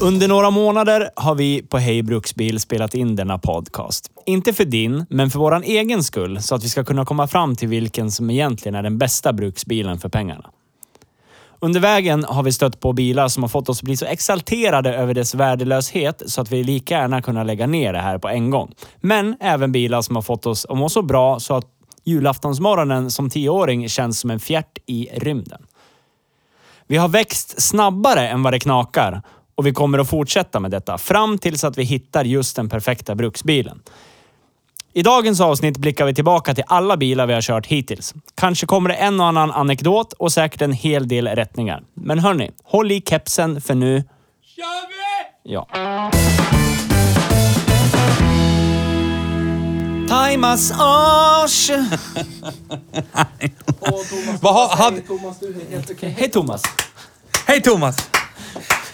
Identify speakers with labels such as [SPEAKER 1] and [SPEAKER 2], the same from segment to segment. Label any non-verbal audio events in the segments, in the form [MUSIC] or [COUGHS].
[SPEAKER 1] Under några månader har vi på Hej Bruksbil spelat in denna podcast. Inte för din, men för vår egen skull, så att vi ska kunna komma fram till vilken som egentligen är den bästa bruksbilen för pengarna. Under vägen har vi stött på bilar som har fått oss att bli så exalterade över dess värdelöshet så att vi lika gärna kunna lägga ner det här på en gång. Men även bilar som har fått oss att må så bra så att julaftonsmorgonen som tioåring känns som en fjärt i rymden. Vi har växt snabbare än vad det knakar och vi kommer att fortsätta med detta fram tills att vi hittar just den perfekta bruksbilen. I dagens avsnitt blickar vi tillbaka till alla bilar vi har kört hittills. Kanske kommer det en och annan anekdot och säkert en hel del rättningar. Men hörni, håll i kepsen för nu...
[SPEAKER 2] Kör vi!
[SPEAKER 1] Ja. Timas Ash!
[SPEAKER 2] Vad har- hade-
[SPEAKER 1] Hej Thomas!
[SPEAKER 2] Hej Thomas!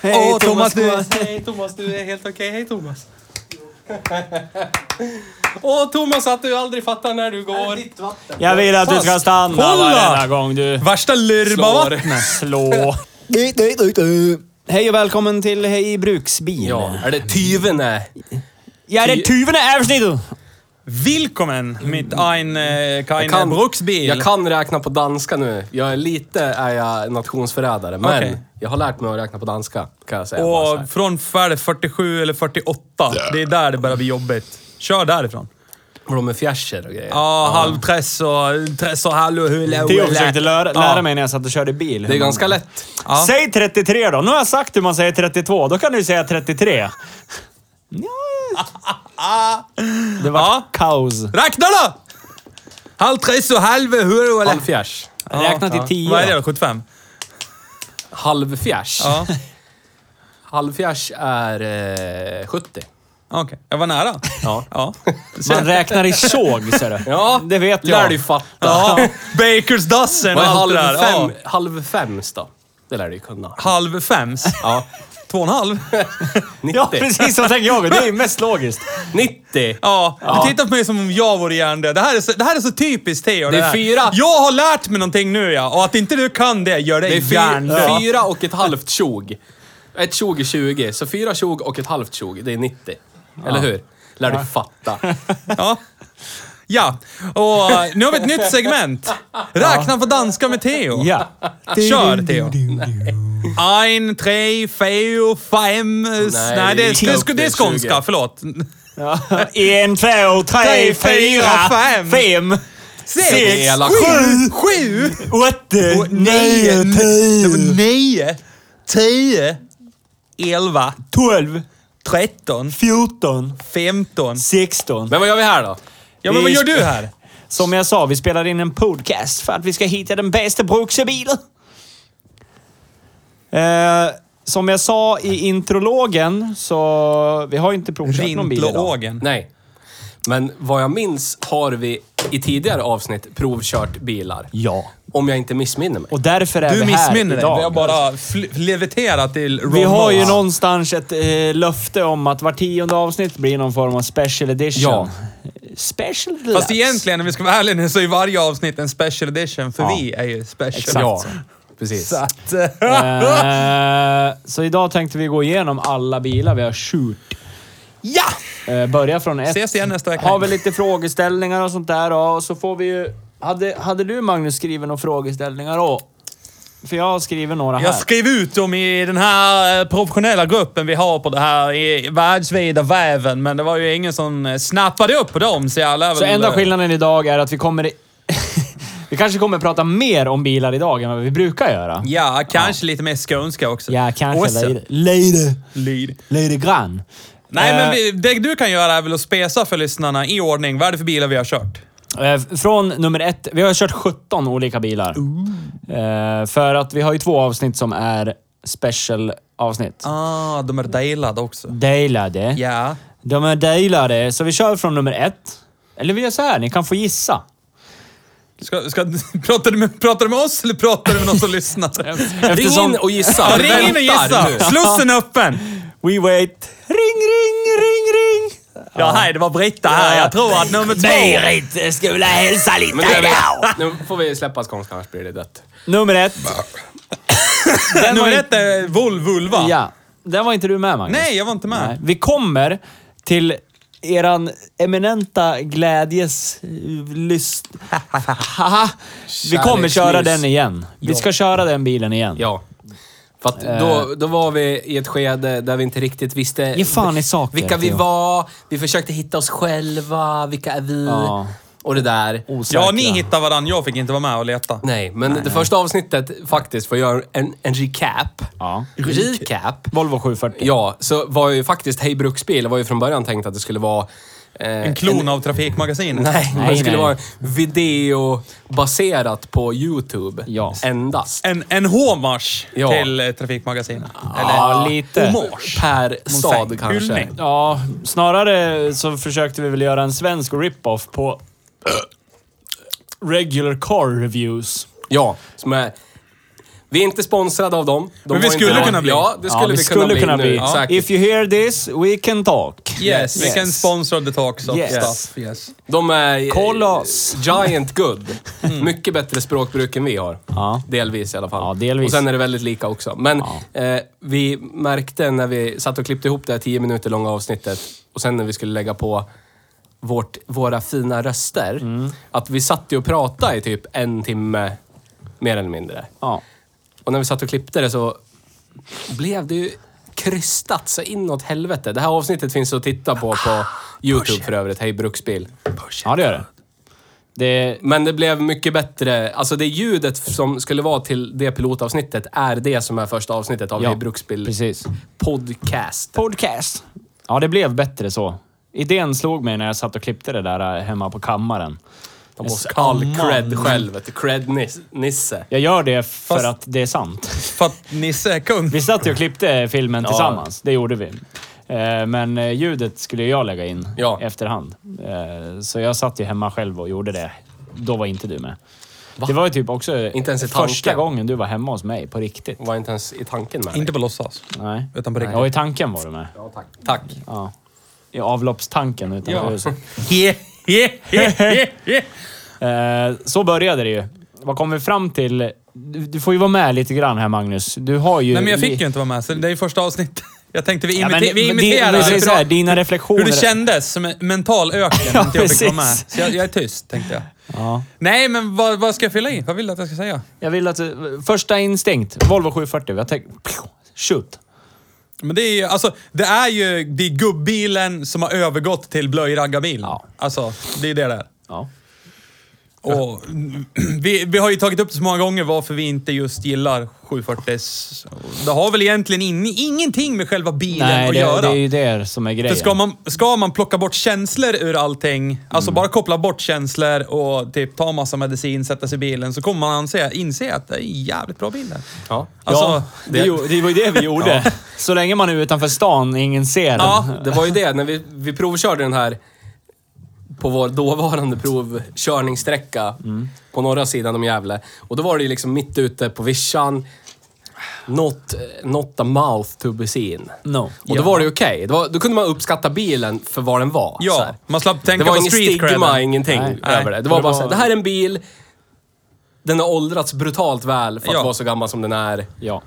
[SPEAKER 1] Hej
[SPEAKER 2] Åh, Thomas,
[SPEAKER 1] Thomas.
[SPEAKER 2] du, hej, Thomas, du är helt okej. Hej Thomas. [LAUGHS] Åh Thomas, att du aldrig fattar när du går.
[SPEAKER 1] Jag vill att du ska stanna
[SPEAKER 2] Kolla!
[SPEAKER 1] varenda gång du...
[SPEAKER 2] Värsta lurmavattnet.
[SPEAKER 1] Slå. Hej och välkommen till Hej Bruksbil.
[SPEAKER 3] Ja, är det tyvene?
[SPEAKER 1] Jag är tyven i avsnittet.
[SPEAKER 2] Willkommen, mitt ein eh, keine
[SPEAKER 3] kan-
[SPEAKER 2] Bruksbil.
[SPEAKER 3] Jag kan räkna på danska nu. Jag är lite är jag nationsförrädare, men
[SPEAKER 2] Okej.
[SPEAKER 3] jag har lärt mig att räkna på danska, kan jag säga. bara så här.
[SPEAKER 2] Och från färd 47 eller 48, det är där det börjar bli jobbigt. Kör därifrån.
[SPEAKER 3] Och de är fjärser och grejer.
[SPEAKER 2] Ja, halvtress och tress och hallo hula
[SPEAKER 1] Det
[SPEAKER 2] hula.
[SPEAKER 1] jag försökte lära,
[SPEAKER 2] Ja.
[SPEAKER 1] lära mig när jag satt och körde bil.
[SPEAKER 3] Det är ganska lätt.
[SPEAKER 2] Ja.
[SPEAKER 1] Säg 33 då. Nu har jag sagt hur man säger 32. Då kan du säga 33. Nja. Det var
[SPEAKER 2] Ja.
[SPEAKER 1] kaos.
[SPEAKER 2] Räkna då! Halvtress och halve hula.
[SPEAKER 3] Halvfjärs.
[SPEAKER 1] Räkna till 10
[SPEAKER 2] Vad är det
[SPEAKER 1] då.
[SPEAKER 2] då? 75?
[SPEAKER 3] Halvfjärs.
[SPEAKER 2] Ja,
[SPEAKER 3] Halvfjärs är eh, 70.
[SPEAKER 2] okej. Jag var nära.
[SPEAKER 3] Ja.
[SPEAKER 2] Ja.
[SPEAKER 1] Man räknar i såg, ser du.
[SPEAKER 3] Ja,
[SPEAKER 1] det vet
[SPEAKER 3] Lär dig
[SPEAKER 1] jag.
[SPEAKER 3] fatta.
[SPEAKER 2] Ja, Bakers dozen och
[SPEAKER 3] Vad är
[SPEAKER 2] allt
[SPEAKER 3] halv,
[SPEAKER 2] det där. Ja.
[SPEAKER 3] fem, halv fems då? Det lär du ju kunna.
[SPEAKER 2] Halv fems?
[SPEAKER 3] Ja.
[SPEAKER 2] Två och en halv?
[SPEAKER 3] 90.
[SPEAKER 1] Ja, precis som tänker jag. Det är ju mest logiskt.
[SPEAKER 3] 90.
[SPEAKER 2] Ja, du tittar på mig som om jag vore hjärndöd. Det här är så, det här är så typiskt Theo.
[SPEAKER 3] Det är
[SPEAKER 2] här.
[SPEAKER 3] fyra.
[SPEAKER 2] Jag har lärt mig någonting nu ja, och att inte du kan det gör
[SPEAKER 3] Det
[SPEAKER 2] dig
[SPEAKER 3] är fyra,
[SPEAKER 2] hjärndöd.
[SPEAKER 3] fyra och ett halvt tjog. Ett tjog är 20, så fyra tjog och ett halvt tjog, det är 90. Eller hur? Lär du fatta.
[SPEAKER 2] Ja. ja, och eh, nu har vi ett nytt segment. Räkna på danska med Theo.
[SPEAKER 1] Ja.
[SPEAKER 2] Kör Theo. Ein, tre, fyra, fem... s-
[SPEAKER 3] Nej,
[SPEAKER 2] Nej,
[SPEAKER 3] det
[SPEAKER 2] det,
[SPEAKER 3] gick
[SPEAKER 2] det, är
[SPEAKER 3] upp
[SPEAKER 2] sk- det är
[SPEAKER 3] till
[SPEAKER 2] skånska.
[SPEAKER 3] 20.
[SPEAKER 2] Förlåt.
[SPEAKER 1] En, två, tre, fyra,
[SPEAKER 2] fem.
[SPEAKER 1] fem, sex,
[SPEAKER 3] Hela
[SPEAKER 1] sju,
[SPEAKER 2] Sju!
[SPEAKER 1] åtta,
[SPEAKER 2] nio,
[SPEAKER 1] nio,
[SPEAKER 2] tio,
[SPEAKER 1] tio,
[SPEAKER 2] nio, tio, elva,
[SPEAKER 1] tolv,
[SPEAKER 2] tretton,
[SPEAKER 1] fjorton,
[SPEAKER 2] femton.
[SPEAKER 1] sexton.
[SPEAKER 3] Men vad gör vi här då?
[SPEAKER 2] Ja, men vad gör du här?
[SPEAKER 1] Som jag sa, vi spelar in en podcast för att vi ska hitta den bästa bruksbilen. Eh, som jag sa i intrologen så... Vi har ju inte provkört någon bil idag.
[SPEAKER 2] Rintlågen.
[SPEAKER 3] Nej. Men vad jag minns har vi i tidigare avsnitt provkört bilar.
[SPEAKER 1] Ja.
[SPEAKER 3] Om jag inte missminner mig.
[SPEAKER 1] Och därför är
[SPEAKER 2] Du
[SPEAKER 1] vi här
[SPEAKER 2] missminner dig.
[SPEAKER 1] idag.
[SPEAKER 2] Vi har bara fl- leviterat till Ron
[SPEAKER 1] Vi har ju
[SPEAKER 2] Moss.
[SPEAKER 1] någonstans ett eh, löfte om att var tionde avsnitt blir någon form av special edition.
[SPEAKER 3] Ja.
[SPEAKER 1] Special
[SPEAKER 2] Fast
[SPEAKER 1] deluxe.
[SPEAKER 2] egentligen, om vi ska vara ärliga nu, så är varje avsnitt en special edition, för
[SPEAKER 1] Ja.
[SPEAKER 2] vi är ju special.
[SPEAKER 1] Exakt.
[SPEAKER 3] Ja, precis.
[SPEAKER 2] Så att...
[SPEAKER 1] Eh, så idag tänkte vi gå igenom alla bilar vi har kört.
[SPEAKER 2] [LAUGHS] ja!
[SPEAKER 1] Eh, börja från ett.
[SPEAKER 2] Ses igen nästa vecka.
[SPEAKER 1] Har vi lite frågeställningar och sånt där då, och så får vi ju... Hade, hade du Magnus skrivit några frågeställningar då? För jag har skrivit några här.
[SPEAKER 2] Jag skrev ut dem i den här eh, professionella gruppen vi har på det här i världsvida väven, men det var ju ingen som eh, snappade upp på dem, så jag lär
[SPEAKER 1] Så
[SPEAKER 2] väl-
[SPEAKER 1] enda skillnaden idag är att vi kommer [LAUGHS] Vi kanske kommer att prata mer om bilar idag än vad vi brukar göra.
[SPEAKER 2] Ja, kanske lite mer skånska också.
[SPEAKER 1] Ja, kanske
[SPEAKER 2] Åsa.
[SPEAKER 1] lite. Lite.
[SPEAKER 2] Lid.
[SPEAKER 1] Lite grann.
[SPEAKER 2] Nej,
[SPEAKER 1] Eh,
[SPEAKER 2] men vi, det du kan göra är väl att spesa för lyssnarna i ordning. Vad är det för bilar vi har kört?
[SPEAKER 1] Eh, Från nummer ett. Vi har kört 17 olika bilar. Eh, För att vi har ju två avsnitt som är specialavsnitt.
[SPEAKER 2] Ah, de är delade också.
[SPEAKER 1] Delade.
[SPEAKER 2] Ja.
[SPEAKER 1] De är delade, så vi kör från nummer ett. Eller vi gör så här, ni kan få [LAUGHS] gissa.
[SPEAKER 2] Ska, ska, [LAUGHS] pratar, du med, pratar du med oss eller pratar du med någon som
[SPEAKER 1] [LAUGHS]
[SPEAKER 2] lyssnar?
[SPEAKER 3] Ring
[SPEAKER 1] Eftersom-
[SPEAKER 3] in och gissa.
[SPEAKER 2] Ja,
[SPEAKER 3] Vi
[SPEAKER 2] ring in och gissa!
[SPEAKER 3] väntar nu.
[SPEAKER 2] Slussen är öppen!
[SPEAKER 1] We wait. Ring, ring, ring, ring.
[SPEAKER 2] Ja, hej, det var Britta här. Jag tror att nummer två...
[SPEAKER 1] jag skulle vilja hälsa lite
[SPEAKER 3] Men nu, är det, nu får vi släppa skånskan, annars blir det dött.
[SPEAKER 1] Nummer ett. [LAUGHS] Den var
[SPEAKER 2] Nummer
[SPEAKER 1] in-
[SPEAKER 2] ett är Volvo Vulva.
[SPEAKER 1] Ja. Den var inte du med, Magnus.
[SPEAKER 2] Nej, jag var inte med.
[SPEAKER 1] Nej. Vi kommer till eran eminenta glädjes... Lyst... Haha. Vi kommer köra
[SPEAKER 3] Kärleksnys.
[SPEAKER 1] den igen. Vi ska köra den bilen igen.
[SPEAKER 3] Ja. För att då, då var vi i ett skede där vi inte riktigt visste
[SPEAKER 1] Eh. Ge fan i saker,
[SPEAKER 3] vilka vi
[SPEAKER 1] Theo.
[SPEAKER 3] var. Vi försökte hitta oss själva. Vilka är vi?
[SPEAKER 1] Ja.
[SPEAKER 3] Och det där.
[SPEAKER 1] Osäkra.
[SPEAKER 2] Ja, ni hittade varandra. Jag fick inte vara med och leta.
[SPEAKER 3] Nej, men det första avsnittet faktiskt, för att göra en, en recap.
[SPEAKER 1] Ja.
[SPEAKER 3] Recap.
[SPEAKER 1] Volvo 740.
[SPEAKER 3] Ja, så var ju faktiskt Hej Bruksbil var ju från början tänkt att det skulle vara... eh,
[SPEAKER 2] En klon av Trafikmagasinet.
[SPEAKER 3] [LAUGHS] Nej, men
[SPEAKER 1] Nej,
[SPEAKER 3] det skulle
[SPEAKER 1] nej.
[SPEAKER 3] vara videobaserat på YouTube.
[SPEAKER 1] Ja.
[SPEAKER 3] Endast.
[SPEAKER 2] En, en hommage
[SPEAKER 3] Ja.
[SPEAKER 2] till eh, Trafikmagasinet.
[SPEAKER 1] Ja, lite.
[SPEAKER 2] Hommage.
[SPEAKER 3] Per
[SPEAKER 2] Monsäng.
[SPEAKER 3] stad kanske.
[SPEAKER 2] Hyllning.
[SPEAKER 1] Ja, snarare så försökte vi väl göra en svensk rip-off på [COUGHS] regular car reviews.
[SPEAKER 3] Ja, som är... Vi är inte sponsrade av dem. De
[SPEAKER 2] Men vi
[SPEAKER 3] var inte
[SPEAKER 2] skulle
[SPEAKER 3] med.
[SPEAKER 2] kunna bli.
[SPEAKER 3] Ja, det skulle
[SPEAKER 1] ja,
[SPEAKER 3] vi, kunna bli nu. Exakt.
[SPEAKER 1] If you hear this, we can talk.
[SPEAKER 2] Yes,
[SPEAKER 1] Yes.
[SPEAKER 2] vi kan sponsor the talks of
[SPEAKER 1] Yes.
[SPEAKER 2] stuff. Yes.
[SPEAKER 3] De är...
[SPEAKER 1] Call us. Mm.
[SPEAKER 3] Giant
[SPEAKER 1] [LAUGHS]
[SPEAKER 3] good. Mycket bättre språkbruk än vi har.
[SPEAKER 1] Ja.
[SPEAKER 3] Delvis i alla fall.
[SPEAKER 1] Ja, delvis.
[SPEAKER 3] Och sen är det väldigt lika också. Men eh, vi märkte när vi satt och klippte ihop det här 10 minuter långa avsnittet och sen när vi skulle lägga på vårt, våra fina röster,
[SPEAKER 1] Mm.
[SPEAKER 3] att vi satt ju och pratade i typ en timme, mer eller mindre.
[SPEAKER 1] Ja.
[SPEAKER 3] Och när vi satt och klippte det så blev det ju krystat så inåt helvete. Det här avsnittet finns att titta på
[SPEAKER 1] Ah,
[SPEAKER 3] på YouTube för övrigt. Hej Bruksbil.
[SPEAKER 1] ja, det gör det. Det...
[SPEAKER 3] Men det blev mycket bättre. Alltså det ljudet som skulle vara till det pilotavsnittet är det som är första avsnittet av
[SPEAKER 1] Ja,
[SPEAKER 3] Hej Bruksbil
[SPEAKER 1] precis.
[SPEAKER 3] podcast.
[SPEAKER 1] Podcast. Ja, det blev bättre så. Idén slog mig när jag satt och klippte det där eh, hemma på kammaren.
[SPEAKER 3] De måste all cred själv. vet du. Cred-Nisse.
[SPEAKER 1] Jag gör det för
[SPEAKER 2] Fast-
[SPEAKER 1] att det är sant.
[SPEAKER 2] För att Nisse är kung.
[SPEAKER 1] Vi satt ju och klippte filmen tillsammans. Det gjorde vi. Eh, Men eh, ljudet skulle jag lägga in
[SPEAKER 3] Ja.
[SPEAKER 1] efterhand. Eh, Så jag satt ju hemma själv och gjorde det. Då var inte du med. Det var ju typ också
[SPEAKER 3] Inte ens i
[SPEAKER 1] första
[SPEAKER 3] tanken. Oh.
[SPEAKER 1] gången du var hemma hos mig på riktigt.
[SPEAKER 3] Var inte ens i tanken med dig.
[SPEAKER 2] Inte på låtsas.
[SPEAKER 1] Nej.
[SPEAKER 2] Utan på riktigt.
[SPEAKER 1] Ja, i tanken var du med.
[SPEAKER 3] Ja, tack.
[SPEAKER 1] [LAUGHS]
[SPEAKER 2] Tack. [LAUGHS]
[SPEAKER 1] Ja. I avloppstanken utanför
[SPEAKER 2] Ja.
[SPEAKER 1] huset.
[SPEAKER 2] He, he, he, he, he.
[SPEAKER 1] Eh, så började det ju. Vad kom vi fram till? Du, du får ju vara med lite grann här, Magnus. Du har ju...
[SPEAKER 2] Nej, men jag
[SPEAKER 1] li-
[SPEAKER 2] fick ju inte vara med, så det är ju första avsnittet. Jag tänkte vi,
[SPEAKER 1] Ja,
[SPEAKER 2] imite-
[SPEAKER 1] men-
[SPEAKER 2] vi
[SPEAKER 1] men det-
[SPEAKER 2] imiterar
[SPEAKER 1] vi säger
[SPEAKER 2] hur
[SPEAKER 1] så
[SPEAKER 2] det-
[SPEAKER 1] här, dina reflektioner.
[SPEAKER 2] hur det kändes som en mental öken
[SPEAKER 1] Ja,
[SPEAKER 2] [LAUGHS] ja, inte jag fick vara med.
[SPEAKER 1] precis.
[SPEAKER 2] Så jag, jag är tyst, tänkte jag.
[SPEAKER 1] Ja.
[SPEAKER 2] Nej, men vad, vad ska jag fylla i? Vad vill du att jag ska säga?
[SPEAKER 1] Jag vill att... du- Första instinkt. Volvo 740. Jag tänkte... Shoot.
[SPEAKER 2] Men det är ju, alltså, det är ju det är gubbilen som har övergått till blöjraggarbilen.
[SPEAKER 1] Ja.
[SPEAKER 2] Alltså, det är det där.
[SPEAKER 1] Ja.
[SPEAKER 2] Och, [CLEARS THROAT] vi, vi har ju tagit upp det så många gånger varför vi inte just gillar 740 s Det har väl egentligen in, ingenting med själva bilen
[SPEAKER 1] Nej,
[SPEAKER 2] att
[SPEAKER 1] det,
[SPEAKER 2] göra.
[SPEAKER 1] det är ju det som är
[SPEAKER 2] För
[SPEAKER 1] grejen.
[SPEAKER 2] ska man, ska man plocka bort känslor ur allting, alltså
[SPEAKER 3] Mm.
[SPEAKER 2] bara koppla bort känslor och typ ta massa medicin, sätta sig i bilen, så kommer man anse, inse att det är en jävligt bra bil där.
[SPEAKER 3] Ja.
[SPEAKER 2] Alltså,
[SPEAKER 1] ja, det,
[SPEAKER 2] det-
[SPEAKER 1] gjo- det var ju det vi gjorde. Så länge man är utanför stan, ingen ser den.
[SPEAKER 3] Ja,
[SPEAKER 2] [LAUGHS]
[SPEAKER 3] det var ju det. När vi, vi provkörde den här på vår dåvarande provkörningssträcka
[SPEAKER 2] Mm.
[SPEAKER 3] på norra sidan om Gävle. Och då var det ju liksom mitt ute på vischan. Not, not a mouth to be seen.
[SPEAKER 2] Mm.
[SPEAKER 1] No.
[SPEAKER 3] Och då var det okej. Det var- Då kunde man uppskatta bilen för vad den var. så
[SPEAKER 2] Ja,
[SPEAKER 3] här.
[SPEAKER 2] man slapp
[SPEAKER 3] Det
[SPEAKER 2] tänka
[SPEAKER 3] var
[SPEAKER 2] på
[SPEAKER 3] ingen
[SPEAKER 2] street
[SPEAKER 3] stigma,
[SPEAKER 2] credden.
[SPEAKER 3] ingenting
[SPEAKER 1] Nej.
[SPEAKER 3] över
[SPEAKER 2] Nej.
[SPEAKER 3] det. Det var
[SPEAKER 1] Det
[SPEAKER 3] bara
[SPEAKER 1] var-
[SPEAKER 3] såhär, det här är en bil. Den har åldrats brutalt väl för att
[SPEAKER 2] Ja.
[SPEAKER 3] vara så gammal som den är.
[SPEAKER 1] Ja.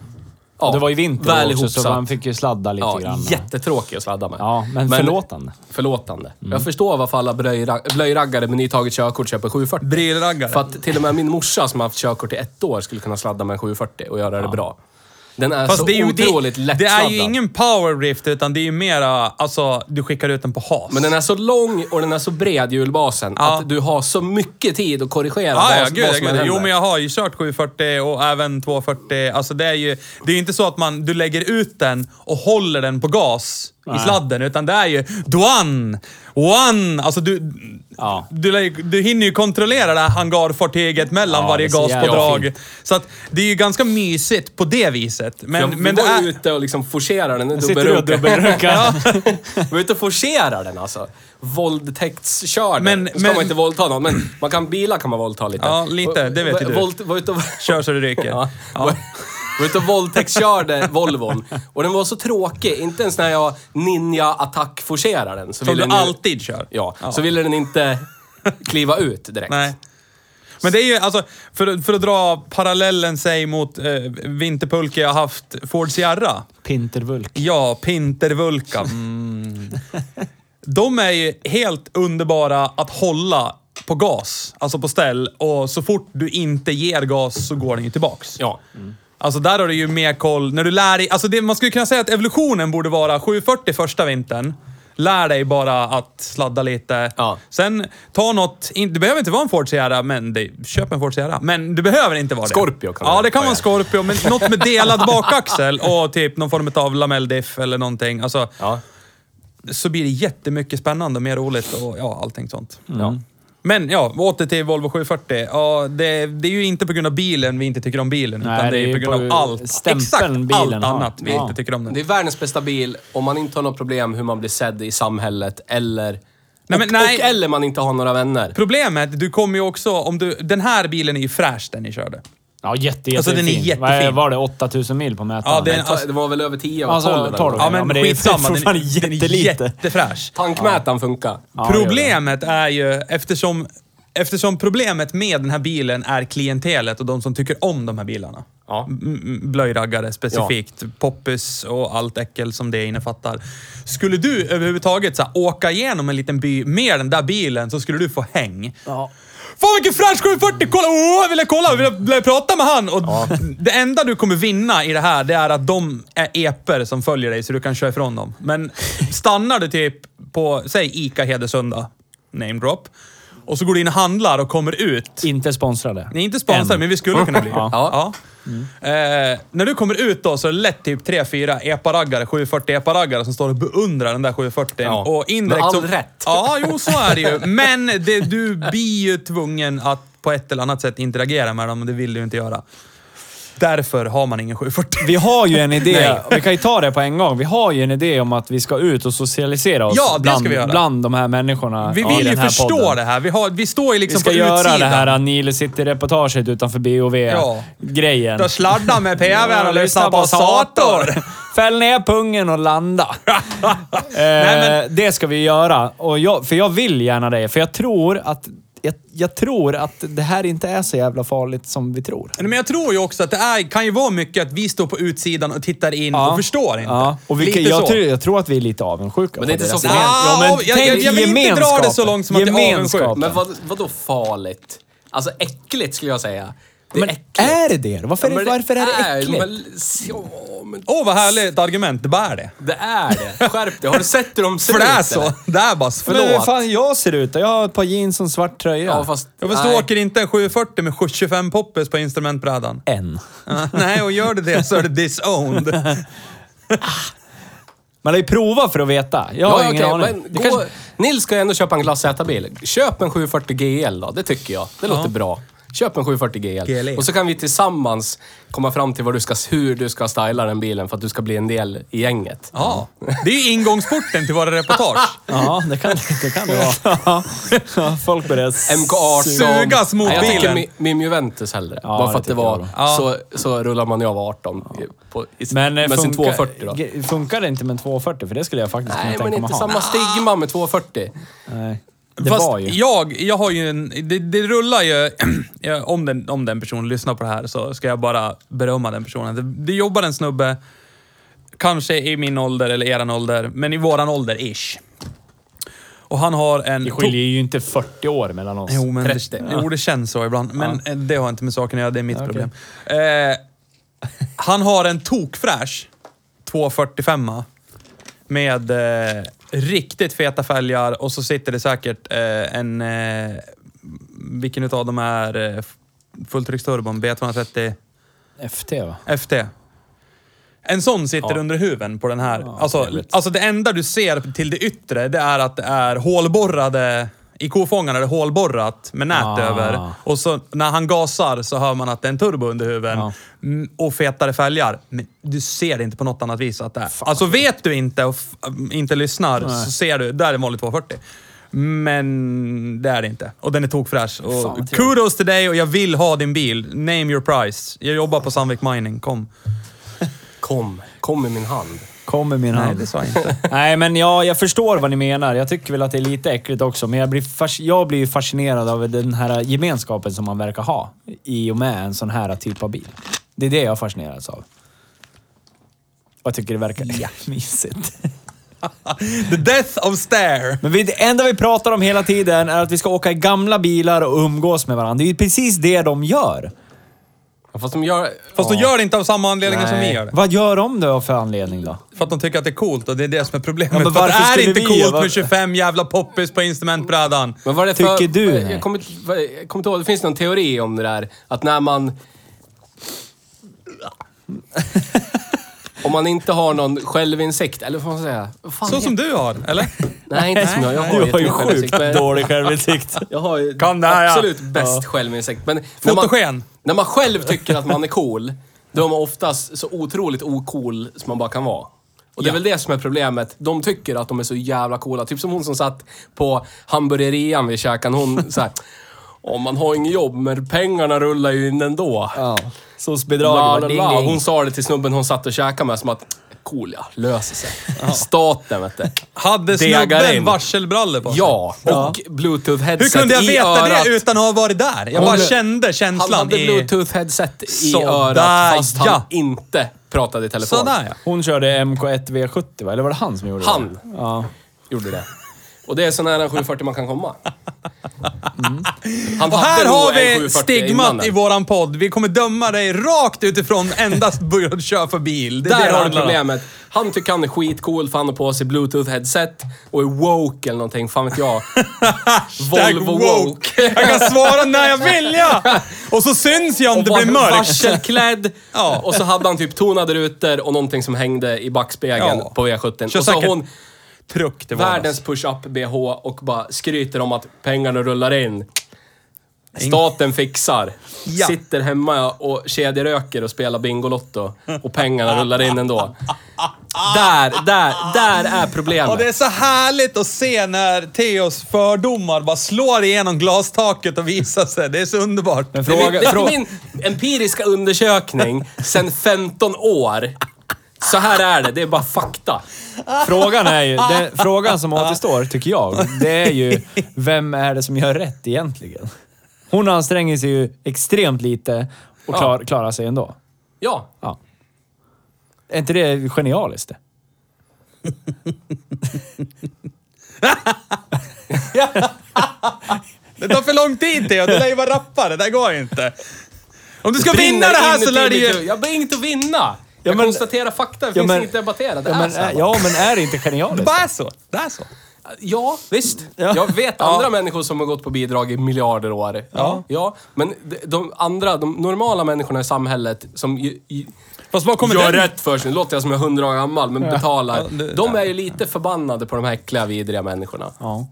[SPEAKER 3] Ja,
[SPEAKER 1] det var ju vinter
[SPEAKER 3] väl
[SPEAKER 1] också, så
[SPEAKER 3] ihopsatt.
[SPEAKER 1] man fick ju sladda lite
[SPEAKER 3] Ja,
[SPEAKER 1] grann.
[SPEAKER 3] jättetråkig att sladda med.
[SPEAKER 1] Ja, men förlåtande.
[SPEAKER 3] Förlåtande.
[SPEAKER 2] Mm.
[SPEAKER 3] Jag förstår varför alla blöjra- blöjraggare med nytaget körkort köper 740.
[SPEAKER 2] Brillraggare.
[SPEAKER 3] För att till och med min morsa som har haft körkort i ett år skulle kunna sladda med en 740 och göra det bra. Den är
[SPEAKER 2] Fast
[SPEAKER 3] så
[SPEAKER 2] det är ju,
[SPEAKER 3] otroligt
[SPEAKER 2] det, det
[SPEAKER 3] lättsladdad.
[SPEAKER 2] är ju ingen power rift utan det är ju mera, alltså du skickar ut den på has.
[SPEAKER 3] Men den är så lång och den är så bred, hjulbasen,
[SPEAKER 2] Ja.
[SPEAKER 3] att du har så mycket tid att korrigera
[SPEAKER 2] Ja,
[SPEAKER 3] vad,
[SPEAKER 2] ja,
[SPEAKER 3] vad
[SPEAKER 2] gud,
[SPEAKER 3] som
[SPEAKER 2] ja,
[SPEAKER 3] än
[SPEAKER 2] gud. Jo,
[SPEAKER 3] händer.
[SPEAKER 2] men jag har ju kört 740 och även 240. Alltså det är ju... Det är ju inte så att man, du lägger ut den och håller den på gas i sladden, utan det är ju duan, one. Alltså du...
[SPEAKER 1] Ja.
[SPEAKER 2] Du, lä- du hinner ju kontrollera det här hangarfartyget mellan
[SPEAKER 1] Ja,
[SPEAKER 2] varje
[SPEAKER 1] det är så
[SPEAKER 2] gaspådrag.
[SPEAKER 1] jävla fint.
[SPEAKER 2] så att det är ju ganska mysigt på det viset. Men,
[SPEAKER 3] jag
[SPEAKER 2] men det
[SPEAKER 3] var
[SPEAKER 2] är...
[SPEAKER 3] ute och liksom forcerar den.
[SPEAKER 1] Sitter du och
[SPEAKER 3] [LAUGHS]
[SPEAKER 1] dubbelrunkar?
[SPEAKER 3] var ute och forcerar den alltså. Våldtäktskörd.
[SPEAKER 2] Men-
[SPEAKER 3] Men, ska
[SPEAKER 2] men-
[SPEAKER 3] man inte våldta någon, men man kan, bilar kan man våldta lite.
[SPEAKER 2] Ja, lite. Det vet ju du.
[SPEAKER 3] Våld, var ute och,
[SPEAKER 2] Kör så det ryker.
[SPEAKER 3] ja.
[SPEAKER 2] Ja.
[SPEAKER 3] Var, var ute och våldtäktskörde Volvon. Och den var så tråkig. Inte ens när jag ninja-attack-forcerade den. Så
[SPEAKER 2] Som
[SPEAKER 3] ville
[SPEAKER 2] du
[SPEAKER 3] den ju-
[SPEAKER 2] alltid kör.
[SPEAKER 3] Ja, så ville den inte kliva ut direkt.
[SPEAKER 2] Nej. Men det är ju, alltså, för, för att dra parallellen sig mot eh, vinterpulka jag haft, Ford Sierra.
[SPEAKER 1] Pintervulk.
[SPEAKER 2] Ja, Pintervulka. [LAUGHS] De är ju helt underbara att hålla på gas, alltså på ställ. Och så fort du inte ger gas så går den ju tillbaks.
[SPEAKER 3] Ja.
[SPEAKER 2] Alltså där har du ju mer koll. När du lär dig, alltså det, man skulle kunna säga att evolutionen borde vara 740 första vintern. Lär dig bara att sladda lite.
[SPEAKER 3] Ja.
[SPEAKER 2] Sen ta något, in, det behöver inte vara en Ford Sierra, men det, köp en Ford Sierra. Men det behöver inte vara det.
[SPEAKER 3] Scorpio kan
[SPEAKER 2] Ja,
[SPEAKER 3] det
[SPEAKER 2] det kan vara en
[SPEAKER 3] vara.
[SPEAKER 2] Scorpio, men något med delad bakaxel och typ någon form av lamelldiff eller någonting. Alltså,
[SPEAKER 3] Ja.
[SPEAKER 2] så blir det jättemycket spännande, mer roligt och ja, allting sånt.
[SPEAKER 3] Ja.
[SPEAKER 2] Men ja, åter till Volvo 740. Ja, det, det är ju inte på grund av bilen vi inte tycker om bilen,
[SPEAKER 1] Nej,
[SPEAKER 2] utan det är, ju på grund av allt.
[SPEAKER 1] stämpeln
[SPEAKER 2] Exakt allt
[SPEAKER 1] bilen har.
[SPEAKER 2] annat vi
[SPEAKER 1] Ja.
[SPEAKER 2] inte tycker om den.
[SPEAKER 3] Det är världens bästa bil om man inte har något problem hur man blir sedd i samhället eller...
[SPEAKER 2] Nej, men
[SPEAKER 3] och,
[SPEAKER 2] nej.
[SPEAKER 3] och eller man inte har några vänner.
[SPEAKER 2] Problemet, du kommer ju också... Om du, den här bilen är ju fräsch, den ni körde.
[SPEAKER 1] Ja, jätte, jättefin.
[SPEAKER 2] Alltså, den är
[SPEAKER 1] Vad är-
[SPEAKER 2] jättefin.
[SPEAKER 1] Var det 8000 mil på mätaren?
[SPEAKER 2] Ja, det är-
[SPEAKER 3] Ta- Det var väl över 10 av
[SPEAKER 1] Alltså,
[SPEAKER 3] 12? eller
[SPEAKER 1] 12.
[SPEAKER 3] något.
[SPEAKER 2] Ja, men,
[SPEAKER 1] men det är ju
[SPEAKER 2] skitsamma. Den,
[SPEAKER 1] fortfarande
[SPEAKER 2] är- den
[SPEAKER 1] jättelite.
[SPEAKER 2] är jättefräsch.
[SPEAKER 3] Tankmätaren funkar.
[SPEAKER 1] Ja, det gör det.
[SPEAKER 2] problemet är ju, eftersom, eftersom problemet med den här bilen är klientelet och de som tycker om de här bilarna.
[SPEAKER 3] Ja.
[SPEAKER 2] M- m- Blöjraggare specifikt, poppis och allt äckel som det innefattar. Skulle du överhuvudtaget så här, åka igenom en liten by med den där bilen så skulle du få häng.
[SPEAKER 1] Ja.
[SPEAKER 2] Fan vilken fräsch 740! Kolla! Åh, jag ville kolla! Jag ville, ville prata med han! Och Det enda du kommer vinna i det här, det är att de är eper som följer dig så du kan köra ifrån dem. Men stannar du typ på, säg Ica Hedesunda, name drop, och så går du in och handlar och kommer ut.
[SPEAKER 1] Inte sponsrade.
[SPEAKER 2] Ni är inte sponsrade,
[SPEAKER 1] Än.
[SPEAKER 2] men vi skulle kunna bli.
[SPEAKER 1] [LAUGHS] Ja.
[SPEAKER 2] Eh, när du kommer ut då så är det lätt typ 3-4 epa-raggare, 740 epa-raggare som står och beundrar den där 740.
[SPEAKER 3] Ja.
[SPEAKER 2] Och indirekt
[SPEAKER 3] Med all
[SPEAKER 2] så,
[SPEAKER 3] rätt.
[SPEAKER 2] Ja, jo så är det ju. Men det, du blir ju tvungen att på ett eller annat sätt interagera med dem och det vill du ju inte göra. Därför har man ingen 740.
[SPEAKER 1] Vi har ju en idé,
[SPEAKER 2] Nej.
[SPEAKER 1] vi kan ju ta det på en gång. Vi har ju en idé om att vi ska ut och socialisera oss
[SPEAKER 2] Ja, det ska
[SPEAKER 1] bland,
[SPEAKER 2] vi göra.
[SPEAKER 1] bland de här människorna
[SPEAKER 2] Vi
[SPEAKER 1] i
[SPEAKER 2] vill ju
[SPEAKER 1] den här
[SPEAKER 2] förstå
[SPEAKER 1] podden.
[SPEAKER 2] det här. Vi, har, vi står ju
[SPEAKER 1] Vi
[SPEAKER 2] liksom
[SPEAKER 1] ska
[SPEAKER 2] på
[SPEAKER 1] göra
[SPEAKER 2] utsidan.
[SPEAKER 1] det här Nile City-reportaget utanför
[SPEAKER 2] Ja.
[SPEAKER 1] BOV-grejen.
[SPEAKER 2] Då sladdar med PVn och lyssnar på Sator.
[SPEAKER 1] [LAUGHS] Fäll ner pungen
[SPEAKER 2] [LAUGHS]
[SPEAKER 1] och landa. eh, Det ska vi göra. Och jag, för jag vill gärna det. För jag tror att jag, jag tror att det här inte är så jävla farligt som vi tror.
[SPEAKER 2] Nej, Men jag tror ju också att det är, kan ju vara mycket att vi står på utsidan och tittar in och förstår inte.
[SPEAKER 1] Ja. Och vi,
[SPEAKER 2] Lite
[SPEAKER 1] jag,
[SPEAKER 2] så.
[SPEAKER 1] tror, jag tror att vi är lite avundsjuka.
[SPEAKER 3] Men det är
[SPEAKER 1] på
[SPEAKER 3] inte
[SPEAKER 1] deras
[SPEAKER 3] så
[SPEAKER 1] gemen-
[SPEAKER 3] farligt.
[SPEAKER 1] Ja, men
[SPEAKER 2] Ah, jag- jag-
[SPEAKER 1] tänk
[SPEAKER 2] jag vill inte dra det så långt som att jag är
[SPEAKER 1] Gemenskapen.
[SPEAKER 2] avundsjuk.
[SPEAKER 3] Men vad, vadå farligt? Alltså äckligt skulle jag säga. Det är
[SPEAKER 1] Men
[SPEAKER 3] äckligt.
[SPEAKER 1] är det det? Varför, är,
[SPEAKER 3] men
[SPEAKER 1] det, varför är det äckligt?
[SPEAKER 3] Men, ja, men
[SPEAKER 2] Åh, vad härligt argument. Det bär det.
[SPEAKER 3] det är det. Skärp dig. Har du sett hur de ser
[SPEAKER 2] För det
[SPEAKER 3] ut,
[SPEAKER 2] är så.
[SPEAKER 3] eller?
[SPEAKER 2] Det är bara
[SPEAKER 1] Men hur
[SPEAKER 2] förlåt.
[SPEAKER 1] fan jag ser ut då? Jag har ett par jeans och en svart tröja.
[SPEAKER 3] Ja, fast...
[SPEAKER 2] Jag förstår
[SPEAKER 3] nej.
[SPEAKER 2] åker inte en 740 med 25 poppes på
[SPEAKER 1] [LAUGHS]
[SPEAKER 2] instrumentbrädan.
[SPEAKER 1] En.
[SPEAKER 2] Ah, Nej, och gör det det så är det disowned.
[SPEAKER 1] Man har ju provat för att veta. Jag har
[SPEAKER 3] Ja,
[SPEAKER 1] ingen
[SPEAKER 3] okej,
[SPEAKER 1] aning.
[SPEAKER 3] men
[SPEAKER 1] Det
[SPEAKER 3] gå,
[SPEAKER 1] kanske-
[SPEAKER 3] Nils ska ju ändå köpa en glass bil Köp en 740 GL då, det tycker jag. Det låter bra. Köp en 740 GL.
[SPEAKER 2] GLE.
[SPEAKER 3] Och så kan vi tillsammans komma fram till vad du ska, hur du ska styla den bilen för att du ska bli en del i gänget.
[SPEAKER 2] Ja, det är ju ingångsporten till våra reportage.
[SPEAKER 1] Ja, det kan det, kan det vara. Ja, folk börjar... s-
[SPEAKER 3] MK18.
[SPEAKER 2] Sugas mot
[SPEAKER 3] Nej, Jag tycker
[SPEAKER 2] bilen.
[SPEAKER 3] Mi- Mim Juventus hellre.
[SPEAKER 1] Ja,
[SPEAKER 3] Bara för
[SPEAKER 1] det
[SPEAKER 3] att det
[SPEAKER 1] tycker
[SPEAKER 3] var...
[SPEAKER 2] jag då.
[SPEAKER 3] Så, så rullar man ju av 18 i- på, i,
[SPEAKER 1] Men eh,
[SPEAKER 3] med sin
[SPEAKER 1] funkar-
[SPEAKER 3] 240 då.
[SPEAKER 1] ge- Funkar det inte med en 240? För det skulle jag faktiskt
[SPEAKER 3] Nej,
[SPEAKER 1] kunna
[SPEAKER 3] men
[SPEAKER 1] tänka mig
[SPEAKER 3] inte
[SPEAKER 1] ha.
[SPEAKER 3] samma stigma med 240.
[SPEAKER 1] Nej. Det
[SPEAKER 2] Fast
[SPEAKER 1] var ju.
[SPEAKER 2] jag, jag har ju en... Det, det rullar ju... [CLEARS THROAT] ja, om, den, om den personen lyssnar på det här så ska jag bara berömma den personen. Det, det jobbar en snubbe, kanske i min ålder eller eran ålder, men i våran ålder-ish. Och han har en...
[SPEAKER 1] Det skiljer ju inte 40 år mellan oss.
[SPEAKER 2] Jo, men
[SPEAKER 3] 30.
[SPEAKER 2] Det, jo, det känns så ibland. Men eh, det har inte med saken att göra. Det är mitt problem. Eh, Han har en tokfräsch 245 med eh, riktigt feta fälgar och så sitter det säkert eh, en... Eh, vilken utav dem är eh, fulltrycksturbon? B230
[SPEAKER 1] FT va?
[SPEAKER 2] FT? En sån sitter under huven på den här. alltså,
[SPEAKER 1] trevligt.
[SPEAKER 2] alltså det enda du ser till det yttre, det är att det är hålborrade... I kofångaren är det hålborrat med nät
[SPEAKER 1] Ah.
[SPEAKER 2] över. Och så när han gasar så hör man att det är en turbo under huven.
[SPEAKER 1] Ja.
[SPEAKER 2] Mm, Och fetare fälgar. Men du ser det inte på något annat vis att det är. Alltså vet du inte och f- inte lyssnar så ser du, där är en vanlig 240. Men det är det inte. Och den är tokfräsch.
[SPEAKER 1] vad
[SPEAKER 2] Och
[SPEAKER 1] trevligt.
[SPEAKER 2] kudos till dig och jag vill ha din bil. Name your price. Jag jobbar på Sandvik Mining, kom.
[SPEAKER 3] Kom, kom i min hand.
[SPEAKER 1] Kommer min
[SPEAKER 2] Nej,
[SPEAKER 1] hand.
[SPEAKER 2] det sa jag inte.
[SPEAKER 1] [LAUGHS] Nej, men jag, jag förstår vad ni menar. Jag tycker väl att det är lite äckligt också, men jag blir, fas- jag blir ju fascinerad av den här gemenskapen som man verkar ha i och med en sån här typ av bil. Det är det jag fascineras av. Jag tycker det verkar [LAUGHS] mysigt.
[SPEAKER 2] The death of stare.
[SPEAKER 1] Men vi, det enda vi pratar om hela tiden är att vi ska åka i gamla bilar och umgås med varandra. Det är ju precis det de gör.
[SPEAKER 3] Ja, Fast de gör...
[SPEAKER 2] Fast de gör det inte av samma anledningar som vi gör det.
[SPEAKER 1] Vad gör de då för anledning då?
[SPEAKER 2] För att de tycker att det är coolt och det är det som är problemet.
[SPEAKER 1] Ja, men
[SPEAKER 2] För att
[SPEAKER 1] varför
[SPEAKER 2] det är
[SPEAKER 1] skulle
[SPEAKER 2] inte
[SPEAKER 1] vi-
[SPEAKER 2] coolt
[SPEAKER 1] var-
[SPEAKER 2] med 25 jävla poppis på instrumentbrädan.
[SPEAKER 3] Men vad är det för,
[SPEAKER 1] Tycker du?
[SPEAKER 3] Jag kommer, inte- vad- jag kommer inte ihåg, det finns någon teori om det där. Att när man... om man inte har någon självinsikt, eller vad får man säga? Vad Fan,
[SPEAKER 2] Så som du har,
[SPEAKER 3] [LAUGHS]
[SPEAKER 2] eller?
[SPEAKER 3] Nej, inte som jag. Jag har,
[SPEAKER 1] Du har ju
[SPEAKER 3] jättemycket självinsikt,
[SPEAKER 1] sjukt
[SPEAKER 3] men-
[SPEAKER 1] dålig självinsikt.
[SPEAKER 3] Jag har ju
[SPEAKER 2] Kan det här, ja.
[SPEAKER 3] absolut bäst självinsikt. Men när
[SPEAKER 2] Fotogen.
[SPEAKER 3] man, när man själv tycker att man är cool, då är man oftast så otroligt ocool som man bara kan vara. Och det är väl det som är problemet. De tycker att de är så jävla coola. Typ som hon som satt på hamburgerian vid
[SPEAKER 2] [LAUGHS]
[SPEAKER 3] käkan. Hon såhär... Åh, man har inget jobb, men pengarna rullar ju in ändå.
[SPEAKER 1] Ja.
[SPEAKER 3] Bla,
[SPEAKER 1] Socialbidrag.
[SPEAKER 3] bla,
[SPEAKER 1] bara
[SPEAKER 3] bla.
[SPEAKER 1] ding, ding.
[SPEAKER 3] Hon sa det till snubben hon satt och käkade med som att... Cool ja, löser sig. Staten vet du.
[SPEAKER 2] Hade
[SPEAKER 3] Degar
[SPEAKER 2] snubben
[SPEAKER 3] in.
[SPEAKER 2] varselbrallor på sig?
[SPEAKER 3] Ja, och bluetooth-headset
[SPEAKER 2] Hur kunde jag
[SPEAKER 3] i
[SPEAKER 2] veta
[SPEAKER 3] örat.
[SPEAKER 2] det utan att ha varit där? Jag
[SPEAKER 3] Hon-
[SPEAKER 2] bara kände
[SPEAKER 3] Han
[SPEAKER 2] känslan
[SPEAKER 3] hade
[SPEAKER 2] i...
[SPEAKER 3] bluetooth-headset i
[SPEAKER 2] Sådär,
[SPEAKER 3] örat fast han
[SPEAKER 2] ja.
[SPEAKER 3] inte pratade i telefon.
[SPEAKER 2] Sådär ja.
[SPEAKER 1] Hon körde MK1 V70 va? Eller var det han som gjorde
[SPEAKER 3] Han.
[SPEAKER 1] det? Ja.
[SPEAKER 3] Gjorde det. Och det är så nära en 740 man kan komma. Han
[SPEAKER 2] Och
[SPEAKER 3] hade
[SPEAKER 2] här
[SPEAKER 3] nog
[SPEAKER 2] har
[SPEAKER 3] en
[SPEAKER 2] vi
[SPEAKER 3] 740 innan
[SPEAKER 2] stigmat
[SPEAKER 3] den.
[SPEAKER 2] i våran podd. Vi kommer döma dig rakt utifrån endast [LAUGHS] börja att köra för bil. Det är det
[SPEAKER 3] Där
[SPEAKER 2] det
[SPEAKER 3] har du
[SPEAKER 2] handlar om.
[SPEAKER 3] problemet. Han tycker han är skitcool för han har på sig bluetooth-headset och är woke eller någonting, fan vet jag.
[SPEAKER 2] [LAUGHS] Hashtag
[SPEAKER 3] Volvo woke.
[SPEAKER 2] jag kan svara när jag vill
[SPEAKER 3] [LAUGHS]
[SPEAKER 2] ja! Och så syns jag om det
[SPEAKER 3] Och
[SPEAKER 2] blir
[SPEAKER 3] var
[SPEAKER 2] mörkt.
[SPEAKER 3] Varselklädd. ja. Och så hade han typ tonade rutor och någonting som hängde i backspegeln
[SPEAKER 2] Ja.
[SPEAKER 3] på V70.
[SPEAKER 2] Kör
[SPEAKER 3] Och så
[SPEAKER 2] säkert.
[SPEAKER 3] hon,
[SPEAKER 2] Truck det var.
[SPEAKER 3] Världens push-up bh och bara skryter om att pengarna rullar in. Staten fixar.
[SPEAKER 2] Ja.
[SPEAKER 3] Sitter hemma och kedjeröker och spelar Bingolotto. Och pengarna rullar in ändå. Där, där,
[SPEAKER 2] Och
[SPEAKER 3] där är
[SPEAKER 2] det är
[SPEAKER 3] problemet.
[SPEAKER 2] så härligt att se när Theos fördomar bara slår igenom glastaket och visar sig. Det är så underbart.
[SPEAKER 1] Men
[SPEAKER 3] Det är,
[SPEAKER 1] fråga,
[SPEAKER 3] min- det är
[SPEAKER 1] fråga,
[SPEAKER 3] min empiriska undersökning sedan 15 år. Så här är det, det är bara fakta.
[SPEAKER 1] frågan är ju...
[SPEAKER 3] [LAUGHS]
[SPEAKER 1] Den, frågan som återstår, tycker jag, det är ju vem är det som gör rätt egentligen? Hon anstränger sig ju extremt lite och klar, klarar sig ändå.
[SPEAKER 3] Ja,
[SPEAKER 1] Ja. Är inte det genialiskt? det?
[SPEAKER 2] Det tar för lång tid Theo. Du lär ju vara rappare. Det där går ju inte. Om du ska
[SPEAKER 3] brinner
[SPEAKER 2] vinna det här så
[SPEAKER 3] inuti
[SPEAKER 2] lär du
[SPEAKER 3] mitt huvud.
[SPEAKER 2] ju...
[SPEAKER 3] Jag har inget att vinna. Jag
[SPEAKER 1] men-
[SPEAKER 3] konstaterar fakta, det finns
[SPEAKER 1] men-
[SPEAKER 3] inget att debattera. Det
[SPEAKER 1] Ja
[SPEAKER 3] är
[SPEAKER 1] men, eh,
[SPEAKER 3] så här.
[SPEAKER 1] är, ja, men är det inte
[SPEAKER 2] Det
[SPEAKER 1] genialiskt?
[SPEAKER 2] bara är så. Det är så.
[SPEAKER 3] Ja, visst. Jag vet andra människor som har gått på bidrag i miljarder år. Ja. ja men de, de andra, de normala människorna i samhället som ju, ju,
[SPEAKER 2] Fast var kommer
[SPEAKER 3] gör
[SPEAKER 2] den...
[SPEAKER 3] rätt för sig. Nu låter jag som jag är hundra år gammal, men betalar.
[SPEAKER 2] Ja, det-
[SPEAKER 3] de är ju lite förbannade på de här äckliga, vidriga människorna.
[SPEAKER 1] Ja.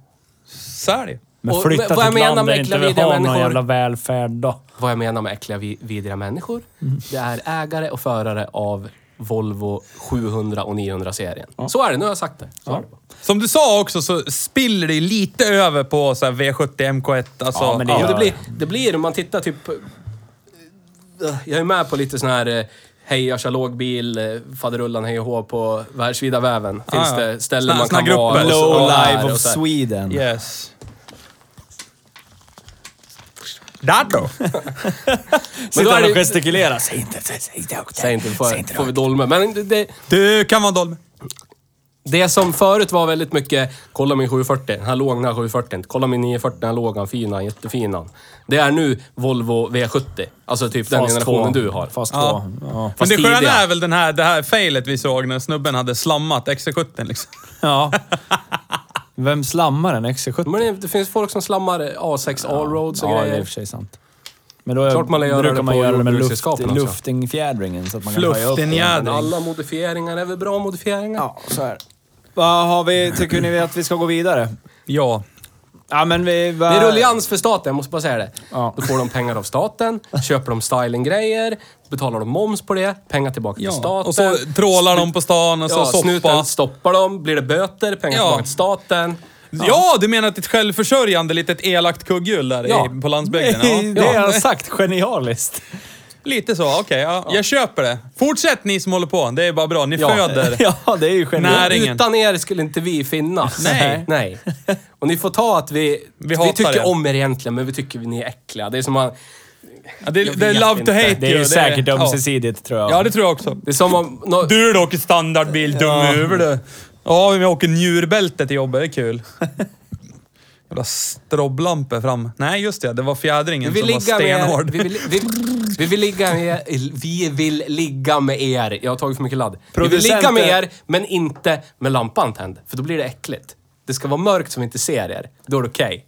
[SPEAKER 2] Så är det ju.
[SPEAKER 1] Men
[SPEAKER 3] Och
[SPEAKER 1] flytta
[SPEAKER 3] vad
[SPEAKER 1] till
[SPEAKER 3] jag
[SPEAKER 1] ett
[SPEAKER 3] menar
[SPEAKER 1] land där
[SPEAKER 3] med
[SPEAKER 1] inte vi
[SPEAKER 3] klamydia
[SPEAKER 1] har någon
[SPEAKER 3] människor-
[SPEAKER 1] jävla välfärd då.
[SPEAKER 3] Vad jag menar med äckliga, vi- vidriga människor,
[SPEAKER 2] Mm.
[SPEAKER 3] det är ägare och förare av Volvo 700 och 900-serien. Så är det, nu har jag sagt det. Så är det.
[SPEAKER 2] Som du sa också så spiller det ju lite över på så här V70 MK1. Alltså,
[SPEAKER 1] Ja, men det
[SPEAKER 3] Ja,
[SPEAKER 1] gör
[SPEAKER 3] det blir, det blir, om man tittar typ... Jag är med på lite sån här eh, Hej, jag kör lågbil, eh, faderullan hej och hå på världsvida väven. Finns
[SPEAKER 2] Ah, ja.
[SPEAKER 3] det ställen
[SPEAKER 2] Såna-
[SPEAKER 3] man
[SPEAKER 2] såna
[SPEAKER 3] kan vara?
[SPEAKER 2] grupper.
[SPEAKER 3] och så-
[SPEAKER 2] Low
[SPEAKER 3] och där
[SPEAKER 1] Live
[SPEAKER 3] och
[SPEAKER 1] of
[SPEAKER 3] så här.
[SPEAKER 1] Sweden.
[SPEAKER 2] Yes. Där då.
[SPEAKER 3] Men
[SPEAKER 1] Men
[SPEAKER 3] då är
[SPEAKER 1] Sitter
[SPEAKER 3] det
[SPEAKER 1] han
[SPEAKER 3] ju-
[SPEAKER 1] och gestikulerar. Säg inte, säg, säg inte högt.
[SPEAKER 3] Säg inte, får, får vi dolma. Men det, det,
[SPEAKER 2] Du kan vara dolmen.
[SPEAKER 3] Det som förut var väldigt mycket, kolla min 740, här låg den här 740, kolla min 940, här låg han, fin han, jättefin han. Det är nu Volvo V70. Alltså typ den
[SPEAKER 1] Fas
[SPEAKER 3] generationen
[SPEAKER 1] två.
[SPEAKER 3] du har.
[SPEAKER 1] Fas
[SPEAKER 2] Ja.
[SPEAKER 1] två. Ja.
[SPEAKER 2] Men det
[SPEAKER 3] Fast
[SPEAKER 2] sköna
[SPEAKER 3] tidiga.
[SPEAKER 2] är väl den här, det här failet vi såg när snubben hade slammat XC70 liksom.
[SPEAKER 1] ja. Vem slammar en XC70?
[SPEAKER 3] Men det, det finns folk som slammar A6 allroads och
[SPEAKER 1] Ja, det är i och
[SPEAKER 3] grejer.
[SPEAKER 1] för sig sant. Men då är,
[SPEAKER 3] Klart man lär göra
[SPEAKER 1] brukar
[SPEAKER 3] det
[SPEAKER 1] man
[SPEAKER 3] på
[SPEAKER 1] göra det med luft,
[SPEAKER 3] jordbruksredskapen också.
[SPEAKER 1] luftingfjädringen så att man kan höja upp. den.
[SPEAKER 3] Men
[SPEAKER 2] Luftinjädring.
[SPEAKER 3] alla modifieringar är väl bra modifieringar?
[SPEAKER 1] Ja, så är det. Vad har vi? Tycker ni att vi ska gå vidare?
[SPEAKER 2] Ja.
[SPEAKER 1] Ja, men vi... Vad...
[SPEAKER 3] Det är rullians för staten, jag måste bara säga det.
[SPEAKER 1] Ja.
[SPEAKER 3] Då får de pengar
[SPEAKER 2] [LAUGHS]
[SPEAKER 3] av staten, köper de stylinggrejer, betalar de moms på det, pengar tillbaka till
[SPEAKER 2] ja.
[SPEAKER 3] staten.
[SPEAKER 2] Och så trålar de på stan och så
[SPEAKER 3] ja,
[SPEAKER 2] soppa.
[SPEAKER 3] snuten stoppar dem, blir det böter, pengar
[SPEAKER 2] Ja.
[SPEAKER 3] tillbaka till staten.
[SPEAKER 2] Ja, du menar att ett självförsörjande litet elakt kugghjul där
[SPEAKER 3] Ja.
[SPEAKER 2] i, på landsbygden? Ja.
[SPEAKER 1] [LAUGHS] Det har
[SPEAKER 2] ja.
[SPEAKER 1] jag sagt. Genialiskt.
[SPEAKER 2] Lite så, okej. ja. Jag köper det. Fortsätt ni som håller på. Det är bara bra. Ni
[SPEAKER 3] Ja.
[SPEAKER 1] [LAUGHS]
[SPEAKER 2] föder.
[SPEAKER 1] Ja, det är ju genialiskt.
[SPEAKER 2] Näring. Näringen.
[SPEAKER 3] Utan er skulle inte vi finnas.
[SPEAKER 2] Nej.
[SPEAKER 3] Nej.
[SPEAKER 2] [LAUGHS]
[SPEAKER 3] Och ni får ta att vi... Vi,
[SPEAKER 2] hatar
[SPEAKER 3] tycker
[SPEAKER 2] er.
[SPEAKER 3] om er egentligen, men vi tycker ni är äckliga. Det är som, man,
[SPEAKER 2] Ja, det,
[SPEAKER 3] Jag
[SPEAKER 2] det är
[SPEAKER 3] vet
[SPEAKER 2] love to
[SPEAKER 3] inte.
[SPEAKER 2] hate
[SPEAKER 1] Det är ju säkert ömsesidigt, tror jag.
[SPEAKER 2] Ja. ja, det tror jag också.
[SPEAKER 3] det är som om... nå-
[SPEAKER 2] Du då åker standardbil, dum över du. Ja, men jag åker njurbälte till jobbet. Det är
[SPEAKER 3] [LAUGHS]
[SPEAKER 2] kul. Jävla stroblampor fram. Nej, just det. Det var
[SPEAKER 3] vi
[SPEAKER 2] fjädringen
[SPEAKER 3] vill
[SPEAKER 2] som var
[SPEAKER 3] ligga med
[SPEAKER 2] stenhård.
[SPEAKER 3] er. Vi vill, vi, vi, vill ligga med, vi vill ligga med er. Jag har tagit för mycket ladd. Vi vill ligga med
[SPEAKER 1] Producenter.
[SPEAKER 3] er, men inte med lampan tänd. För då blir det äckligt. Det ska vara mörkt så vi inte ser er. Då är det okej.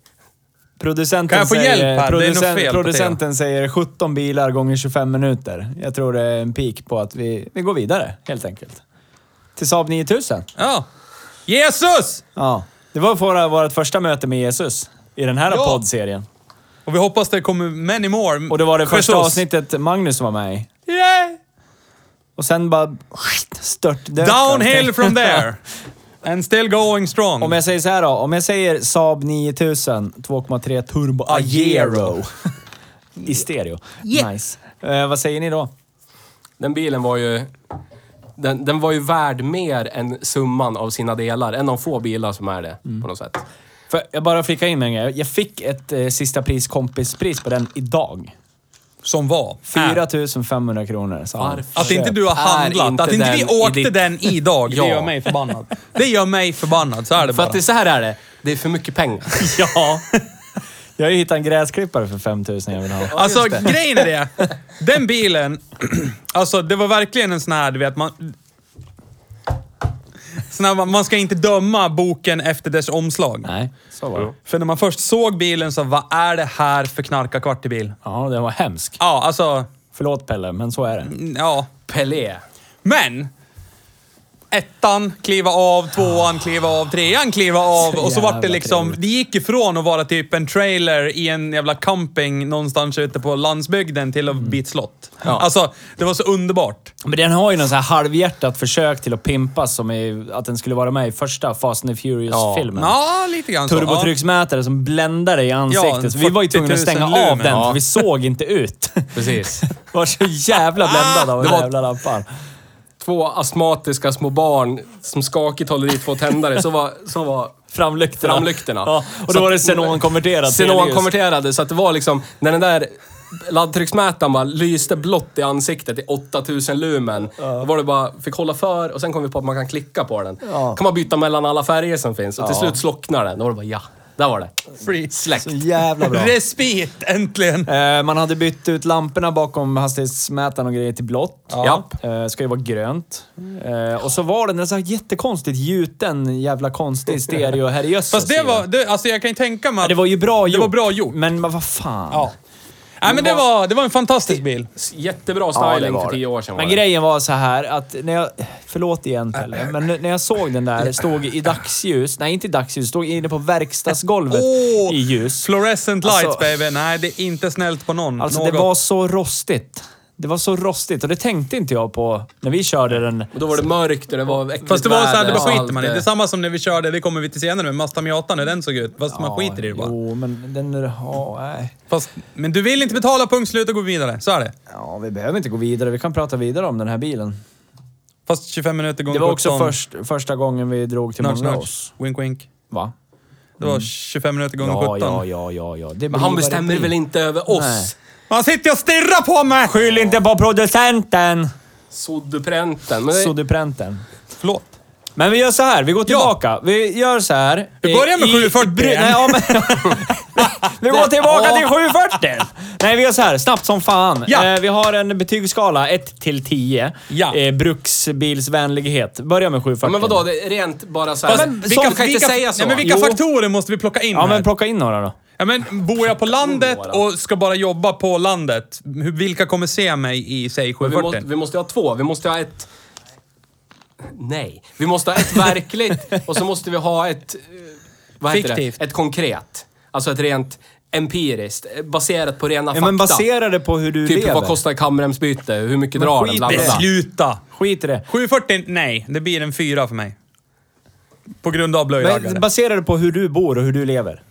[SPEAKER 1] Producenten
[SPEAKER 2] Kan jag få
[SPEAKER 1] säger,
[SPEAKER 2] hjälp här? Det är något fel på
[SPEAKER 1] Producenten säger 17 bilar gånger 25 minuter. Jag tror det är en peak på att vi, vi går vidare, helt enkelt. Till Saab 9000.
[SPEAKER 2] [LAUGHS] Ja. Jesus!
[SPEAKER 1] Ja. Det var våra, vårt första möte med Jesus i den här
[SPEAKER 2] Ja.
[SPEAKER 1] poddserien.
[SPEAKER 2] Och vi hoppas det kommer many more.
[SPEAKER 1] Och det var det första
[SPEAKER 2] Jesus.
[SPEAKER 1] avsnittet Magnus var med i.
[SPEAKER 2] Yeah.
[SPEAKER 1] Och sen bara stört
[SPEAKER 2] Downhill
[SPEAKER 1] [LAUGHS]
[SPEAKER 2] from there. And still going strong.
[SPEAKER 1] Om jag säger så här då. Om jag säger Saab 9000 2,3 turbo Agero. [LAUGHS] I stereo. Nice. Eh, vad säger ni då?
[SPEAKER 3] Den bilen var ju... Den, den var ju värd mer än summan av sina delar. En av få bilar som är det,
[SPEAKER 2] Mm.
[SPEAKER 3] på något sätt.
[SPEAKER 1] För jag bara flicka in med en grej. Jag fick ett eh, sista pris kompispris på den idag.
[SPEAKER 2] Som var. Äh.
[SPEAKER 1] 4500 kronor. sa han.
[SPEAKER 3] Varför?
[SPEAKER 2] Att inte du har
[SPEAKER 3] Är
[SPEAKER 2] handlat,
[SPEAKER 3] inte
[SPEAKER 2] att inte vi
[SPEAKER 3] den i
[SPEAKER 2] åkte
[SPEAKER 3] ditt-
[SPEAKER 2] den idag,
[SPEAKER 3] Ja.
[SPEAKER 2] det gör mig
[SPEAKER 1] [LAUGHS]
[SPEAKER 2] förbannad. Det gör mig förbannad, så är det
[SPEAKER 3] För
[SPEAKER 2] bara.
[SPEAKER 3] att det, så här är det. Det är för
[SPEAKER 2] [LAUGHS]
[SPEAKER 3] mycket pengar.
[SPEAKER 1] [LAUGHS] Ja. Jag har ju hittat en gräsklippare för 5000 jag vill ha.
[SPEAKER 2] Alltså grejen är det. Den bilen, [CLEARS THROAT] alltså det var verkligen en sån här, du vet, man... Sån här, man- man ska inte döma boken efter dess omslag.
[SPEAKER 1] Nej, så var det.
[SPEAKER 2] För när man först såg bilen så, vad är det här för knarkarkvartig bil?
[SPEAKER 1] Ja, den var hemsk.
[SPEAKER 2] Ja, alltså,
[SPEAKER 1] Förlåt Pelle, men så är den.
[SPEAKER 2] ja.
[SPEAKER 3] Pelé.
[SPEAKER 2] Men! Ettan, kliva av, tvåan, kliva av, trean, kliva av.
[SPEAKER 1] Så
[SPEAKER 2] Och så vart det
[SPEAKER 1] jävla
[SPEAKER 2] liksom...
[SPEAKER 1] trevligt.
[SPEAKER 2] Det gick ifrån att vara typ en trailer i en jävla camping någonstans ute på landsbygden till
[SPEAKER 1] Mm.
[SPEAKER 2] att bli ett slott.
[SPEAKER 3] Ja.
[SPEAKER 2] Alltså, det var så underbart.
[SPEAKER 1] Men den har ju någon sån här halvhjärtat försök till att pimpa som är, att den skulle vara med i första Fast and the Furious-filmen.
[SPEAKER 2] Ja, lite grann så.
[SPEAKER 1] Turbotrycksmätare som bländar dig i ansiktet.
[SPEAKER 2] Ja,
[SPEAKER 1] så vi var ju tvungna att
[SPEAKER 2] 40 000
[SPEAKER 1] stänga av
[SPEAKER 2] lumen.
[SPEAKER 1] den,
[SPEAKER 2] Ja.
[SPEAKER 1] för vi såg inte ut. [LAUGHS]
[SPEAKER 3] Precis.
[SPEAKER 1] var så jävla bländad av den
[SPEAKER 3] Det var-
[SPEAKER 1] jävla lampan.
[SPEAKER 3] Två astmatiska små barn som skakigt håller i två tändare. Så var, så var
[SPEAKER 1] Framlyktorna.
[SPEAKER 3] Framlyktorna.
[SPEAKER 1] Ja, och
[SPEAKER 3] Så
[SPEAKER 1] då var det
[SPEAKER 3] att-
[SPEAKER 1] xenonkonverterat.
[SPEAKER 3] xenonkonverterade. Så att det var liksom, när den där laddtrycksmätaren bara lyste blått i ansiktet i 8000 lumen. Då var det bara, fick hålla för och sen kom vi på att man kan klicka på den.
[SPEAKER 1] Ja.
[SPEAKER 3] kan man byta mellan alla färger som finns och till
[SPEAKER 1] Ja.
[SPEAKER 3] slut slocknar den. Då var det bara, ja, där var det.
[SPEAKER 2] Free.
[SPEAKER 3] Släckt.
[SPEAKER 1] Så jävla bra.
[SPEAKER 2] Respit, äntligen!
[SPEAKER 1] Eh, Man hade bytt ut lamporna bakom hastighetsmätaren och grejer till blått.
[SPEAKER 3] Japp.
[SPEAKER 1] Eh, Ska ju vara grönt. Eh, Och så var den en så här jättekonstigt gjuten jävla
[SPEAKER 2] [LAUGHS]
[SPEAKER 1] konstig stereo här i Jösses.
[SPEAKER 2] Fast det var... Det, alltså jag kan ju tänka mig att...
[SPEAKER 1] Det var ju bra gjort.
[SPEAKER 2] var bra gjort.
[SPEAKER 1] Men vad fan.
[SPEAKER 2] Ja. Nej, men det var, det var en fantastisk bil.
[SPEAKER 1] Alltså-
[SPEAKER 3] Jättebra styling
[SPEAKER 1] var
[SPEAKER 3] för
[SPEAKER 1] det.
[SPEAKER 3] tio år sedan.
[SPEAKER 1] Men
[SPEAKER 3] var det.
[SPEAKER 1] grejen var så här att när jag... Förlåt igen
[SPEAKER 2] Äh.
[SPEAKER 1] Pelle, men när jag såg den där, stod i dagsljus. Nej, inte i dagsljus. Stod inne på verkstadsgolvet
[SPEAKER 2] Åh!
[SPEAKER 1] i ljus.
[SPEAKER 2] Fluorescent
[SPEAKER 1] Alltså-
[SPEAKER 2] lights baby. Nej, det är inte snällt på någon.
[SPEAKER 1] Alltså
[SPEAKER 2] något.
[SPEAKER 1] det var så rostigt. Det var så rostigt och det tänkte inte jag på när vi körde den.
[SPEAKER 3] Och då var det mörkt och det var äckligt
[SPEAKER 2] Mm. Fast det var såhär, det
[SPEAKER 3] väder
[SPEAKER 2] bara
[SPEAKER 3] och
[SPEAKER 2] skiter
[SPEAKER 3] allt
[SPEAKER 2] man i. Det är samma som när vi körde, det kommer vi till senare med, Mastamiatan, hur den såg ut. Fast man skiter i det bara.
[SPEAKER 1] Jo, men den... Ja, nej.
[SPEAKER 2] Fast, men du vill inte betala, punkt slut och gå vidare. Så är det.
[SPEAKER 1] Ja, vi behöver inte gå vidare. Vi kan prata vidare om den här bilen.
[SPEAKER 2] Fast 25 minuter gånger
[SPEAKER 1] Det var också
[SPEAKER 2] 17.
[SPEAKER 1] först, första gången vi drog till
[SPEAKER 2] Snart, snart.
[SPEAKER 1] Monrose.
[SPEAKER 2] Wink, wink.
[SPEAKER 1] Va?
[SPEAKER 2] Det var 25 minuter gånger
[SPEAKER 1] Mm. Ja,
[SPEAKER 2] 17.
[SPEAKER 1] ja, ja, ja, ja. Det
[SPEAKER 3] Men han bestämmer väl inte över oss?
[SPEAKER 1] Nej.
[SPEAKER 2] Han sitter och stirrar på mig!
[SPEAKER 1] Skyll inte på producenten!
[SPEAKER 3] Soddepränten. Men det,
[SPEAKER 1] Suddepränten.
[SPEAKER 2] Förlåt.
[SPEAKER 1] Men vi gör så här, vi går tillbaka. Vi gör så här.
[SPEAKER 2] Vi börjar med
[SPEAKER 1] I-
[SPEAKER 2] 740
[SPEAKER 1] i bry-
[SPEAKER 2] igen.
[SPEAKER 1] Nej, ja,
[SPEAKER 3] [LAUGHS]
[SPEAKER 1] men, vi går tillbaka till 740! Nej, vi gör så här. Snabbt som fan.
[SPEAKER 2] Ja.
[SPEAKER 1] Eh, vi har en betygsskala 1 till 10.
[SPEAKER 2] Ja.
[SPEAKER 1] Eh, bruksbilsvänlighet. Börja med 740.
[SPEAKER 3] Ja, men vadå, det är rent bara så här.
[SPEAKER 2] Fast
[SPEAKER 3] Men,
[SPEAKER 2] vilka-
[SPEAKER 3] du kan inte
[SPEAKER 2] vilka-
[SPEAKER 3] säga så.
[SPEAKER 2] Nej, men vilka
[SPEAKER 1] Jo.
[SPEAKER 2] faktorer måste vi plocka in
[SPEAKER 1] Ja,
[SPEAKER 2] här?
[SPEAKER 1] men plocka in några då.
[SPEAKER 2] Ja, men bor jag på landet och ska bara jobba på landet, hur- vilka kommer se mig i, säg,
[SPEAKER 3] vi, måste,
[SPEAKER 2] 740?
[SPEAKER 3] vi måste ha två. Vi måste ha ett... Nej. Vi måste ha ett
[SPEAKER 1] [LAUGHS]
[SPEAKER 3] verkligt och så måste vi ha ett... eh, Vad heter
[SPEAKER 2] Fiktivt.
[SPEAKER 3] det? Ett konkret. Alltså ett rent empiriskt. eh, Baserat på rena
[SPEAKER 1] Ja,
[SPEAKER 3] fakta.
[SPEAKER 1] men basera det på hur du
[SPEAKER 3] Typ
[SPEAKER 1] lever.
[SPEAKER 3] vad kostar ett kamremsbyte? Hur mycket drar den?
[SPEAKER 1] skit
[SPEAKER 3] Bla, bla, bla.
[SPEAKER 2] Sluta!
[SPEAKER 1] Skit i det.
[SPEAKER 2] 740, nej. Det blir en fyra för mig. På grund av
[SPEAKER 1] Men
[SPEAKER 2] blöjraggare.
[SPEAKER 1] basera det på hur du bor och hur du lever.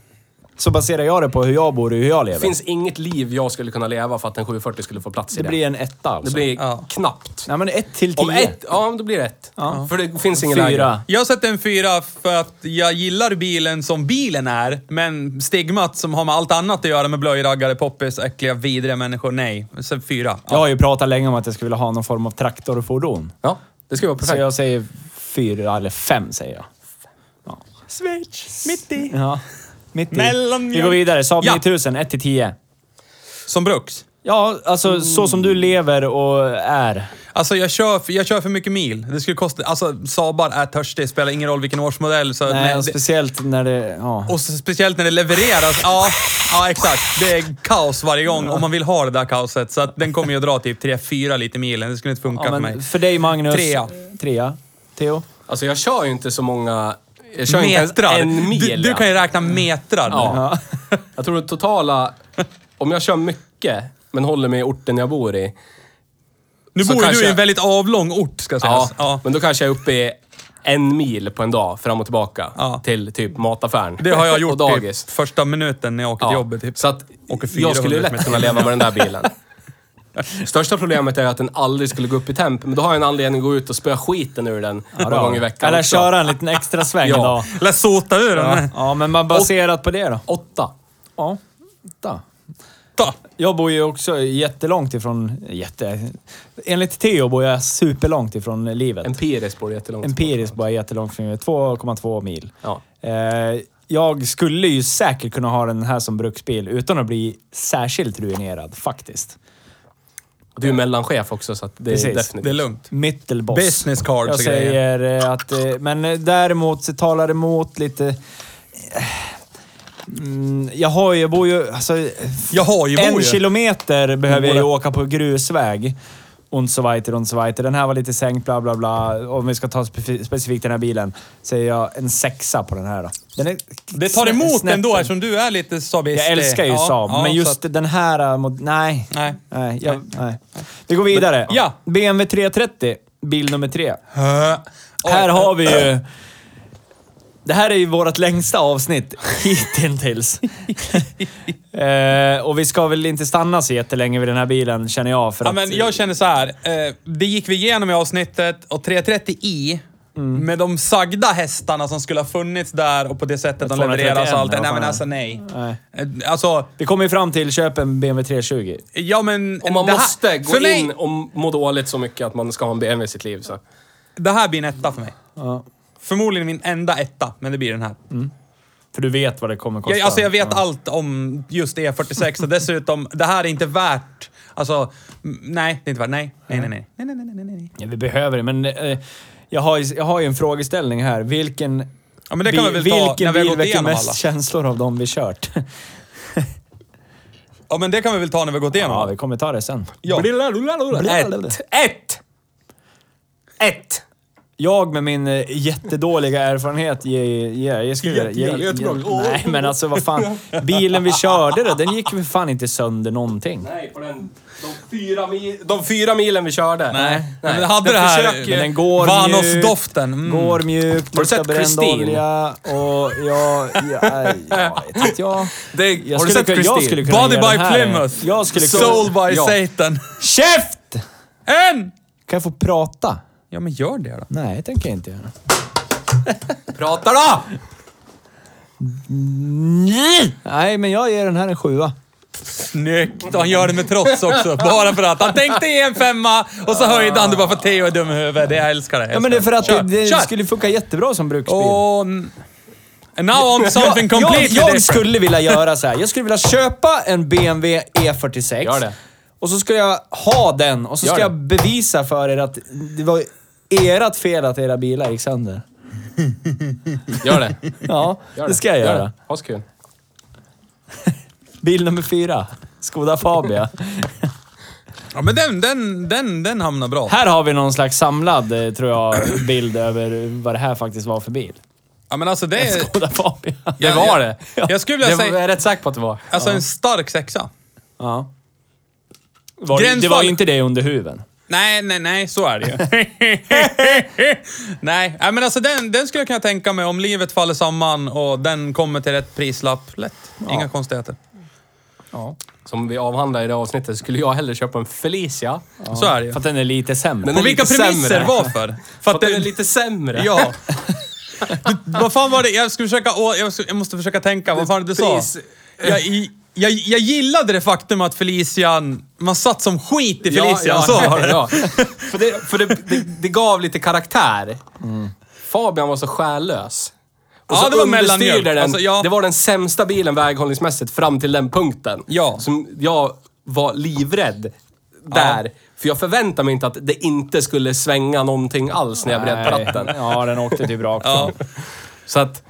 [SPEAKER 1] Så baserar jag det på hur jag bor och hur jag lever.
[SPEAKER 3] Det finns inget liv jag skulle kunna leva för att en 740 skulle få plats i
[SPEAKER 1] det
[SPEAKER 3] det.
[SPEAKER 1] blir en etta alltså.
[SPEAKER 3] det blir
[SPEAKER 2] Ja.
[SPEAKER 3] knappt.
[SPEAKER 1] Nej, men 1 till 10.
[SPEAKER 3] Om ett, ja då blir det ett.
[SPEAKER 1] Ja.
[SPEAKER 3] För det finns ingen lägre.
[SPEAKER 1] Fyra.
[SPEAKER 2] Jag sätter en fyra för att jag gillar bilen som bilen är, men stigmat som har med allt annat att göra med blöjraggare, poppis, äckliga, vidriga människor, nej. Så fyra.
[SPEAKER 1] Jag har ju pratat länge om att jag skulle vilja ha någon form av traktorfordon.
[SPEAKER 3] Ja, det skulle vara
[SPEAKER 1] Så
[SPEAKER 3] perfekt.
[SPEAKER 1] jag säger fyra eller fem säger jag.
[SPEAKER 2] Schweiz, mitt i.
[SPEAKER 1] Ja. Mitt i.
[SPEAKER 2] Mellan-
[SPEAKER 1] Vi går vidare. Saab
[SPEAKER 2] Ja.
[SPEAKER 1] 9000, 1 till 10.
[SPEAKER 2] Som bruks.
[SPEAKER 1] Ja, alltså så som du lever och är.
[SPEAKER 2] Alltså jag kör, för, jag kör för mycket mil. Det skulle kosta... Alltså Sabar är törstig, spelar ingen roll vilken årsmodell. Så,
[SPEAKER 1] Nej, alltså,
[SPEAKER 2] men
[SPEAKER 1] och
[SPEAKER 2] det,
[SPEAKER 1] speciellt när det... Ja.
[SPEAKER 2] och så speciellt när det levereras. ja, ja, exakt. Det är kaos varje gång om man vill ha det där kaoset. Så att den kommer ju att dra typ 3-4 lite milen. Det skulle inte funka
[SPEAKER 1] ja,
[SPEAKER 2] för
[SPEAKER 1] men
[SPEAKER 2] mig.
[SPEAKER 1] för dig Magnus.
[SPEAKER 2] Trea.
[SPEAKER 1] Trea. Theo.
[SPEAKER 3] Alltså jag kör ju inte så många... Jag kör inte
[SPEAKER 2] Metrar.
[SPEAKER 3] ens en mil.
[SPEAKER 2] du, du
[SPEAKER 3] ja. Mm.
[SPEAKER 2] kan ju räkna metrar.
[SPEAKER 3] Ja. Jag tror det totala... Om jag kör mycket, men håller mig i orten jag bor i.
[SPEAKER 2] Nu
[SPEAKER 3] Så
[SPEAKER 2] bor du
[SPEAKER 3] kanske-
[SPEAKER 2] i en väldigt avlång ort, ska
[SPEAKER 3] Ja,
[SPEAKER 2] sägas. Ja.
[SPEAKER 3] Men då kanske jag är uppe i en mil på en dag, fram och tillbaka.
[SPEAKER 2] Ja.
[SPEAKER 3] Till typ mataffären.
[SPEAKER 2] Det har jag
[SPEAKER 3] [LAUGHS] Och
[SPEAKER 2] gjort typ
[SPEAKER 3] dagis.
[SPEAKER 2] första minuten när jag åker till jobbet. Typ.
[SPEAKER 3] Så att
[SPEAKER 2] Åker 400
[SPEAKER 3] jag skulle ju lätt
[SPEAKER 2] meter.
[SPEAKER 3] kunna leva med den där bilen. [LAUGHS] Största problemet är att den aldrig skulle gå upp i temp, men då har jag en anledning att gå ut och spöa skiten ur den
[SPEAKER 1] Ja,
[SPEAKER 3] några
[SPEAKER 1] då.
[SPEAKER 3] gånger i veckan
[SPEAKER 1] Eller
[SPEAKER 3] också.
[SPEAKER 1] köra en liten
[SPEAKER 2] [LAUGHS]
[SPEAKER 1] extra sväng
[SPEAKER 3] Ja.
[SPEAKER 1] idag.
[SPEAKER 2] Lär sota ur den.
[SPEAKER 1] Ja, men man baserat på det då.
[SPEAKER 3] Åtta.
[SPEAKER 1] Ja. Åtta.
[SPEAKER 2] Ta.
[SPEAKER 1] Jag bor ju också jättelångt ifrån... Jätte... Enligt Theo bor jag superlångt ifrån livet.
[SPEAKER 3] Empiriskt borde det jättelångt.
[SPEAKER 1] Empiriskt bara jättelångt från livet. 2,2 mil.
[SPEAKER 3] Ja.
[SPEAKER 1] Eh, jag skulle ju säkert kunna ha den här som bruksbil utan att bli särskilt ruinerad, faktiskt.
[SPEAKER 3] Och Du är mellanchef också, så att det är
[SPEAKER 1] Precis.
[SPEAKER 3] definitivt.
[SPEAKER 2] Det är lugnt.
[SPEAKER 1] Mittelboss.
[SPEAKER 2] Business cards
[SPEAKER 1] Jag
[SPEAKER 2] och grejer.
[SPEAKER 1] säger eh, att... eh, Men eh, däremot så talar det emot lite... eh, Mm, jag har ju, jag bor ju... Alltså,
[SPEAKER 2] Jag har ju bor
[SPEAKER 1] en
[SPEAKER 2] ju.
[SPEAKER 1] kilometer behöver jag ju
[SPEAKER 2] Bor
[SPEAKER 1] åka på grusväg. Und so weiter, und so weiter. Den här var lite sänkt, bla bla bla. Om vi ska ta spe- specifikt den här bilen, säger jag en sexa på den här då. Den är
[SPEAKER 2] Det tar emot
[SPEAKER 1] snäppen.
[SPEAKER 2] ändå eftersom du är lite sabist.
[SPEAKER 1] Jag älskar ju
[SPEAKER 2] Ja,
[SPEAKER 1] Saab,
[SPEAKER 2] ja,
[SPEAKER 1] men
[SPEAKER 2] så
[SPEAKER 1] just
[SPEAKER 2] att-
[SPEAKER 1] den här... Mot, nej.
[SPEAKER 2] Nej.
[SPEAKER 1] Nej, jag, nej. Vi går vidare.
[SPEAKER 2] Ja.
[SPEAKER 1] BMW 330, bil nummer tre.
[SPEAKER 2] Hö. Oj.
[SPEAKER 1] Här har vi ju... Det här är ju vårt längsta avsnitt [LAUGHS]
[SPEAKER 2] [LAUGHS]
[SPEAKER 1] hittills. eh, och vi ska väl inte stanna så jättelänge vid den här bilen, känner jag. För
[SPEAKER 2] Ja,
[SPEAKER 1] att,
[SPEAKER 2] men jag känner så här. eh, Det gick vi igenom i avsnittet och 330i, med de sagda hästarna som skulle ha funnits där och på det sättet de
[SPEAKER 1] 231,
[SPEAKER 2] levereras och allt det.
[SPEAKER 1] vad
[SPEAKER 2] Nej
[SPEAKER 1] fan
[SPEAKER 2] men
[SPEAKER 1] är
[SPEAKER 2] alltså nej.
[SPEAKER 1] Nej.
[SPEAKER 2] Eh, Alltså,
[SPEAKER 1] Vi kommer ju fram till köp en BMW 320.
[SPEAKER 2] ja men...
[SPEAKER 3] Om man
[SPEAKER 2] det här-
[SPEAKER 3] måste gå
[SPEAKER 2] för mig,
[SPEAKER 3] in och må dåligt så mycket att man ska ha en BMW i sitt liv så...
[SPEAKER 2] Det här blir en etta för mig.
[SPEAKER 1] Ja.
[SPEAKER 2] Förmodligen min enda etta, men det blir den här.
[SPEAKER 1] För du vet vad det kommer kosta.
[SPEAKER 2] Jag, alltså jag vet
[SPEAKER 1] Ja.
[SPEAKER 2] allt om just E46 och dessutom, det här är inte värt... Alltså, m- nej, det är inte värt... Nej, nej, nej, nej. nej, nej, nej, nej, nej, nej.
[SPEAKER 1] Ja, vi behöver det, men eh, jag, har ju, jag har ju en frågeställning här. Vilken,
[SPEAKER 2] Ja, men det kan vi väl ta när
[SPEAKER 1] vilken
[SPEAKER 2] vi har
[SPEAKER 1] bil
[SPEAKER 2] gått
[SPEAKER 1] väcker
[SPEAKER 2] igenom
[SPEAKER 1] mest
[SPEAKER 2] alla.
[SPEAKER 1] känslor av dem vi kört? [LAUGHS]
[SPEAKER 2] Ja, men det kan vi väl ta när vi har gått igenom?
[SPEAKER 1] ja, vi kommer ta det sen.
[SPEAKER 2] Ja.
[SPEAKER 3] Ett! Ett! Ett!
[SPEAKER 1] Jag med min eh, jättedåliga erfarenhet ger... ger- jag skulle-
[SPEAKER 3] Jätte-
[SPEAKER 1] ger-
[SPEAKER 3] jättebra.
[SPEAKER 1] ger-
[SPEAKER 3] Åh.
[SPEAKER 1] Nej, men alltså vad fan. Bilen vi körde då, den gick väl fan inte sönder någonting.
[SPEAKER 3] Nej, på den... De fyra, mil, de fyra milen vi körde.
[SPEAKER 2] Nej. Men vi hade
[SPEAKER 3] Den
[SPEAKER 2] det här-
[SPEAKER 3] försöker ju-
[SPEAKER 1] Men den går mjukt.
[SPEAKER 2] Vanos-doften. Mm.
[SPEAKER 1] Går mjukt,
[SPEAKER 3] Har du
[SPEAKER 1] luktar
[SPEAKER 3] sett
[SPEAKER 1] bränd
[SPEAKER 3] Christine?
[SPEAKER 1] olja och jag... Ja,
[SPEAKER 3] [LAUGHS]
[SPEAKER 1] nej, jag vet inte, jag...
[SPEAKER 3] Det-
[SPEAKER 1] jag
[SPEAKER 3] har
[SPEAKER 1] skulle
[SPEAKER 3] du sett
[SPEAKER 1] kunna- jag
[SPEAKER 3] Christine?
[SPEAKER 1] skulle kunna
[SPEAKER 2] Body
[SPEAKER 1] ge
[SPEAKER 2] by
[SPEAKER 1] den här-
[SPEAKER 2] Plymouth.
[SPEAKER 1] Jag skulle kunna...
[SPEAKER 2] Soul by
[SPEAKER 3] Ja.
[SPEAKER 2] Satan.
[SPEAKER 1] Käft!
[SPEAKER 2] En!
[SPEAKER 1] Kan jag få prata?
[SPEAKER 2] Ja, men gör det då.
[SPEAKER 1] Nej, det tänker jag inte göra.
[SPEAKER 3] Prata då!
[SPEAKER 1] Nej, men jag ger den här en sjua.
[SPEAKER 2] Snyggt! Och han gör det med trots också. Bara för att. Han tänkte ge en femma och så höjde han det bara för att Theo är dum i huvudet. Jag älskar det.
[SPEAKER 1] Ja, men det är för att
[SPEAKER 2] Kör,
[SPEAKER 1] det, det
[SPEAKER 2] kör!
[SPEAKER 1] skulle funka jättebra som bruksbil.
[SPEAKER 2] Och... n- And now on to something
[SPEAKER 1] jag,
[SPEAKER 2] completely
[SPEAKER 1] jag
[SPEAKER 2] different.
[SPEAKER 1] skulle vilja göra så här. Jag skulle vilja köpa en BMW E46.
[SPEAKER 3] Gör det.
[SPEAKER 1] E Och så skulle jag ha den och så
[SPEAKER 3] Gör
[SPEAKER 1] ska
[SPEAKER 3] det.
[SPEAKER 1] jag bevisa för er att det var ert fel att era bilar gick
[SPEAKER 3] [LAUGHS]
[SPEAKER 1] sönder.
[SPEAKER 3] Gör det. Gör
[SPEAKER 1] Ja, det ska jag
[SPEAKER 3] Gör
[SPEAKER 1] göra.
[SPEAKER 3] det. Ha så kul.
[SPEAKER 1] Bil nummer fyra. Skoda Fabia.
[SPEAKER 2] Ja, men den, den, den, den hamnar bra.
[SPEAKER 1] här har vi någon slags samlad, eh, tror jag, bild över vad det här faktiskt var för bil.
[SPEAKER 2] Ja, men alltså det är...
[SPEAKER 1] Skoda Fabia.
[SPEAKER 3] Det
[SPEAKER 2] Ja,
[SPEAKER 3] var
[SPEAKER 2] ja.
[SPEAKER 3] det.
[SPEAKER 2] Jag skulle vilja
[SPEAKER 3] det var-
[SPEAKER 2] säga-
[SPEAKER 3] Jag är rätt säker på att det var.
[SPEAKER 2] Alltså en stark sexa.
[SPEAKER 1] Ja. Var det, det
[SPEAKER 2] Gränsfall-
[SPEAKER 1] var ju inte det under huven.
[SPEAKER 2] Nej, nej, nej, så är det
[SPEAKER 3] [LAUGHS]
[SPEAKER 2] ju. nej, nej, men alltså den, den skulle jag kunna tänka mig om livet faller samman och den kommer till rätt prislapp. Lätt. Inga konstigheter.
[SPEAKER 3] Som vi avhandlade i det avsnittet skulle jag hellre köpa en Felicia.
[SPEAKER 2] Så är det ju.
[SPEAKER 1] För att den är lite sämre.
[SPEAKER 3] Den
[SPEAKER 2] På
[SPEAKER 3] är
[SPEAKER 2] vilka
[SPEAKER 3] lite
[SPEAKER 2] premisser?
[SPEAKER 3] sämre.
[SPEAKER 2] Varför?
[SPEAKER 3] För att den är lite sämre.
[SPEAKER 2] Ja. Du, vad fan var det? Jag, skulle försöka, å- jag, skulle, jag måste försöka tänka. Vad fan var det du sa?
[SPEAKER 3] Pris-
[SPEAKER 2] Jag, i- jag, jag gillade det faktum att Felician... Man satt som skit i
[SPEAKER 3] Ja,
[SPEAKER 2] Felician.
[SPEAKER 3] ja,
[SPEAKER 2] så [LAUGHS] var det.
[SPEAKER 3] Ja. [LAUGHS] För, det, för det, det, det gav lite karaktär. Fabian var så själlös. Och
[SPEAKER 2] Mm. Ja,
[SPEAKER 3] så
[SPEAKER 2] det var
[SPEAKER 3] understyrde
[SPEAKER 2] mellanmjölk.
[SPEAKER 3] Den,
[SPEAKER 2] Alltså, ja.
[SPEAKER 3] Det var den sämsta bilen väghållningsmässigt fram till den punkten.
[SPEAKER 2] Ja.
[SPEAKER 3] Som jag var livrädd där. För jag förväntade mig inte att det inte skulle svänga någonting alls när jag vred på ratten.
[SPEAKER 1] Ja, den åkte typ rakt
[SPEAKER 2] Ja.
[SPEAKER 3] Så att,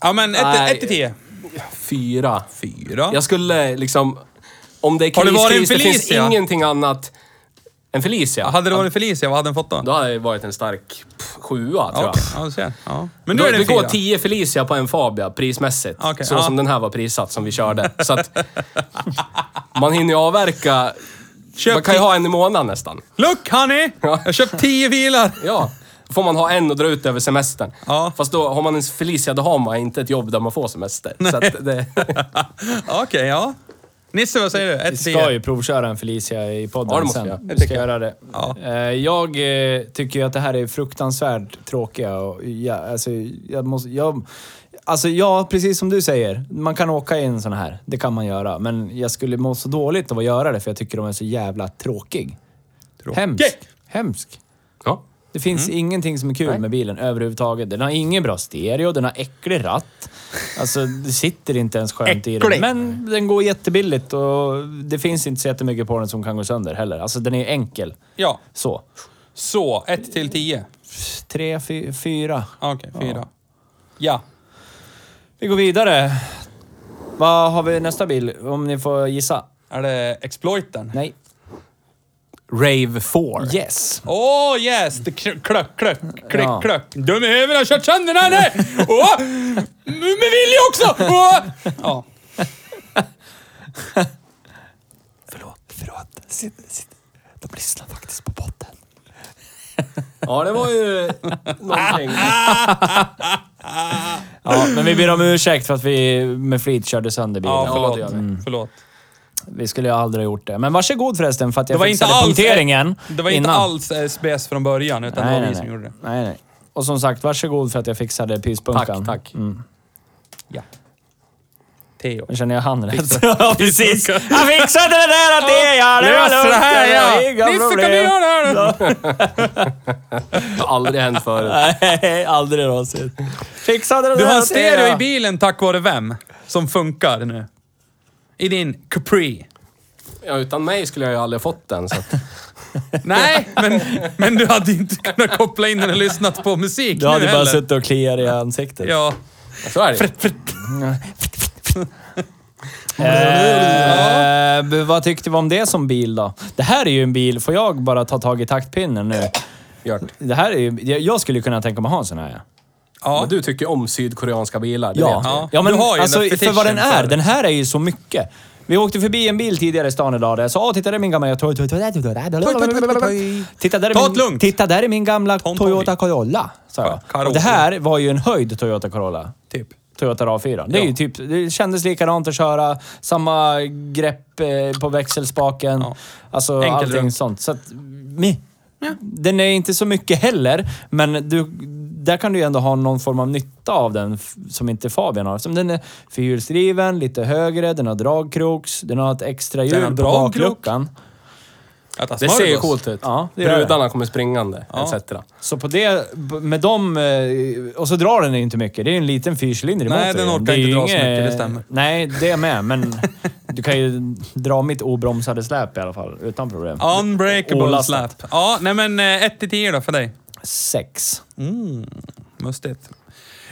[SPEAKER 2] ja, men ett
[SPEAKER 3] Nej.
[SPEAKER 2] ett till tio.
[SPEAKER 3] fyra.
[SPEAKER 2] Fyra.
[SPEAKER 3] Jag skulle liksom... Om det är
[SPEAKER 2] Har det
[SPEAKER 3] kris,
[SPEAKER 2] varit en
[SPEAKER 3] kris, det finns
[SPEAKER 2] Felicia?
[SPEAKER 3] ingenting annat än Felicia.
[SPEAKER 2] Hade det varit Felicia, vad hade den fått då?
[SPEAKER 3] Då hade det varit en stark pff, sjua, tror
[SPEAKER 2] Ja,
[SPEAKER 3] jag.
[SPEAKER 2] okej. ja, du ser. Ja. Men nu
[SPEAKER 3] Då,
[SPEAKER 2] är det
[SPEAKER 3] vi
[SPEAKER 2] en
[SPEAKER 3] går
[SPEAKER 2] fyra.
[SPEAKER 3] 10 Felicia på en Fabia prismässigt.
[SPEAKER 2] Okej,
[SPEAKER 3] så
[SPEAKER 2] ja.
[SPEAKER 3] som den här var prissatt som
[SPEAKER 2] [LAUGHS]
[SPEAKER 3] vi körde. Så att man hinner ju avverka.
[SPEAKER 2] Köp
[SPEAKER 3] man kan ju
[SPEAKER 2] ti-
[SPEAKER 3] ha en i månaden nästan.
[SPEAKER 2] Look honey!
[SPEAKER 3] Ja.
[SPEAKER 2] Jag har köpt tio bilar.
[SPEAKER 3] Ja. Då får man ha en och dra ut över semestern.
[SPEAKER 2] Ja.
[SPEAKER 3] Fast då har man en Felicia, då har man inte ett jobb där man får semester. Så att det, [LAUGHS]
[SPEAKER 2] Okej, ja. Nisse, vad säger du? Ett
[SPEAKER 1] Vi
[SPEAKER 2] till
[SPEAKER 1] ska
[SPEAKER 2] tio.
[SPEAKER 1] ju provköra en Felicia i podden
[SPEAKER 3] Ja, det måste
[SPEAKER 1] sen.
[SPEAKER 3] vi göra.
[SPEAKER 1] Vi ska göra det.
[SPEAKER 2] Ja.
[SPEAKER 1] Eh, Jag eh, tycker ju att det här är fruktansvärt tråkiga och ja, alltså, jag måste, jag, alltså ja, precis som du säger. Man kan åka i en sån här. Det kan man göra. Men jag skulle må så dåligt av att göra det för jag tycker de är så jävla tråkig.
[SPEAKER 2] Tråkig.
[SPEAKER 1] Hemsk. Hemsk.
[SPEAKER 3] ja.
[SPEAKER 1] Det finns ingenting som är kul
[SPEAKER 3] Mm. Nej.
[SPEAKER 1] med bilen överhuvudtaget. Den har ingen bra stereo, den har äcklig ratt. Alltså, det sitter inte ens skönt i den.
[SPEAKER 2] Äcklig.
[SPEAKER 1] Men den går jättebilligt och det finns inte så jättemycket på den som kan gå sönder heller. Alltså, den är enkel.
[SPEAKER 2] Ja,
[SPEAKER 1] Så.
[SPEAKER 2] så. Ett till tio.
[SPEAKER 1] Tre, fy, fyra.
[SPEAKER 2] Okej, fyra. Ja.
[SPEAKER 1] Vi går vidare. Vad har vi nästa bil? Om ni får gissa.
[SPEAKER 2] Är det exploiten?
[SPEAKER 1] Nej.
[SPEAKER 3] Rave 4.
[SPEAKER 1] Yes.
[SPEAKER 2] Åh oh, yes! Det kl- Klöck, klöck, klick,
[SPEAKER 1] Ja.
[SPEAKER 2] klöck. Dum i huvudet, har kört sönder den eller? Åh! Med vilja också! Åh! Ja.
[SPEAKER 1] Förlåt, förlåt. Sitt, sitt. De lyssnar faktiskt på botten.
[SPEAKER 3] Ja, det var
[SPEAKER 1] [LAUGHS]
[SPEAKER 3] ju någonting.
[SPEAKER 1] Ja, men vi ber om ursäkt för att vi med flit körde sönder bilen.
[SPEAKER 2] Ja,
[SPEAKER 3] Ja,
[SPEAKER 2] förlåt. Mm.
[SPEAKER 3] det gör vi.
[SPEAKER 2] förlåt.
[SPEAKER 1] Vi skulle ju aldrig ha gjort det. Men varsågod förresten för att jag
[SPEAKER 2] Det var inte
[SPEAKER 1] fixade
[SPEAKER 2] alls... eh,
[SPEAKER 1] punkteringen
[SPEAKER 2] Det var inte
[SPEAKER 1] innan.
[SPEAKER 2] alls SBS från början, utan det var vi som gjorde det.
[SPEAKER 1] Nej, nej. Och som sagt, varsågod för att jag fixade pyspunkan. Mm.
[SPEAKER 3] Tack, tack.
[SPEAKER 2] Ja. Theo.
[SPEAKER 1] Nu känner jag han rätt. [LAUGHS] ja,
[SPEAKER 2] [LAUGHS]
[SPEAKER 1] precis. Jag fixade det där att det är jag. Det var
[SPEAKER 2] Lös
[SPEAKER 1] lugnt.
[SPEAKER 2] det här
[SPEAKER 1] var
[SPEAKER 2] ja!
[SPEAKER 1] inga
[SPEAKER 2] Nisse, kan
[SPEAKER 1] problem.
[SPEAKER 2] du göra det här då?
[SPEAKER 3] Det har aldrig hänt förut.
[SPEAKER 1] Nej, aldrig någonsin. Fixade det
[SPEAKER 2] Du
[SPEAKER 1] där
[SPEAKER 2] har en
[SPEAKER 1] att det är
[SPEAKER 2] stereo i
[SPEAKER 1] jag.
[SPEAKER 2] bilen tack vare vem? Som funkar nu. I din Capri.
[SPEAKER 3] Ja, utan mig skulle jag ju aldrig fått den. Så att,
[SPEAKER 2] Nej, men, men du hade inte kunnat koppla in den och lyssnat på musik
[SPEAKER 1] Du hade
[SPEAKER 2] nu
[SPEAKER 1] bara
[SPEAKER 2] heller.
[SPEAKER 1] suttit och kliat i ansiktet.
[SPEAKER 2] Ja.
[SPEAKER 3] så är det.
[SPEAKER 1] Eh, b- vad tyckte vi om det som bil då? Det här är ju en bil, får jag bara ta tag i taktpinnen nu?
[SPEAKER 3] Gjort.
[SPEAKER 1] Det här är ju, jag- jag skulle kunna tänka mig att ha en sån här. Ja.
[SPEAKER 2] Ja.
[SPEAKER 3] Men du tycker om sydkoreanska bilar, det
[SPEAKER 1] Ja,
[SPEAKER 3] vet vi.
[SPEAKER 1] ja.
[SPEAKER 2] Ja.
[SPEAKER 1] men
[SPEAKER 2] Du har ju
[SPEAKER 1] alltså,
[SPEAKER 2] den där
[SPEAKER 1] för vad den
[SPEAKER 2] fetischen
[SPEAKER 1] är.
[SPEAKER 2] för-
[SPEAKER 1] Den här är ju så mycket. Vi åkte förbi en bil tidigare i stan idag där jag sa åh titta där är min gamla... Toy, toy, toy,
[SPEAKER 2] toy,
[SPEAKER 1] toy,
[SPEAKER 2] toy, toy.
[SPEAKER 1] Titta där är
[SPEAKER 2] Ta
[SPEAKER 1] min,
[SPEAKER 2] det lugnt.
[SPEAKER 1] Titta där är min gamla
[SPEAKER 2] Tom,
[SPEAKER 1] Toyota Corolla, sa jag.
[SPEAKER 2] Corolla.
[SPEAKER 1] Och det här var ju en höjd Toyota Corolla.
[SPEAKER 2] Typ.
[SPEAKER 1] Toyota RAV4. Det, är ju
[SPEAKER 2] Ja.
[SPEAKER 1] typ, det kändes likadant att köra, samma grepp eh, på växelspaken.
[SPEAKER 2] Ja.
[SPEAKER 1] Alltså
[SPEAKER 2] Enkel
[SPEAKER 1] allting
[SPEAKER 2] runt.
[SPEAKER 1] sånt. Så att, meh. Den är inte så mycket heller, men du, där kan du ju ändå ha någon form av nytta av den f- som inte Fabian har. Som den är fyrhjulsdriven, lite högre, den har dragkroks, den har ett extra
[SPEAKER 2] Den
[SPEAKER 1] hjul
[SPEAKER 2] har
[SPEAKER 1] på
[SPEAKER 2] dragkrok.
[SPEAKER 1] bakluckan.
[SPEAKER 2] Äta
[SPEAKER 3] Det ser ju
[SPEAKER 2] smörgås.
[SPEAKER 3] coolt ut.
[SPEAKER 1] Ja, det gör
[SPEAKER 3] Brudarna kommer springande,
[SPEAKER 2] Ja.
[SPEAKER 3] etc.
[SPEAKER 1] Så på det, b- med dem... eh, Och så drar den inte mycket. Det är ju en liten fyrcylinder i
[SPEAKER 2] Nej,
[SPEAKER 1] motorn.
[SPEAKER 2] den orkar
[SPEAKER 1] Det är
[SPEAKER 2] inte
[SPEAKER 1] ju
[SPEAKER 2] dra så
[SPEAKER 1] inget-
[SPEAKER 2] mycket, det stämmer.
[SPEAKER 1] Nej, det
[SPEAKER 2] [LAUGHS]
[SPEAKER 1] med, men du kan ju dra mitt obromsade släp i alla fall, utan problem.
[SPEAKER 2] Unbreakable
[SPEAKER 1] Olastat.
[SPEAKER 2] slap. Ja, nej men eh, 1-10 då för dig.
[SPEAKER 1] Sex.
[SPEAKER 2] Mustigt.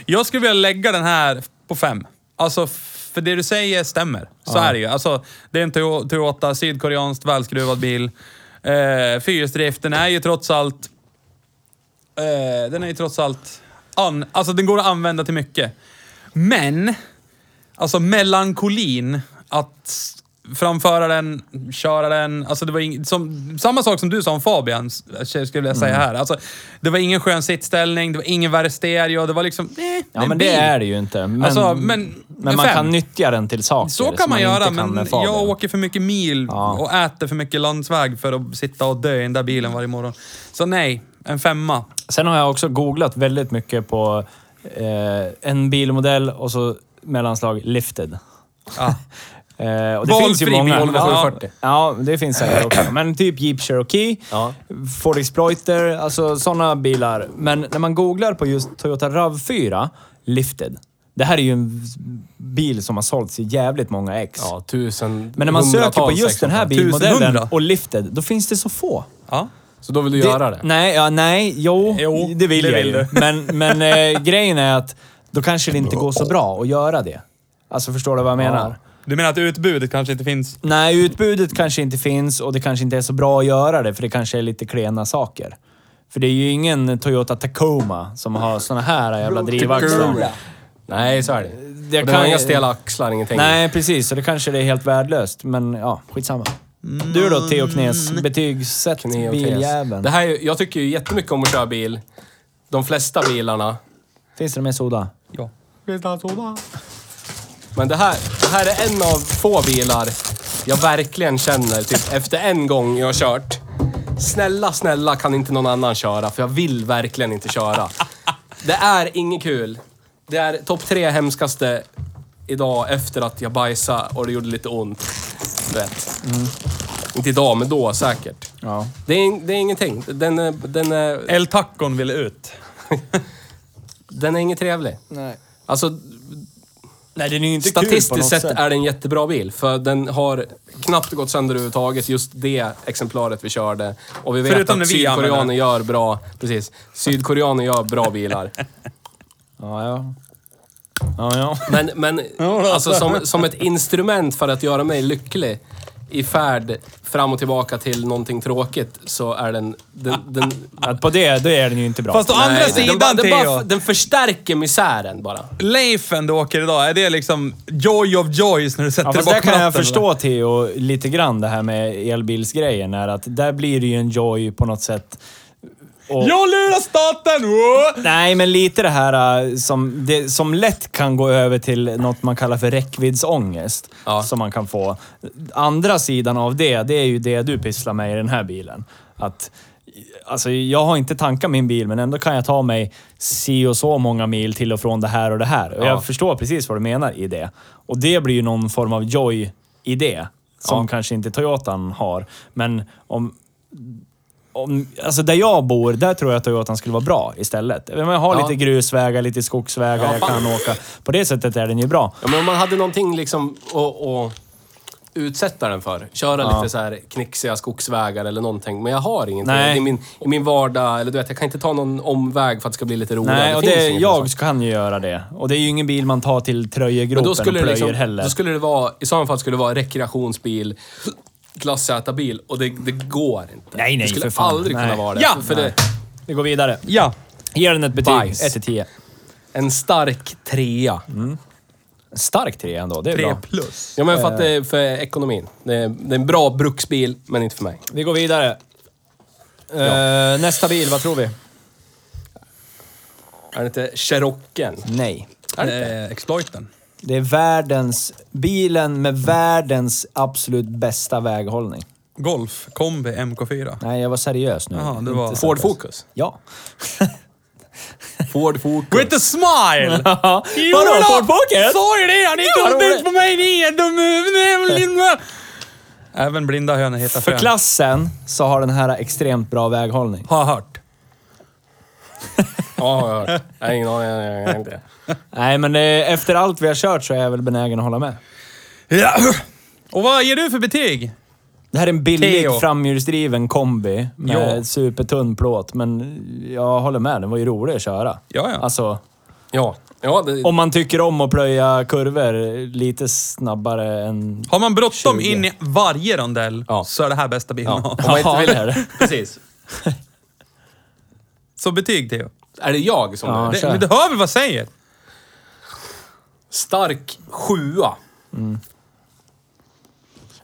[SPEAKER 2] Jag skulle vilja lägga den här på fem. Alltså, f- för det du säger stämmer. Så är det ju. Alltså, det är en Toyo- Toyota, sydkoreanskt välskruvad bil. Eh, Fyrhjulsdrift, den är ju trots allt... Eh, den är ju trots allt... An, alltså, den går att använda till mycket. Men, alltså melankolin att s- framföra den, köra den. Alltså det var ing, som, samma sak som du sa om Fabian, s- skulle jag vilja
[SPEAKER 1] Mm.
[SPEAKER 2] säga här. Alltså, det var ingen skön sittställning, det var ingen värre stereo, det var liksom... Eh,
[SPEAKER 1] Ja,
[SPEAKER 2] en
[SPEAKER 1] men det
[SPEAKER 2] bil.
[SPEAKER 1] är det ju inte. Men,
[SPEAKER 2] Alltså, men-
[SPEAKER 1] men man
[SPEAKER 2] fem.
[SPEAKER 1] kan nyttja den till saker
[SPEAKER 2] Så
[SPEAKER 1] som
[SPEAKER 2] kan man göra,
[SPEAKER 1] inte kan
[SPEAKER 2] men
[SPEAKER 1] med Fabian.
[SPEAKER 2] jag åker för mycket mil
[SPEAKER 1] Ja.
[SPEAKER 2] och äter för mycket landsväg för att sitta och dö i den där bilen varje morgon. Så nej, en femma.
[SPEAKER 1] Sen har jag också googlat väldigt mycket på eh, en bilmodell och så mellanslag lifted. [LAUGHS]
[SPEAKER 2] Ja.
[SPEAKER 1] Eh, och det
[SPEAKER 2] Valfri
[SPEAKER 1] finns ju
[SPEAKER 2] bil,
[SPEAKER 1] många.
[SPEAKER 2] Volvo
[SPEAKER 1] ja,
[SPEAKER 2] 740.
[SPEAKER 1] ja, det finns
[SPEAKER 2] [CLEARS THROAT]
[SPEAKER 1] säkert också. Men typ Jeep Cherokee,
[SPEAKER 3] Ja.
[SPEAKER 1] Ford Exploiter, alltså sådana bilar. Men när man googlar på just Toyota RAV4 Lifted. Det här är ju en bil som har sålts i jävligt många ex.
[SPEAKER 3] Ja, tusen...
[SPEAKER 1] Men när man söker på
[SPEAKER 3] hundratals
[SPEAKER 1] just den här
[SPEAKER 3] exemplar.
[SPEAKER 1] bilmodellen
[SPEAKER 2] Tusenhundra.
[SPEAKER 1] och Lifted, då finns det så få.
[SPEAKER 2] Ja.
[SPEAKER 3] Så då vill du göra det?
[SPEAKER 1] Nej, ja, nej, jo,
[SPEAKER 2] Jo,
[SPEAKER 1] det vill
[SPEAKER 2] det
[SPEAKER 1] jag
[SPEAKER 2] vill
[SPEAKER 1] ju. Men, men eh, grejen är att då kanske det inte går så bra att göra det. Alltså, förstår du vad jag menar?
[SPEAKER 2] Du menar att utbudet kanske inte finns?
[SPEAKER 1] Nej, utbudet kanske inte finns och det kanske inte är så bra att göra det, för det kanske är lite klena saker. För det är ju ingen Toyota Tacoma som har såna här jävla drivaxlar.
[SPEAKER 3] Typ Nej, så är det.
[SPEAKER 1] Det
[SPEAKER 3] Och den
[SPEAKER 1] kan
[SPEAKER 3] har
[SPEAKER 1] ju-
[SPEAKER 3] inga stela axlar, ingenting.
[SPEAKER 1] Nej, precis. Så det kanske det är helt värdelöst, men ja, skitsamma. Du då, Theo Knes. Betygsätt
[SPEAKER 3] Kne och tes.
[SPEAKER 1] biljäveln.
[SPEAKER 3] Det här, är ju- jag tycker ju jättemycket om att köra bil. De flesta bilarna.
[SPEAKER 1] Finns det mer soda?
[SPEAKER 2] Ja.
[SPEAKER 3] Men det här, det här är en av få bilar jag verkligen känner, typ efter en gång jag har kört. Snälla, snälla kan inte någon annan köra, för jag vill verkligen inte köra. Det är inget kul. Det är topp tre hemskaste idag efter att jag bajsade och det gjorde lite ont. Du vet. Inte idag, men då säkert.
[SPEAKER 1] Ja.
[SPEAKER 3] Det är, det är ingenting. Den är, den, är,
[SPEAKER 2] El Tacon vill ut.
[SPEAKER 3] den är inget trevlig.
[SPEAKER 1] Nej.
[SPEAKER 3] Alltså,
[SPEAKER 1] Nej, den är ju inte kul på något
[SPEAKER 3] Statistiskt sett
[SPEAKER 1] sätt.
[SPEAKER 3] är det en jättebra bil, för den har knappt gått sönder överhuvudtaget, just det exemplaret vi körde. Och vi vet
[SPEAKER 2] Förutom
[SPEAKER 3] att
[SPEAKER 2] när vi
[SPEAKER 3] sydkoreaner
[SPEAKER 2] använder
[SPEAKER 3] gör bra... Precis. Sydkoreaner gör bra bilar.
[SPEAKER 2] [LAUGHS]
[SPEAKER 1] Ja, ja. Ja, ja.
[SPEAKER 3] Men, men alltså som, som ett instrument för att göra mig lycklig i färd fram och tillbaka till någonting tråkigt så är den... den, den
[SPEAKER 1] Att på det, då är den ju inte bra.
[SPEAKER 2] Fast å andra
[SPEAKER 3] Nej, den, bara-
[SPEAKER 2] sidan,
[SPEAKER 3] den,
[SPEAKER 2] Theo.
[SPEAKER 3] bara, den förstärker misären bara.
[SPEAKER 2] Leifen du åker idag, är det liksom joy of joys när du sätter
[SPEAKER 1] Ja,
[SPEAKER 2] dig
[SPEAKER 1] fast där
[SPEAKER 2] bakom
[SPEAKER 1] kan jag
[SPEAKER 2] ratten, eller?
[SPEAKER 1] förstå Theo lite grann det här med elbilsgrejen. Är att där blir det ju en joy på något sätt. Och,
[SPEAKER 2] Jag lurar staten! Wow!
[SPEAKER 1] Nej, men lite det här äh, som, det, som lätt kan gå över till något man kallar för räckviddsångest.
[SPEAKER 3] Ja.
[SPEAKER 1] Som man kan få. Andra sidan av det, det är ju det du pysslar med i den här bilen. Att, alltså, jag har inte tankat min bil, men ändå kan jag ta mig si och så många mil till och från det här och det här. Och
[SPEAKER 3] Ja.
[SPEAKER 1] Jag förstår precis vad du menar i det. Och det blir ju någon form av joy i det. Som kanske inte Toyotan har. Men om, om, alltså där jag bor, där tror jag att Toyotan skulle vara bra istället. Jag menar, Jag har
[SPEAKER 3] Ja.
[SPEAKER 1] lite grusvägar, lite skogsvägar,
[SPEAKER 3] Ja,
[SPEAKER 1] jag
[SPEAKER 3] fan.
[SPEAKER 1] kan åka. På det sättet är den ju bra.
[SPEAKER 3] Ja, men om man hade någonting liksom att, att utsätta den för. Köra lite så här knixiga skogsvägar eller någonting. Men jag har ingenting
[SPEAKER 1] Nej.
[SPEAKER 3] i min, i min vardag. Eller du vet, jag kan inte ta någon omväg för att det ska bli lite roligare.
[SPEAKER 1] Nej, och
[SPEAKER 3] finns
[SPEAKER 1] det,
[SPEAKER 3] ingenting
[SPEAKER 1] jag
[SPEAKER 3] sånt.
[SPEAKER 1] kan ju göra det. Och det är ju ingen bil man tar till
[SPEAKER 3] Men
[SPEAKER 1] Tröjegropen
[SPEAKER 3] då
[SPEAKER 1] och
[SPEAKER 3] skulle,
[SPEAKER 1] plöjer
[SPEAKER 3] det liksom,
[SPEAKER 1] heller.
[SPEAKER 3] då skulle det vara, i så fall skulle det vara rekreationsbil, klass Z-bil. Och det, det går inte.
[SPEAKER 1] Nej, nej,
[SPEAKER 3] Det skulle
[SPEAKER 1] för fan.
[SPEAKER 3] aldrig
[SPEAKER 1] Nej.
[SPEAKER 3] kunna vara det.
[SPEAKER 2] Ja,
[SPEAKER 3] för, för det.
[SPEAKER 1] Vi går vidare.
[SPEAKER 2] Ja.
[SPEAKER 1] Ge den ett betyg.
[SPEAKER 3] Bajs.
[SPEAKER 1] 1 till 10.
[SPEAKER 3] En stark trea.
[SPEAKER 1] Mm. Stark 3 ändå, det är
[SPEAKER 2] 3
[SPEAKER 1] bra.
[SPEAKER 2] plus.
[SPEAKER 3] Ja, men
[SPEAKER 1] Eh.
[SPEAKER 3] för att det är för ekonomin. Det är, det är en bra bruksbil, men inte för mig.
[SPEAKER 1] Vi går vidare. Eh, nästa bil, vad tror vi?
[SPEAKER 3] Är det inte Cheroken?
[SPEAKER 1] Nej.
[SPEAKER 2] Eh, exploiten.
[SPEAKER 1] Det är världens... Bilen med världens absolut bästa väghållning.
[SPEAKER 2] Golf, kombi, MK4.
[SPEAKER 1] Nej, jag var seriös nu.
[SPEAKER 2] Jaha, det var-
[SPEAKER 1] Inte
[SPEAKER 3] Ford
[SPEAKER 1] seriös.
[SPEAKER 3] Focus?
[SPEAKER 1] Ja.
[SPEAKER 3] Ford Focus.
[SPEAKER 2] With a smile!
[SPEAKER 1] Ja.
[SPEAKER 2] [LAUGHS] Jo
[SPEAKER 1] Vadå,
[SPEAKER 2] då!
[SPEAKER 1] Ford Focus?
[SPEAKER 2] Sa ju det! Han är
[SPEAKER 1] Ja,
[SPEAKER 2] inte
[SPEAKER 1] vad
[SPEAKER 2] uppbyggd
[SPEAKER 1] roligt.
[SPEAKER 2] på mig, ni är dum [LAUGHS] i huvudet. Även blinda hönor heter
[SPEAKER 1] För
[SPEAKER 2] fön.
[SPEAKER 1] klassen så har den här extremt bra väghållning.
[SPEAKER 2] Har jag hört.
[SPEAKER 3] Ja, har jag hört. Jag har ingen aning. jag har ingen aning.
[SPEAKER 1] Nej, men eh, efter allt vi har kört så är jag väl benägen att hålla med.
[SPEAKER 2] Ja. Och vad ger du för betyg?
[SPEAKER 1] Det här är en billig
[SPEAKER 2] Theo.
[SPEAKER 1] framhjulsdriven kombi med
[SPEAKER 2] Ja.
[SPEAKER 1] supertunn plåt, men jag håller med. Den var ju rolig att köra.
[SPEAKER 2] Ja, ja.
[SPEAKER 1] Alltså,
[SPEAKER 3] Ja. Ja, det,
[SPEAKER 1] om man tycker om att plöja kurvor lite snabbare än...
[SPEAKER 2] Har man bråttom
[SPEAKER 1] 20.
[SPEAKER 2] in i varje rondell
[SPEAKER 3] Ja.
[SPEAKER 2] så är det här bästa bilen att ha.
[SPEAKER 3] om man inte
[SPEAKER 1] Ja,
[SPEAKER 3] vill
[SPEAKER 1] det är det.
[SPEAKER 3] [LAUGHS] Precis.
[SPEAKER 2] Så betyg, Theo.
[SPEAKER 3] Är det jag som
[SPEAKER 1] Ja.
[SPEAKER 3] är det?
[SPEAKER 2] Det,
[SPEAKER 1] kör.
[SPEAKER 2] men du hör väl vad jag säger?
[SPEAKER 3] Stark sjua.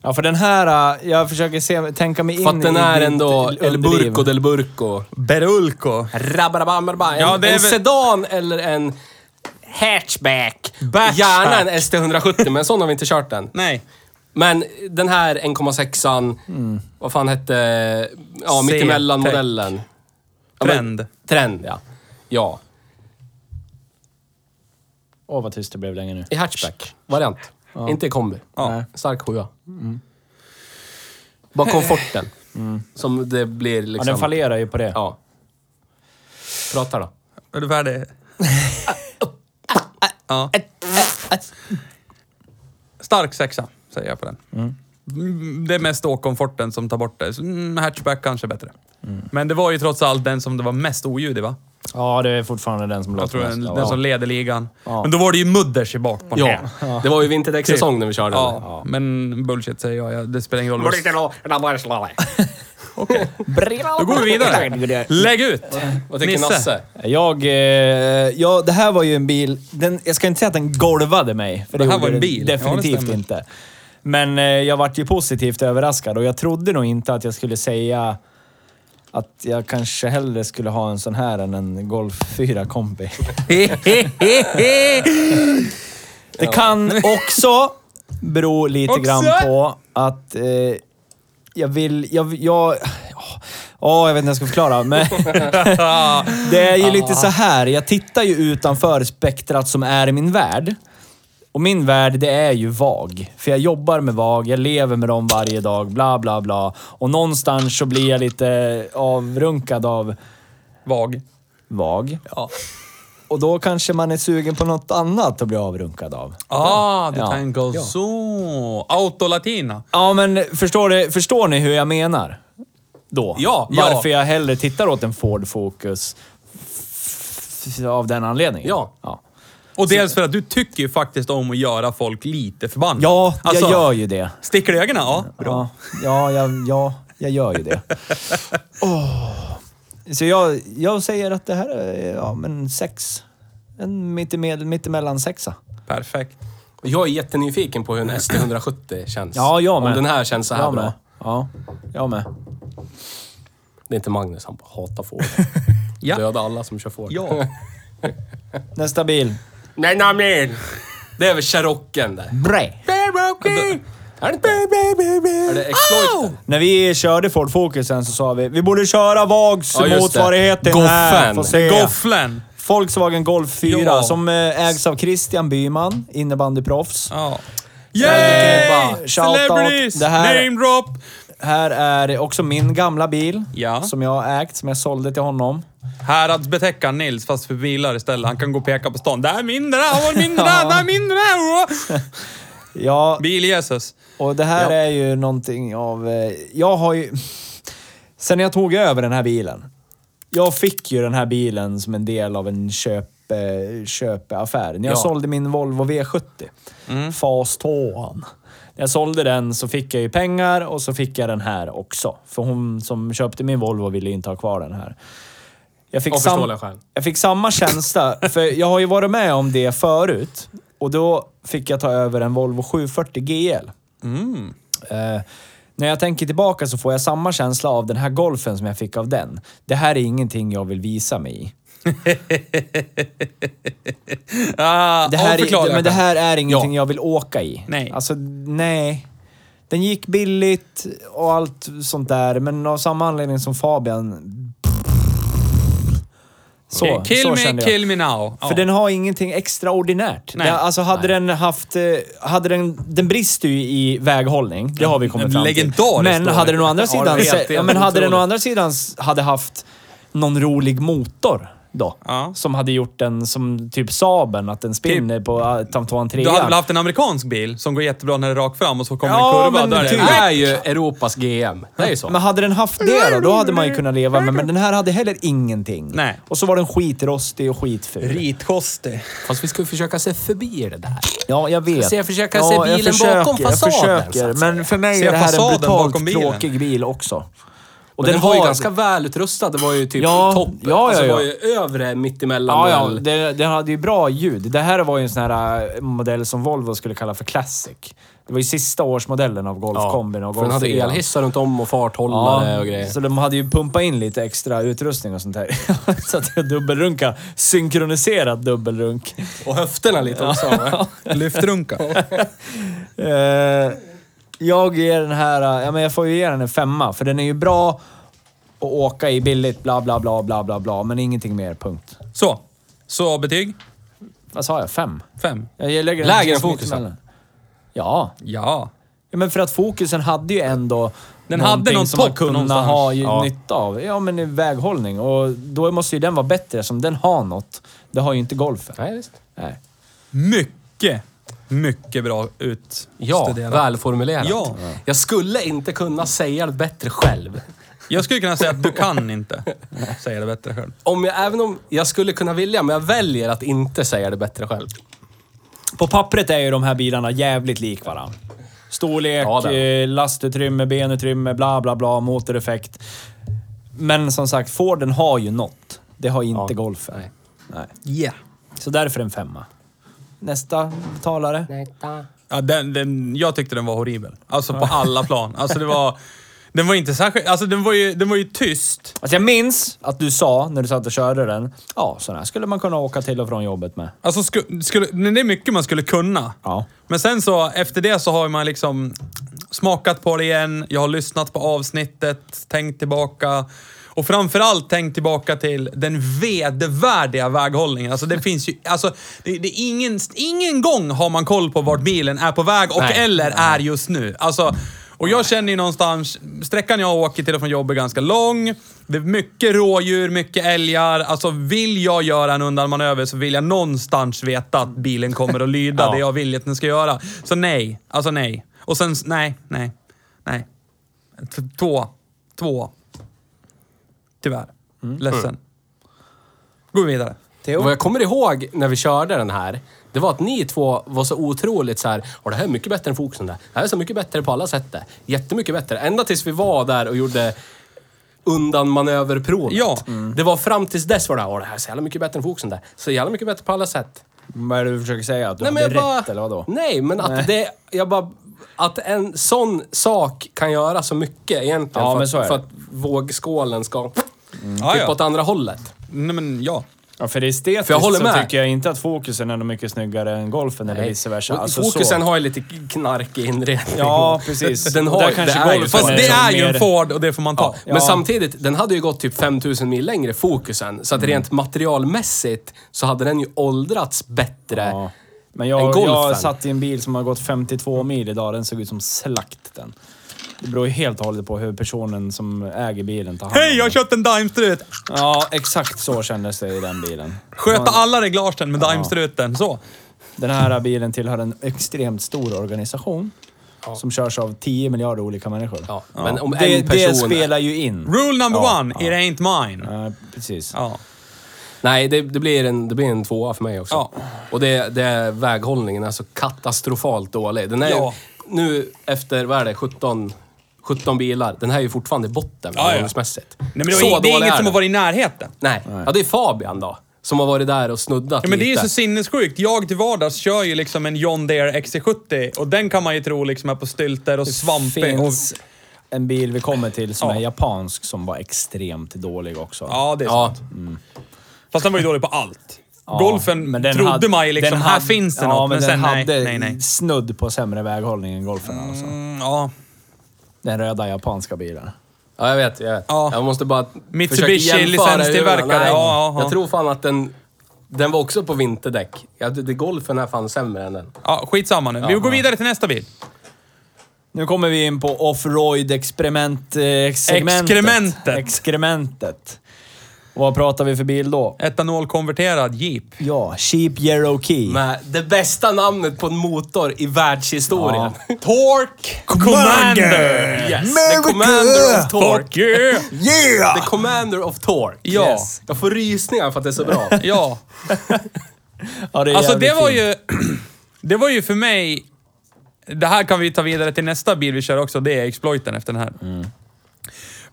[SPEAKER 1] Ja, för den här... eh, Jag försöker se, tänka mig in
[SPEAKER 3] För att den
[SPEAKER 1] i
[SPEAKER 3] är
[SPEAKER 1] ditt
[SPEAKER 3] ändå El
[SPEAKER 1] underdriv.
[SPEAKER 3] Burco del Burco.
[SPEAKER 2] Berulko.
[SPEAKER 3] Rabarabambarabam. En,
[SPEAKER 2] Ja, det är
[SPEAKER 3] en
[SPEAKER 2] väl-
[SPEAKER 3] sedan eller en hatchback.
[SPEAKER 2] Batchback.
[SPEAKER 3] Gärna en ST170, men sån har vi inte kört än.
[SPEAKER 2] Nej.
[SPEAKER 3] Men den här 1,6an, vad fan hette... Ja,
[SPEAKER 2] C-Tech.
[SPEAKER 3] mittemellan-modellen. Ja, men-
[SPEAKER 2] Trend.
[SPEAKER 3] Trend, ja. Ja.
[SPEAKER 1] Åh, vad tyst det blev länge nu.
[SPEAKER 3] I hatchback. Variant. Inte i kombi.
[SPEAKER 2] Ja. Mm.
[SPEAKER 3] Stark sjua. Bara komforten. Som det blir
[SPEAKER 1] Ja,
[SPEAKER 3] liksom...
[SPEAKER 1] den fallerar ju på det.
[SPEAKER 3] Ja. Prata då.
[SPEAKER 2] Är du färdig? ja. Stark sexa, säger jag på den. Mm, Det är mest åkomforten som tar bort det. Så, mm, Hatchback kanske är bättre. Men det var ju trots allt den som det var mest oljud i, va?
[SPEAKER 1] Ja, det är fortfarande den som
[SPEAKER 2] Jag
[SPEAKER 1] låter
[SPEAKER 2] tror den,
[SPEAKER 1] mest.
[SPEAKER 2] den som leder ligan. Men då var det ju mudders i bak på den.
[SPEAKER 3] Ja. Det var ju vinterdäckssäsong när vi körde.
[SPEAKER 2] Ja, men bullshit säger jag. Ja, Det spelar ingen roll. vad- Då går vi vidare. Lägg ut!
[SPEAKER 3] Vad tycker
[SPEAKER 2] [LAUGHS]
[SPEAKER 3] Nasse?
[SPEAKER 1] Jag, eh, ja, det här var ju en bil. Den, jag ska inte säga att den golvade mig. För det,
[SPEAKER 2] Det här
[SPEAKER 1] gjorde
[SPEAKER 2] var en
[SPEAKER 1] den
[SPEAKER 2] bil. Ja, det
[SPEAKER 1] Definitivt
[SPEAKER 2] stämmer.
[SPEAKER 1] inte. Men eh, jag vart ju positivt överraskad och jag trodde nog inte att jag skulle säga att jag kanske hellre skulle ha en sån här än en Golf 4 kombi. Det kan också bero lite
[SPEAKER 2] Också?
[SPEAKER 1] grann på att eh, jag vill... Jag, jag, Åh, jag vet inte hur jag ska förklara. Men det är ju lite så här. Jag tittar ju utanför spektrat som är min värld. Och min värld, det är ju VAG. För jag jobbar med VAG, jag lever med dem varje dag, bla bla bla. Och någonstans så blir jag lite avrunkad av
[SPEAKER 2] Vag.
[SPEAKER 1] VAG.
[SPEAKER 2] Ja.
[SPEAKER 1] Och då kanske man är sugen på något annat att bli avrunkad av.
[SPEAKER 2] Ah, du
[SPEAKER 1] Ja.
[SPEAKER 2] tänker så. Autolatina.
[SPEAKER 1] Ja, men förstår, du, förstår ni hur jag menar? Då.
[SPEAKER 2] Ja, ja.
[SPEAKER 1] Varför jag hellre tittar åt en Ford Focus f- f- av den anledningen.
[SPEAKER 3] Ja.
[SPEAKER 1] Ja,
[SPEAKER 2] Och dels för att du tycker ju faktiskt om att göra folk lite förbannade. Alltså,
[SPEAKER 1] ja jag
[SPEAKER 3] Alltså.
[SPEAKER 1] gör ju det.
[SPEAKER 2] Sticker du i ögonen? Ja, bra.
[SPEAKER 1] Ja, ja, jag, ja, jag gör ju
[SPEAKER 3] [LAUGHS]
[SPEAKER 1] det. Åh. Så jag, jag säger att det här är ja, men sex. En mittemel- mittemellan sexa.
[SPEAKER 2] Perfekt.
[SPEAKER 3] Jag är jättenyfiken på hur en ST170 känns.
[SPEAKER 1] Ja, jag med.
[SPEAKER 3] Om den här känns så här
[SPEAKER 1] jag
[SPEAKER 3] bra.
[SPEAKER 1] Med. Ja, jag med.
[SPEAKER 3] Det är inte Magnus, han bara
[SPEAKER 1] [LAUGHS]
[SPEAKER 3] hatar Ford.
[SPEAKER 2] Ja.
[SPEAKER 3] Döda alla som kör Ford.
[SPEAKER 2] Ja.
[SPEAKER 1] Nästa bil.
[SPEAKER 3] Nej, nej, nej. Det är väl Cheroken där.
[SPEAKER 1] Bre.
[SPEAKER 3] Cherokee! Är det inte? Är det Exploiten?
[SPEAKER 1] När vi körde Ford Focusen så sa vi vi borde köra Vags
[SPEAKER 3] Ja, just det.
[SPEAKER 1] motsvarighet till den här.
[SPEAKER 3] Goffen.
[SPEAKER 1] Får se.
[SPEAKER 2] Gofflen.
[SPEAKER 1] Volkswagen Golf 4
[SPEAKER 2] Ja.
[SPEAKER 1] som eh, ägs av Christian Byman, innebandyproffs.
[SPEAKER 2] Ja.
[SPEAKER 1] Ja,
[SPEAKER 2] Yay!
[SPEAKER 1] det kan jag bara-
[SPEAKER 2] Celebrities!
[SPEAKER 1] Shoutout. Det här-
[SPEAKER 2] Name drop!
[SPEAKER 1] Här är också min gamla bil
[SPEAKER 2] Ja.
[SPEAKER 1] som jag har ägt, som jag sålde till honom.
[SPEAKER 2] Häradsbetäckaren Nils, fast för bilar istället. Han kan gå och peka på stan. Där är min, där har min,
[SPEAKER 1] [LAUGHS]
[SPEAKER 2] där, där är min, där! Åh!
[SPEAKER 1] Ja,
[SPEAKER 2] Bil-Jesus.
[SPEAKER 1] och det här
[SPEAKER 3] Ja.
[SPEAKER 1] är ju någonting av... eh, Jag har ju... Sen jag tog över den här bilen. Jag fick ju den här bilen som en del av en köp, eh, köpeaffär. När jag
[SPEAKER 3] Ja. Mm.
[SPEAKER 1] sålde min Volvo V70, fas 2 När jag sålde den så fick jag ju pengar och så fick jag den här också. För hon som köpte min Volvo ville ju inte ha kvar den här. Jag fick,
[SPEAKER 3] Av
[SPEAKER 1] sam-
[SPEAKER 3] förståeliga skäl.
[SPEAKER 1] jag fick samma
[SPEAKER 3] [LAUGHS]
[SPEAKER 1] känsla, för jag har ju varit med om det förut. Och då fick jag ta över en Volvo 740 GL.
[SPEAKER 2] Mm.
[SPEAKER 1] Eh, när jag tänker tillbaka så får jag samma känsla av den här golfen som jag fick av den. Det här är ingenting jag vill visa mig i.
[SPEAKER 2] Ah,
[SPEAKER 1] Det här,
[SPEAKER 2] avförklarliga
[SPEAKER 1] är, men det
[SPEAKER 2] skäl.
[SPEAKER 1] här är ingenting jag vill åka i.
[SPEAKER 2] Nej.
[SPEAKER 1] Alltså, nej. Den gick billigt och allt sånt där, men av samma anledning som Fabian... Så,
[SPEAKER 2] kill
[SPEAKER 1] så
[SPEAKER 2] me,
[SPEAKER 1] kände jag.
[SPEAKER 2] kill me now. Ja.
[SPEAKER 1] För den har ingenting
[SPEAKER 2] Nej.
[SPEAKER 1] extraordinärt. Nej. Alltså hade den haft... eh, Hade den, den brister ju i väghållning. Det har vi kommit
[SPEAKER 2] En
[SPEAKER 1] fram
[SPEAKER 2] legendariskt
[SPEAKER 1] till. Men
[SPEAKER 2] dålig.
[SPEAKER 1] hade den å andra
[SPEAKER 3] Ja,
[SPEAKER 1] sidan...
[SPEAKER 3] det är helt-
[SPEAKER 1] se- ja, men
[SPEAKER 3] helt
[SPEAKER 1] hade den å
[SPEAKER 3] otroligt.
[SPEAKER 1] andra sidan s- hade haft någon rolig motor då.
[SPEAKER 2] Ja. Typ.
[SPEAKER 1] Som hade gjort den som typ Saben att den spinner på eh, Tamtuan 3.
[SPEAKER 2] Du hade väl haft en amerikansk bil som går jättebra när det är rakt fram och så kommer
[SPEAKER 1] Ja,
[SPEAKER 2] en kurva.
[SPEAKER 1] men
[SPEAKER 2] Där är
[SPEAKER 1] typ.
[SPEAKER 2] det.
[SPEAKER 3] Det är ju Europas GM. Det är ju så.
[SPEAKER 1] Men hade den haft det då, då hade man ju kunnat leva med. Men den här hade heller ingenting.
[SPEAKER 2] Nej.
[SPEAKER 1] Och så var den skitrostig och skitful.
[SPEAKER 2] Ritkostig.
[SPEAKER 3] Fast vi ska ju försöka se förbi det där.
[SPEAKER 1] Ja, jag vet.
[SPEAKER 3] Så jag försöker se
[SPEAKER 1] jag
[SPEAKER 3] bilen
[SPEAKER 1] försöker,
[SPEAKER 3] bakom fasaden,
[SPEAKER 1] Jag
[SPEAKER 3] så
[SPEAKER 1] försöker,
[SPEAKER 3] att säga.
[SPEAKER 1] men för mig
[SPEAKER 2] Se
[SPEAKER 1] är det här en
[SPEAKER 2] fasaden bakom
[SPEAKER 1] brutalt
[SPEAKER 2] bilen.
[SPEAKER 1] tråkig bil också.
[SPEAKER 3] Och den, var ju ganska välutrustad. Det var ju typ
[SPEAKER 1] Ja,
[SPEAKER 3] topp.
[SPEAKER 1] ja, ja,
[SPEAKER 3] Alltså, det
[SPEAKER 1] ja.
[SPEAKER 3] var ju övre, mittemellan.
[SPEAKER 1] Ja, ja.
[SPEAKER 3] väl.
[SPEAKER 1] Det, den hade ju bra ljud. Det här var ju en sån här äh, modell som Volvo skulle kalla för Classic. Det var ju sista årsmodellen av Golfkombin och
[SPEAKER 3] För den
[SPEAKER 1] Golf
[SPEAKER 3] hade
[SPEAKER 1] 4.
[SPEAKER 3] elhissar runt om och farthållare och grejer.
[SPEAKER 1] så de hade ju pumpat in lite extra utrustning och sånt där. [LAUGHS] så att jag dubbelrunkade. Synkroniserad dubbelrunk.
[SPEAKER 3] Och höfterna lite också. va?
[SPEAKER 2] Lyftrunka.
[SPEAKER 1] Eh, jag ger den här... eh, Ja, men jag får ju ge den en femma, för den är ju bra att åka i billigt, bla bla bla bla bla bla, men ingenting mer, punkt.
[SPEAKER 2] Så. Så betyg?
[SPEAKER 1] Vad sa jag? Fem?
[SPEAKER 2] Fem.
[SPEAKER 1] Jag lägger den
[SPEAKER 3] Lägre än
[SPEAKER 1] precis
[SPEAKER 3] fokusen.
[SPEAKER 1] mittemellan. Ja.
[SPEAKER 2] Ja.
[SPEAKER 1] ja, men för att fokusen hade ju ändå...
[SPEAKER 2] Den hade
[SPEAKER 1] någonting
[SPEAKER 2] någon
[SPEAKER 1] som man
[SPEAKER 2] topp
[SPEAKER 1] kunde
[SPEAKER 2] någonstans.
[SPEAKER 1] ha ju
[SPEAKER 2] Ja.
[SPEAKER 1] nytta av. Ja, men i väghållning. Och då måste ju den vara bättre, som den har något. Det har ju inte golfen.
[SPEAKER 3] Nej, visst.
[SPEAKER 1] Nej.
[SPEAKER 2] Mycket, mycket bra utstuderat.
[SPEAKER 3] Ja, välformulerat.
[SPEAKER 2] Ja.
[SPEAKER 3] Jag skulle inte kunna säga det bättre själv.
[SPEAKER 2] Jag skulle kunna säga att du kan inte säga det bättre själv.
[SPEAKER 3] Om jag, även om jag skulle kunna vilja, men jag väljer att inte säga det bättre själv.
[SPEAKER 1] På pappret är ju de här bilarna jävligt lik varandra. Storlek,
[SPEAKER 3] Ja, det
[SPEAKER 1] eh, lastutrymme, benutrymme, bla bla bla, motoreffekt. Men som sagt, Forden har ju något. Det har inte Golfen. Nej.
[SPEAKER 2] Yeah.
[SPEAKER 1] Så därför en femma. Nästa talare.
[SPEAKER 2] Ja, den, den, jag tyckte den var horribel. Alltså på alla plan. Alltså det var... Den var inte särskilt... Alltså den var ju, den var ju tyst.
[SPEAKER 1] Alltså jag minns att du sa, när du satt och körde den, ja, sån här skulle man kunna åka till och från jobbet med.
[SPEAKER 2] Alltså sku, skulle, men det är mycket man skulle kunna.
[SPEAKER 1] Ja.
[SPEAKER 2] Men sen så, efter det så har man liksom smakat på det igen. Jag har lyssnat på avsnittet, tänkt tillbaka. Och framförallt tänkt tillbaka till den vedervärdiga väghållningen. Alltså det [LAUGHS] finns ju, alltså det, det är ingen, ingen gång har man koll på vart bilen är på väg och
[SPEAKER 3] Nej.
[SPEAKER 2] eller är just nu. Alltså, och jag känner ju någonstans, sträckan jag åker till och från jobbet är ganska lång. Det är mycket rådjur, mycket älgar. Alltså vill jag göra en undanmanöver så vill jag någonstans veta att bilen kommer att lyda det jag vill att den ska göra. Så nej, alltså nej. Och sen, s- nej, nej, nej. T- Två, två. Tyvärr. Ledsen. Går vi vidare.
[SPEAKER 1] Theo?
[SPEAKER 3] Vad jag kommer ihåg när vi körde den här, det var att ni två var så otroligt så här, "Åh, det här är mycket bättre än fokusen där. Det här är så mycket bättre på alla sätt det. Jättemycket bättre. Ända tills vi var där och gjorde undanmanöverprovet. Mm.
[SPEAKER 2] Ja.
[SPEAKER 3] Det var fram tills dess var det här, "Åh, det här är så jävla mycket bättre än fokusen där. Så jävla mycket bättre på alla sätt.
[SPEAKER 1] Vad är det du försöker säga? Att du hade rätt, eller vadå?
[SPEAKER 3] Nej, men att det... Jag bara... Att en sån sak kan göra så mycket egentligen.
[SPEAKER 1] Ja,
[SPEAKER 3] för,
[SPEAKER 1] men
[SPEAKER 3] att,
[SPEAKER 1] så är det. Mm.
[SPEAKER 3] för att vågskålen ska...
[SPEAKER 2] Ja,
[SPEAKER 3] Typ
[SPEAKER 2] ja.
[SPEAKER 3] åt andra hållet.
[SPEAKER 2] Nej, men ja.
[SPEAKER 1] Ja, för estetiskt
[SPEAKER 3] För jag håller
[SPEAKER 1] så
[SPEAKER 3] med.
[SPEAKER 1] tycker jag inte att fokusen är något mycket snyggare än golfen eller vice versa.
[SPEAKER 3] Och
[SPEAKER 1] Alltså, så.
[SPEAKER 3] Fokusen har ju lite knarkig inredning.
[SPEAKER 1] Ja, precis.
[SPEAKER 3] [LAUGHS] Den
[SPEAKER 1] Och
[SPEAKER 3] har,
[SPEAKER 1] där kanske
[SPEAKER 3] det är ju
[SPEAKER 1] golfen
[SPEAKER 3] så.
[SPEAKER 2] Fast
[SPEAKER 1] är
[SPEAKER 2] det
[SPEAKER 1] som
[SPEAKER 2] är ju en
[SPEAKER 1] mer-
[SPEAKER 2] Ford och det får man ta.
[SPEAKER 1] Ja.
[SPEAKER 3] Men samtidigt, den hade ju gått typ 5000 mil längre, fokusen. Så att
[SPEAKER 2] Mm.
[SPEAKER 3] rent materialmässigt så hade den ju åldrats bättre.
[SPEAKER 1] Ja. Men
[SPEAKER 3] än
[SPEAKER 1] jag,
[SPEAKER 3] golfen.
[SPEAKER 1] jag satt i en bil som har gått 52 mil idag. Den såg ut som slakt den. Det beror ju helt och hållet på hur personen som äger bilen tar hand om
[SPEAKER 2] Hej, jag har
[SPEAKER 1] den.
[SPEAKER 2] köpt en Daimstrut!
[SPEAKER 1] Ja, exakt så kändes det i den bilen.
[SPEAKER 2] Sköta alla reglagen med Daimstruten. Så.
[SPEAKER 1] Den här bilen tillhör en extremt stor organisation som körs av 10 miljarder olika människor.
[SPEAKER 3] Ja, men om
[SPEAKER 1] det,
[SPEAKER 3] en person...
[SPEAKER 1] det spelar ju in.
[SPEAKER 2] Rule number
[SPEAKER 1] Ja,
[SPEAKER 2] one,
[SPEAKER 1] ja.
[SPEAKER 2] it ain't mine.
[SPEAKER 1] Ja, precis.
[SPEAKER 2] Ja.
[SPEAKER 3] Nej, det, det, blir en, det blir en tvåa för mig också.
[SPEAKER 2] Ja.
[SPEAKER 3] Och det, det, väghållningen är så katastrofalt dålig. Den är
[SPEAKER 2] Ja.
[SPEAKER 3] ju, nu efter, vad är det, 17, 17 bilar. Den här är ju fortfarande i botten
[SPEAKER 2] Ja, ja.
[SPEAKER 3] väghållningsmässigt.
[SPEAKER 2] Nej, men det, var, det är
[SPEAKER 3] dålig
[SPEAKER 2] inget som
[SPEAKER 3] den.
[SPEAKER 2] har varit i närheten.
[SPEAKER 3] Nej. ja det är Fabian då. Som har varit där och snuddat
[SPEAKER 2] Ja, men det är ju
[SPEAKER 3] lite.
[SPEAKER 2] så sinnessjukt. Jag till vardags kör ju liksom en John Deere XC70 och den kan man ju tro liksom är på stylter och svampig. Och,
[SPEAKER 1] finns en bil vi kommer till som
[SPEAKER 2] Ja.
[SPEAKER 1] är japansk som var extremt dålig också.
[SPEAKER 2] ja, det är
[SPEAKER 3] Ja,
[SPEAKER 2] sant. Fast den var ju dålig på allt. Golfen trodde
[SPEAKER 1] hade-
[SPEAKER 2] man ju liksom,
[SPEAKER 1] den
[SPEAKER 2] här
[SPEAKER 1] hade-
[SPEAKER 2] finns det
[SPEAKER 1] ja,
[SPEAKER 2] något.
[SPEAKER 1] Men,
[SPEAKER 2] Men,
[SPEAKER 1] den
[SPEAKER 2] sen nej,
[SPEAKER 1] hade
[SPEAKER 2] nej, nej.
[SPEAKER 1] snudd på sämre väghållning än golfen alltså.
[SPEAKER 2] Mm, ja.
[SPEAKER 1] Den röda japanska bilen.
[SPEAKER 3] Ja, jag vet. Jag, vet.
[SPEAKER 2] Ja.
[SPEAKER 3] jag måste bara
[SPEAKER 2] Mitsubishi
[SPEAKER 3] försöka jämföra
[SPEAKER 2] licenstillverkare.
[SPEAKER 3] hur- nej,
[SPEAKER 2] Ja, ja, ja.
[SPEAKER 3] Jag tror fan att den... Den var också på vinterdäck. Ja, det, det golfen är fan sämre än den.
[SPEAKER 2] Ja, skitsamma nu. Vi går vidare till nästa bil.
[SPEAKER 1] Nu kommer vi in på offroad experiment eh, segmentet.
[SPEAKER 2] Exkrementet.
[SPEAKER 1] Exkrementet. Och vad pratar vi för bil då?
[SPEAKER 2] Etanolkonverterad Jeep.
[SPEAKER 1] Ja, Cheap Cherokee.
[SPEAKER 3] Med det bästa namnet på en motor i världshistorien.
[SPEAKER 2] Torque
[SPEAKER 3] Yes.
[SPEAKER 1] America!
[SPEAKER 3] The Commander of Torque.
[SPEAKER 2] Fuck yeah!
[SPEAKER 1] Yeah!
[SPEAKER 3] The [LAUGHS] Commander of Torque.
[SPEAKER 2] Ja.
[SPEAKER 3] Yes. Jag får rysningar för att det är så bra.
[SPEAKER 2] Ja,
[SPEAKER 1] Ja, det är
[SPEAKER 2] alltså det
[SPEAKER 1] jävligt
[SPEAKER 2] var
[SPEAKER 1] fint.
[SPEAKER 2] ju... [CLEARS THROAT] Det var ju för mig... Det här kan vi ta vidare till nästa bil vi kör också. Det är exploiten efter den här.
[SPEAKER 1] Mm.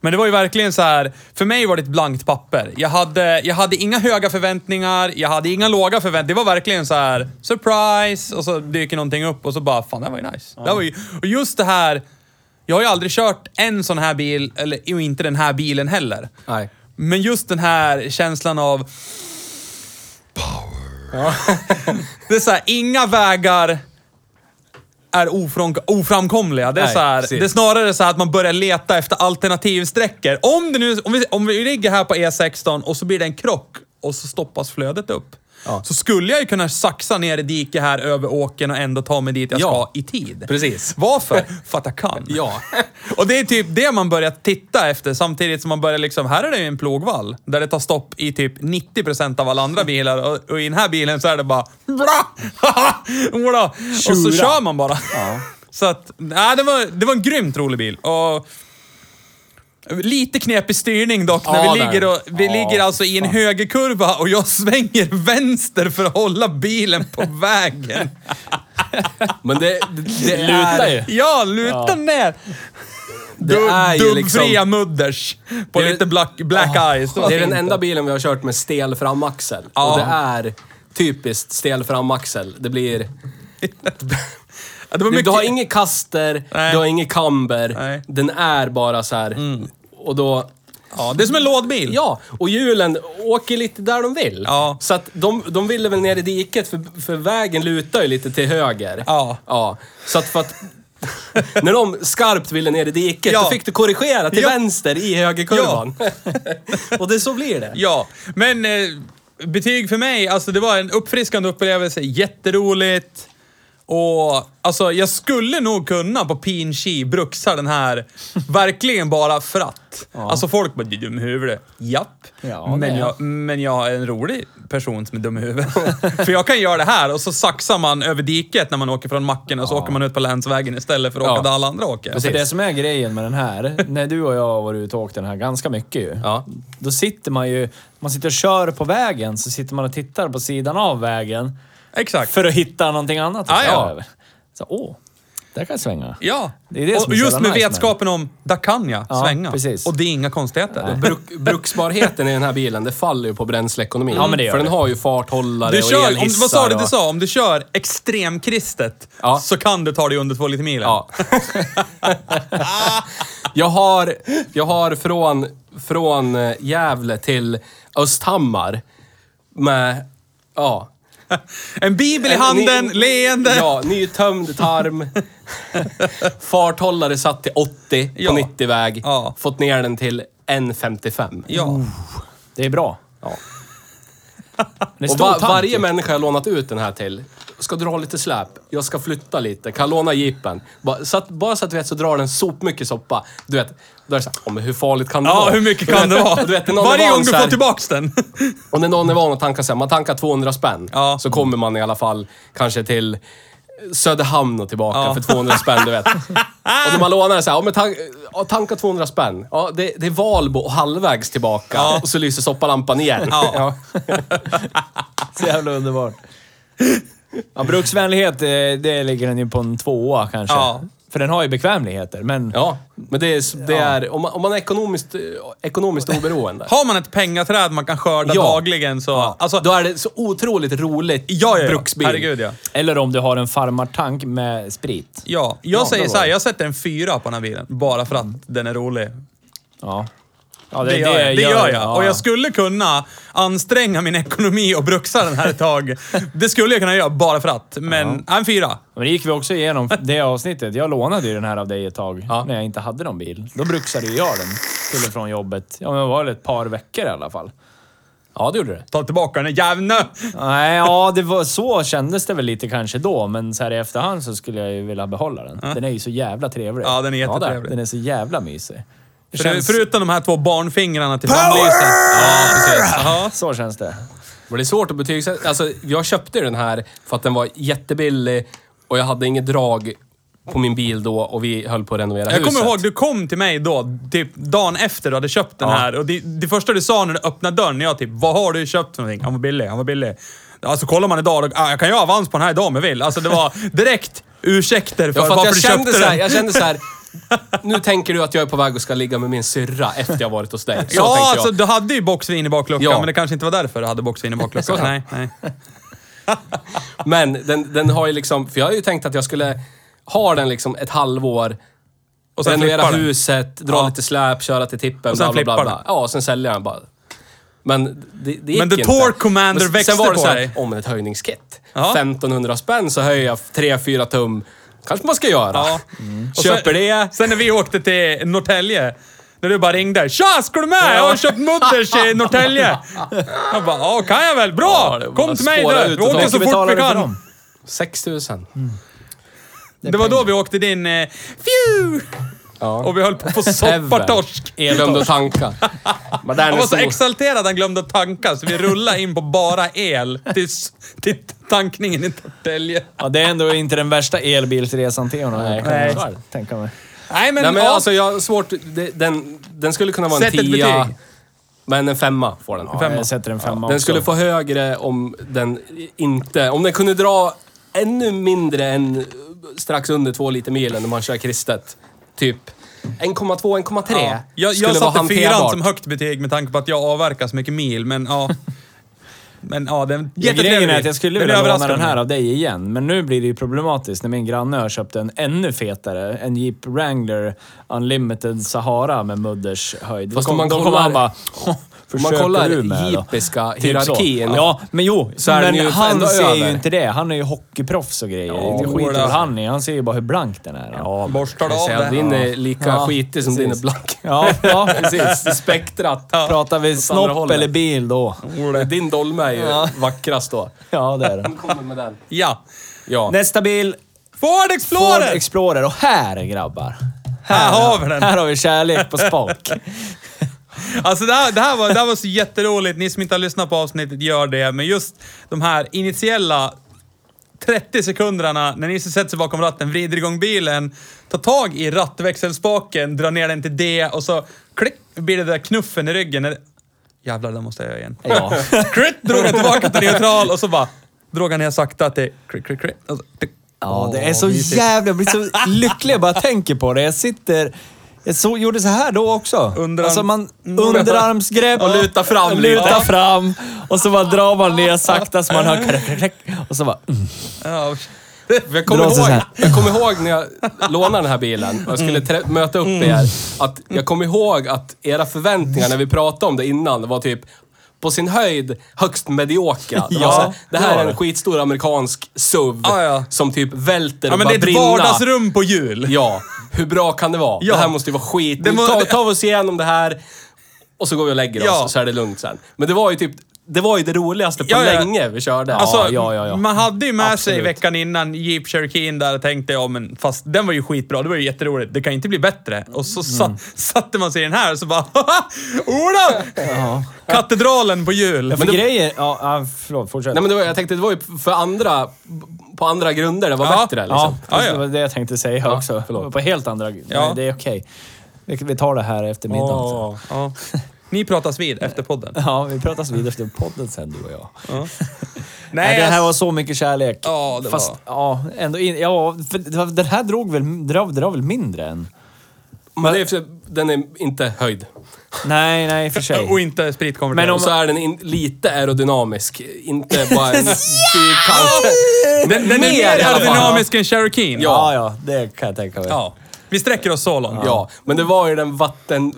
[SPEAKER 2] Men det var ju verkligen så här. För mig var det ett blankt papper. Jag hade, jag hade inga höga förväntningar, jag hade inga låga förväntningar. Det var verkligen så här surprise och så dyker någonting upp och så bara, fan det här var ju nice. Det här var ju, och just det här, jag har ju aldrig kört en sån här bil, eller och inte den här bilen heller.
[SPEAKER 3] [LAUGHS] Nej.
[SPEAKER 2] Men just den här känslan av... Power. det är så här, inga vägar är ofrån, oframkomliga. Det är,
[SPEAKER 3] Nej,
[SPEAKER 2] så här,
[SPEAKER 3] precis.
[SPEAKER 2] det är snarare så här att man börjar leta efter alternativsträckor. Om, det nu, om, vi, om vi ligger här på E16 och så blir det en krock och så stoppas flödet upp.
[SPEAKER 3] Ja.
[SPEAKER 2] Så skulle jag ju kunna saxa ner i diket här över åken och ändå ta mig dit jag
[SPEAKER 3] Ja,
[SPEAKER 2] ska i tid.
[SPEAKER 3] precis.
[SPEAKER 2] Varför? För att jag kan.
[SPEAKER 3] Ja.
[SPEAKER 2] Och det är typ det man börjar titta efter samtidigt som man börjar liksom, här är det ju en plogvall där det tar stopp i typ 90% av alla andra bilar och, och i den här bilen så är det bara bra, [LAUGHS] Ola. Och så
[SPEAKER 1] Tjura.
[SPEAKER 2] kör man bara. Så att, nej, det var, det var en grymt rolig bil. Och, Lite knepig styrning dock, när
[SPEAKER 3] Ja,
[SPEAKER 2] vi,
[SPEAKER 3] där.
[SPEAKER 2] ligger, och, vi
[SPEAKER 1] Ja,
[SPEAKER 2] ligger alltså i en högerkurva och jag svänger vänster för att hålla bilen på vägen.
[SPEAKER 3] Men det, det, det
[SPEAKER 1] Lutar
[SPEAKER 3] är...
[SPEAKER 1] ju.
[SPEAKER 2] Ja, luta ner!
[SPEAKER 3] Det är ju
[SPEAKER 2] Dubbfria
[SPEAKER 3] liksom-
[SPEAKER 2] mudders på
[SPEAKER 3] Det är- Ah.
[SPEAKER 2] lite black, black eyes. var
[SPEAKER 3] Det är den
[SPEAKER 2] fint.
[SPEAKER 3] enda bilen vi har kört med stel framaxel.
[SPEAKER 2] Ja.
[SPEAKER 3] Och det är typiskt stel framaxel. Det blir...
[SPEAKER 2] Ja, det var
[SPEAKER 3] Du,
[SPEAKER 2] mycket...
[SPEAKER 3] du har inget kaster,
[SPEAKER 2] Nej.
[SPEAKER 3] du har inget kamber.
[SPEAKER 2] Nej. Mm.
[SPEAKER 3] Den är bara så här. Och då...
[SPEAKER 2] ja, det är som en lådbil.
[SPEAKER 3] Ja, och hjulen åker lite där de vill.
[SPEAKER 2] Ja.
[SPEAKER 3] Så att de, de ville väl ner i diket, för, för vägen lutar ju lite till höger.
[SPEAKER 2] Ja.
[SPEAKER 3] ja. Så att för att... [LAUGHS] när de skarpt ville ner i diket,
[SPEAKER 2] Ja.
[SPEAKER 3] då fick du korrigera till
[SPEAKER 2] Ja.
[SPEAKER 3] vänster i högerkurvan. [LAUGHS] och det, så blir det.
[SPEAKER 2] Ja, men eh, betyg för mig, alltså det var en uppfriskande upplevelse, jätteroligt. Och alltså jag skulle nog kunna på Pinchi bruxa den här verkligen bara för att. Alltså folk bara, du är dum i huvudet. Japp.
[SPEAKER 1] Ja, det
[SPEAKER 2] men,
[SPEAKER 1] är
[SPEAKER 2] jag, men jag är en rolig person som är dum i huvudet. [LAUGHS] för jag kan göra det här och så saxar man över diket när man åker från macken och så åker man ut på länsvägen istället för att åka
[SPEAKER 3] Ja.
[SPEAKER 2] där alla andra åker.
[SPEAKER 1] Alltså det som är grejen med den här, när du och jag har varit ute och åkt den här ganska mycket ju.
[SPEAKER 3] Ja.
[SPEAKER 1] Då sitter man ju, man sitter och kör på vägen, så sitter man och tittar på sidan av vägen
[SPEAKER 2] Exakt.
[SPEAKER 1] för att hitta någonting annat att
[SPEAKER 2] Ah, ja.
[SPEAKER 1] köra över. Så, åh, där kan jag svänga.
[SPEAKER 2] Ja,
[SPEAKER 1] Det är det som
[SPEAKER 2] och
[SPEAKER 1] är så
[SPEAKER 2] just
[SPEAKER 1] jävla
[SPEAKER 2] med
[SPEAKER 1] nice
[SPEAKER 2] vetskapen om där kan jag
[SPEAKER 1] Ja,
[SPEAKER 2] svänga.
[SPEAKER 1] precis.
[SPEAKER 2] Och det är inga konstigheter.
[SPEAKER 3] Bruk, bruksbarheten i den här bilen, det faller ju på bränsleekonomin.
[SPEAKER 1] Ja, men det gör
[SPEAKER 3] För
[SPEAKER 1] det.
[SPEAKER 3] den har ju farthållare
[SPEAKER 2] Du
[SPEAKER 3] och
[SPEAKER 2] kör, om,
[SPEAKER 3] elhissar
[SPEAKER 2] vad sa du du
[SPEAKER 3] och-
[SPEAKER 2] sa? Om du kör extremkristet
[SPEAKER 3] Ja.
[SPEAKER 2] så kan du ta dig under två liter milen.
[SPEAKER 3] Ja. jag, har, jag har från, från eh, Gävle till Östhammar med, ja.
[SPEAKER 2] [LAUGHS] En bibel i
[SPEAKER 3] En
[SPEAKER 2] handen,
[SPEAKER 3] ny-
[SPEAKER 2] leende.
[SPEAKER 3] Ja,
[SPEAKER 2] [LAUGHS]
[SPEAKER 3] nytömd tarm. Farthållare satt till 80
[SPEAKER 2] Ja.
[SPEAKER 3] på 90-väg.
[SPEAKER 2] Ja.
[SPEAKER 3] Fått ner den till 1,55.
[SPEAKER 2] Ja.
[SPEAKER 1] Det är bra.
[SPEAKER 3] Ja.
[SPEAKER 1] [LAUGHS] Det är
[SPEAKER 3] Och
[SPEAKER 1] stor
[SPEAKER 3] va-
[SPEAKER 1] tank.
[SPEAKER 2] typ.
[SPEAKER 3] varje människa jag lånat ut den här till. Ska dra lite släp. Jag ska flytta lite. Kan jag låna jeepen? Bara så att, bara så att du vet så drar den sopmycket soppa. Du vet, då är det såhär, "Åh, men hur farligt kan det
[SPEAKER 2] Ja,
[SPEAKER 3] vara?
[SPEAKER 2] hur mycket
[SPEAKER 3] Du
[SPEAKER 2] kan
[SPEAKER 3] vet-
[SPEAKER 2] det vara?
[SPEAKER 3] Du vet, när någon är
[SPEAKER 2] Varje
[SPEAKER 3] van
[SPEAKER 2] gång du
[SPEAKER 3] så här-
[SPEAKER 2] får tillbaks den.
[SPEAKER 3] Och när någon är van att tanka så här, man tankar 200 spänn.
[SPEAKER 2] Ja.
[SPEAKER 3] Så kommer man i alla fall kanske till Söderhamn och tillbaka
[SPEAKER 2] Ja.
[SPEAKER 3] för 200 spänn, du vet. Och när man lånar så här, "Ja, men tank, ja, tanka 200 spänn. Ja, det, det är Valbo och halvvägs tillbaka.
[SPEAKER 2] Ja.
[SPEAKER 3] Och så lyser soppalampan igen.
[SPEAKER 2] Ja.
[SPEAKER 1] Så jävla underbart. [LAUGHS] Ja, bruksvänlighet, eh, det ligger den ju på en tvåa kanske.
[SPEAKER 2] Ja.
[SPEAKER 1] För den har ju bekvämligheter, men...
[SPEAKER 3] Ja, men det är... Det är om, man, om man är ekonomiskt, eh, ekonomiskt oberoende.
[SPEAKER 2] Har man ett pengaträd man kan skörda
[SPEAKER 3] Ja.
[SPEAKER 2] dagligen så... Alltså,
[SPEAKER 3] då är det så otroligt roligt
[SPEAKER 2] ja, ja, ja.
[SPEAKER 3] bruksbil.
[SPEAKER 2] Herregud ja.
[SPEAKER 1] Eller om du har en farmartank med sprit.
[SPEAKER 2] Ja, jag
[SPEAKER 1] Ja,
[SPEAKER 2] säger
[SPEAKER 1] det
[SPEAKER 2] så här,
[SPEAKER 1] var det.
[SPEAKER 2] jag sätter en fyra på den här bilen. Bara för att den är rolig.
[SPEAKER 1] Ja.
[SPEAKER 4] Ja,
[SPEAKER 2] Det gör, jag. det gör jag. Och jag skulle kunna anstränga min ekonomi och bruxa den här ett tag. Det skulle jag kunna göra bara för att. Men, en fyra.
[SPEAKER 1] Men det gick vi också igenom [LAUGHS] det avsnittet. Jag lånade ju den här av dig ett tag när jag inte hade någon bil. Då bruksade ju jag den till och från jobbet. Ja, men det var väl ett par veckor i alla fall.
[SPEAKER 3] Ja, det gjorde det.
[SPEAKER 2] Ta tillbaka den jävla.
[SPEAKER 1] Nej, ja, det var, så kändes det väl lite kanske då, men så här i efterhand så skulle jag ju vilja behålla den. Den är ju så jävla trevlig.
[SPEAKER 2] Ja, den är
[SPEAKER 1] där.
[SPEAKER 2] jättetrevlig.
[SPEAKER 1] den är så jävla mysig. Det
[SPEAKER 2] För,
[SPEAKER 1] känns,
[SPEAKER 2] Förutom de här två barnfingrarna till framlyset. Ja, precis. Ja.
[SPEAKER 1] så känns det.
[SPEAKER 3] Men det är svårt att betygsätta. Alltså, jag köpte den här för att den var jättebillig och jag hade inget drag på min bil då och vi höll på att renovera
[SPEAKER 2] Jag
[SPEAKER 3] huset.
[SPEAKER 2] kommer ihåg, du kom till mig då, typ dagen efter du hade köpt den här. Och det, det första du sa när du öppnade dörren, jag typ, vad har du köpt för någonting? Han var billig, han var billig. Alltså kollar man idag, då, ah, jag kan ju ha avans på den här idag om jag vill. Alltså det var direkt ursäkter för,
[SPEAKER 3] Ja, för att
[SPEAKER 2] varför
[SPEAKER 3] jag
[SPEAKER 2] du
[SPEAKER 3] kände
[SPEAKER 2] köpte
[SPEAKER 3] så här,
[SPEAKER 2] den.
[SPEAKER 3] jag kände så [LAUGHS] här. Nu tänker du att jag är på väg och ska ligga med min syrra efter jag varit hos dig. Så tänkte
[SPEAKER 2] ja,
[SPEAKER 3] jag.
[SPEAKER 2] alltså du hade ju boxvin i bakluckan,
[SPEAKER 3] Ja.
[SPEAKER 2] men det kanske inte var därför du hade boxvin i
[SPEAKER 3] [LAUGHS]
[SPEAKER 2] bakluckan. nej, nej.
[SPEAKER 3] Men den, den har ju liksom... För jag har ju tänkt att jag skulle ha den liksom ett halvår.
[SPEAKER 2] Och sen
[SPEAKER 3] renovera
[SPEAKER 2] flippar den.
[SPEAKER 3] huset, dra
[SPEAKER 2] Ja.
[SPEAKER 3] lite släp, köra till tippen,
[SPEAKER 2] Och sen
[SPEAKER 3] bla bla bla.
[SPEAKER 2] flippar
[SPEAKER 3] bla. Ja, och sen säljer jag den bara. Men det, det gick
[SPEAKER 2] Men the
[SPEAKER 3] inte.
[SPEAKER 2] Torque Commander
[SPEAKER 3] Men s-
[SPEAKER 2] växte
[SPEAKER 3] Sen var det
[SPEAKER 2] på
[SPEAKER 3] så
[SPEAKER 2] dig.
[SPEAKER 3] här, om ett höjningskit.
[SPEAKER 2] Ja.
[SPEAKER 3] 1500 spänn så höjer jag 3-4 tum. Kanske man ska göra.
[SPEAKER 2] Ja. Och
[SPEAKER 3] Köper
[SPEAKER 2] sen,
[SPEAKER 3] det.
[SPEAKER 2] Mm. Sen när vi åkte till Norrtälje, när du bara ringde. Tja, ska du med? Jag har köpt mutters
[SPEAKER 3] [LAUGHS]
[SPEAKER 2] i Norrtälje. Jag bara, ja kan jag väl. Bra!
[SPEAKER 3] Ja, det var
[SPEAKER 2] Kom till mig
[SPEAKER 3] spåra
[SPEAKER 2] du.
[SPEAKER 3] ut
[SPEAKER 2] Vi
[SPEAKER 3] och
[SPEAKER 2] åker
[SPEAKER 3] ta-
[SPEAKER 2] så fort vi kan.
[SPEAKER 3] 6000.
[SPEAKER 2] Mm. Det var då vi åkte din... Eh, fju!
[SPEAKER 3] Ja.
[SPEAKER 2] Och vi höll på att
[SPEAKER 3] [LAUGHS]
[SPEAKER 2] få soppartorsk.
[SPEAKER 3] Glömde
[SPEAKER 2] [LAUGHS]
[SPEAKER 3] att tanka. Men den
[SPEAKER 2] Han
[SPEAKER 3] är
[SPEAKER 2] var så
[SPEAKER 3] stor.
[SPEAKER 2] exalterad han glömde att tanka, så vi rullade in på bara el till, till tankningen i Norrtälje.
[SPEAKER 1] Ja, det är ändå inte den värsta elbilsresan till honom. Nej,
[SPEAKER 3] Nej.
[SPEAKER 1] kan jag tänka mig.
[SPEAKER 2] Nej, men,
[SPEAKER 3] Nej, men
[SPEAKER 2] ja,
[SPEAKER 3] alltså, jag har svårt... det- Den, den skulle kunna vara en
[SPEAKER 2] Sätt ett
[SPEAKER 3] tia.
[SPEAKER 2] betyg.
[SPEAKER 3] Men en femma får den.
[SPEAKER 1] Ja, jag sätter en femma
[SPEAKER 3] Den
[SPEAKER 1] också.
[SPEAKER 3] skulle få högre om den inte... Om den kunde dra ännu mindre än strax under två liter milen när man kör kristet. Typ 1,2-1,3
[SPEAKER 2] Ja. Jag,
[SPEAKER 3] skulle
[SPEAKER 2] jag satte
[SPEAKER 3] vara
[SPEAKER 2] fyran
[SPEAKER 3] hanterbart.
[SPEAKER 2] som högt betyg med tanke på att jag avverkar så mycket mil, men
[SPEAKER 3] [LAUGHS]
[SPEAKER 2] ja. Men ja, den
[SPEAKER 1] Grejen är att jag skulle vilja låna
[SPEAKER 2] överraskar
[SPEAKER 1] den
[SPEAKER 2] mig.
[SPEAKER 1] här av dig igen, men nu blir det ju problematiskt när min granne har köpt en ännu fetare. En Jeep Wrangler Unlimited Sahara med mudders höjd.
[SPEAKER 3] Fast
[SPEAKER 1] Då
[SPEAKER 3] om
[SPEAKER 1] kom-
[SPEAKER 3] man
[SPEAKER 1] då kommer han
[SPEAKER 3] kollar- [LAUGHS]
[SPEAKER 1] bara...
[SPEAKER 3] Om man
[SPEAKER 1] "Försöker
[SPEAKER 3] kollar
[SPEAKER 1] du med då?"
[SPEAKER 3] hippiska
[SPEAKER 1] Typ så.
[SPEAKER 3] hierarkin.
[SPEAKER 1] Ja, men jo.
[SPEAKER 3] Så är
[SPEAKER 1] men
[SPEAKER 3] den ju ändå
[SPEAKER 1] han ser ju
[SPEAKER 3] över.
[SPEAKER 1] inte det. Han är ju hockeyproffs och grejer.
[SPEAKER 3] Ja,
[SPEAKER 1] det skiter
[SPEAKER 2] det.
[SPEAKER 1] väl han i. Han ser ju bara hur blank den är.
[SPEAKER 3] Ja,
[SPEAKER 2] Borstar du
[SPEAKER 3] jag
[SPEAKER 2] av
[SPEAKER 3] säger att
[SPEAKER 2] det?
[SPEAKER 3] Din är lika
[SPEAKER 1] Ja,
[SPEAKER 3] skitig som din är
[SPEAKER 1] precis.
[SPEAKER 3] blank. [LAUGHS]
[SPEAKER 1] Ja, ja.
[SPEAKER 3] Precis, spektrat.
[SPEAKER 1] Pratar vi snopp
[SPEAKER 3] hållet.
[SPEAKER 1] eller bil då?
[SPEAKER 3] Din dolme är ju vackrast då.
[SPEAKER 1] Ja, det är det.
[SPEAKER 3] Nu kommer med den.
[SPEAKER 2] Ja.
[SPEAKER 3] Ja.
[SPEAKER 1] Nästa bil.
[SPEAKER 2] Ford
[SPEAKER 1] Ford
[SPEAKER 2] Explorer!
[SPEAKER 1] Explorer. Och här grabbar.
[SPEAKER 2] här har vi den!
[SPEAKER 1] Här har vi kärlek på spak.
[SPEAKER 2] Alltså det här, det, här var, det här var så jätteroligt. Ni som inte har lyssnat på avsnittet, gör det. Men just de här initiella 30 sekunderna när Nisse sätter sig bakom ratten, vrider igång bilen, tar tag i rattväxelspaken, drar ner den till D och så klick, blir det där knuffen i ryggen. När det- Jävlar, det måste jag göra igen. [LAUGHS]
[SPEAKER 1] Ja.
[SPEAKER 2] Klick, drog han tillbaka till neutral och så bara drog han ner sakta till klick, klick, klick. Och så, tick.
[SPEAKER 1] [LAUGHS] Ja, det är
[SPEAKER 2] Åh,
[SPEAKER 1] så
[SPEAKER 2] mysigt.
[SPEAKER 1] jävla... Jag blir så [LAUGHS] lycklig jag bara tänker på det. Jag sitter... Jag så, gjorde så här då också.
[SPEAKER 2] Underarm-
[SPEAKER 1] Alltså man, underarmsgrepp.
[SPEAKER 3] Mm. Och luta fram liksom.
[SPEAKER 1] Och
[SPEAKER 3] lite.
[SPEAKER 1] Luta fram. Och så bara drar man ner sakta så man hör... krack, krack, krack. Och så bara... mm.
[SPEAKER 2] Ja.
[SPEAKER 3] För Jag kommer,
[SPEAKER 1] Dra sig så
[SPEAKER 3] ihåg,
[SPEAKER 1] här.
[SPEAKER 3] jag kommer ihåg när jag lånade den här bilen och jag skulle trä- möta upp
[SPEAKER 2] Mm.
[SPEAKER 3] er. Att jag kommer ihåg att era förväntningar när vi pratade om det innan var typ på sin höjd högst mediokra. Det,
[SPEAKER 2] [LAUGHS]
[SPEAKER 3] var
[SPEAKER 2] Ja,
[SPEAKER 3] så här, det
[SPEAKER 2] det
[SPEAKER 3] här
[SPEAKER 2] var
[SPEAKER 3] är
[SPEAKER 2] det.
[SPEAKER 3] en skitstor amerikansk SUV
[SPEAKER 2] Ja, ja.
[SPEAKER 3] som typ välter och
[SPEAKER 2] ja, men det
[SPEAKER 3] bara
[SPEAKER 2] är ett
[SPEAKER 3] brinna.
[SPEAKER 2] vardagsrum på hjul.
[SPEAKER 3] Ja, hur bra kan det vara?
[SPEAKER 2] Ja.
[SPEAKER 3] Det här måste ju vara skit.
[SPEAKER 2] Det må-
[SPEAKER 3] ta, ta oss igenom det här och så går vi och lägger
[SPEAKER 2] Ja.
[SPEAKER 3] oss så är det lugnt sen. Men det var ju typ, det var ju det roligaste på
[SPEAKER 2] Ja, ja.
[SPEAKER 3] länge vi körde.
[SPEAKER 2] Alltså,
[SPEAKER 3] ja, ja, ja, ja.
[SPEAKER 2] man hade ju med sig
[SPEAKER 3] Absolut.
[SPEAKER 2] veckan innan Jeep Cherokee'n där och tänkte ja men fast den var ju skitbra, det var ju jätteroligt, det kan ju inte bli bättre. Och så sa,
[SPEAKER 3] Mm.
[SPEAKER 2] satte man sig i den här och så bara haha! Ola! Katedralen på jul.
[SPEAKER 1] Men grejer... Ja, ja, förlåt. Fortsätt.
[SPEAKER 3] Nej men det var, jag tänkte det var ju för andra, på andra grunder det var
[SPEAKER 2] Ja.
[SPEAKER 3] bättre liksom.
[SPEAKER 1] ja,
[SPEAKER 2] Ja, ja.
[SPEAKER 1] det var det jag tänkte säga också.
[SPEAKER 3] förlåt.
[SPEAKER 1] På helt andra... Nej, det är okej. Vi- Vi tar det här efter middagen. sen.
[SPEAKER 3] Åh.
[SPEAKER 2] Ja. Ni pratas vid efter podden.
[SPEAKER 1] Ja, vi pratas vidare efter podden sen du och jag.
[SPEAKER 2] Nej,
[SPEAKER 1] Nej, det här
[SPEAKER 2] jag-
[SPEAKER 1] var så mycket kärlek.
[SPEAKER 2] Ja, det
[SPEAKER 1] Fast,
[SPEAKER 2] var.
[SPEAKER 1] ja, ändå in, ja, för det var- den här drog väl, drar, drar väl mindre än...
[SPEAKER 3] Men det är, för- den är inte höjd.
[SPEAKER 1] Nej, nej, i och för
[SPEAKER 2] Och
[SPEAKER 1] sig.
[SPEAKER 2] inte
[SPEAKER 1] Men
[SPEAKER 2] spritkonverterad.
[SPEAKER 3] Och så är den in, lite aerodynamisk. Inte
[SPEAKER 2] [LAUGHS]
[SPEAKER 3] bara en fyrkant.
[SPEAKER 2] Den, den är mer
[SPEAKER 3] i alla fall.
[SPEAKER 2] aerodynamisk än Cherokee'n.
[SPEAKER 1] Ja, ja, det kan jag tänka mig.
[SPEAKER 2] Ja. Vi sträcker oss så långt.
[SPEAKER 3] Ja, men det var ju den vatten,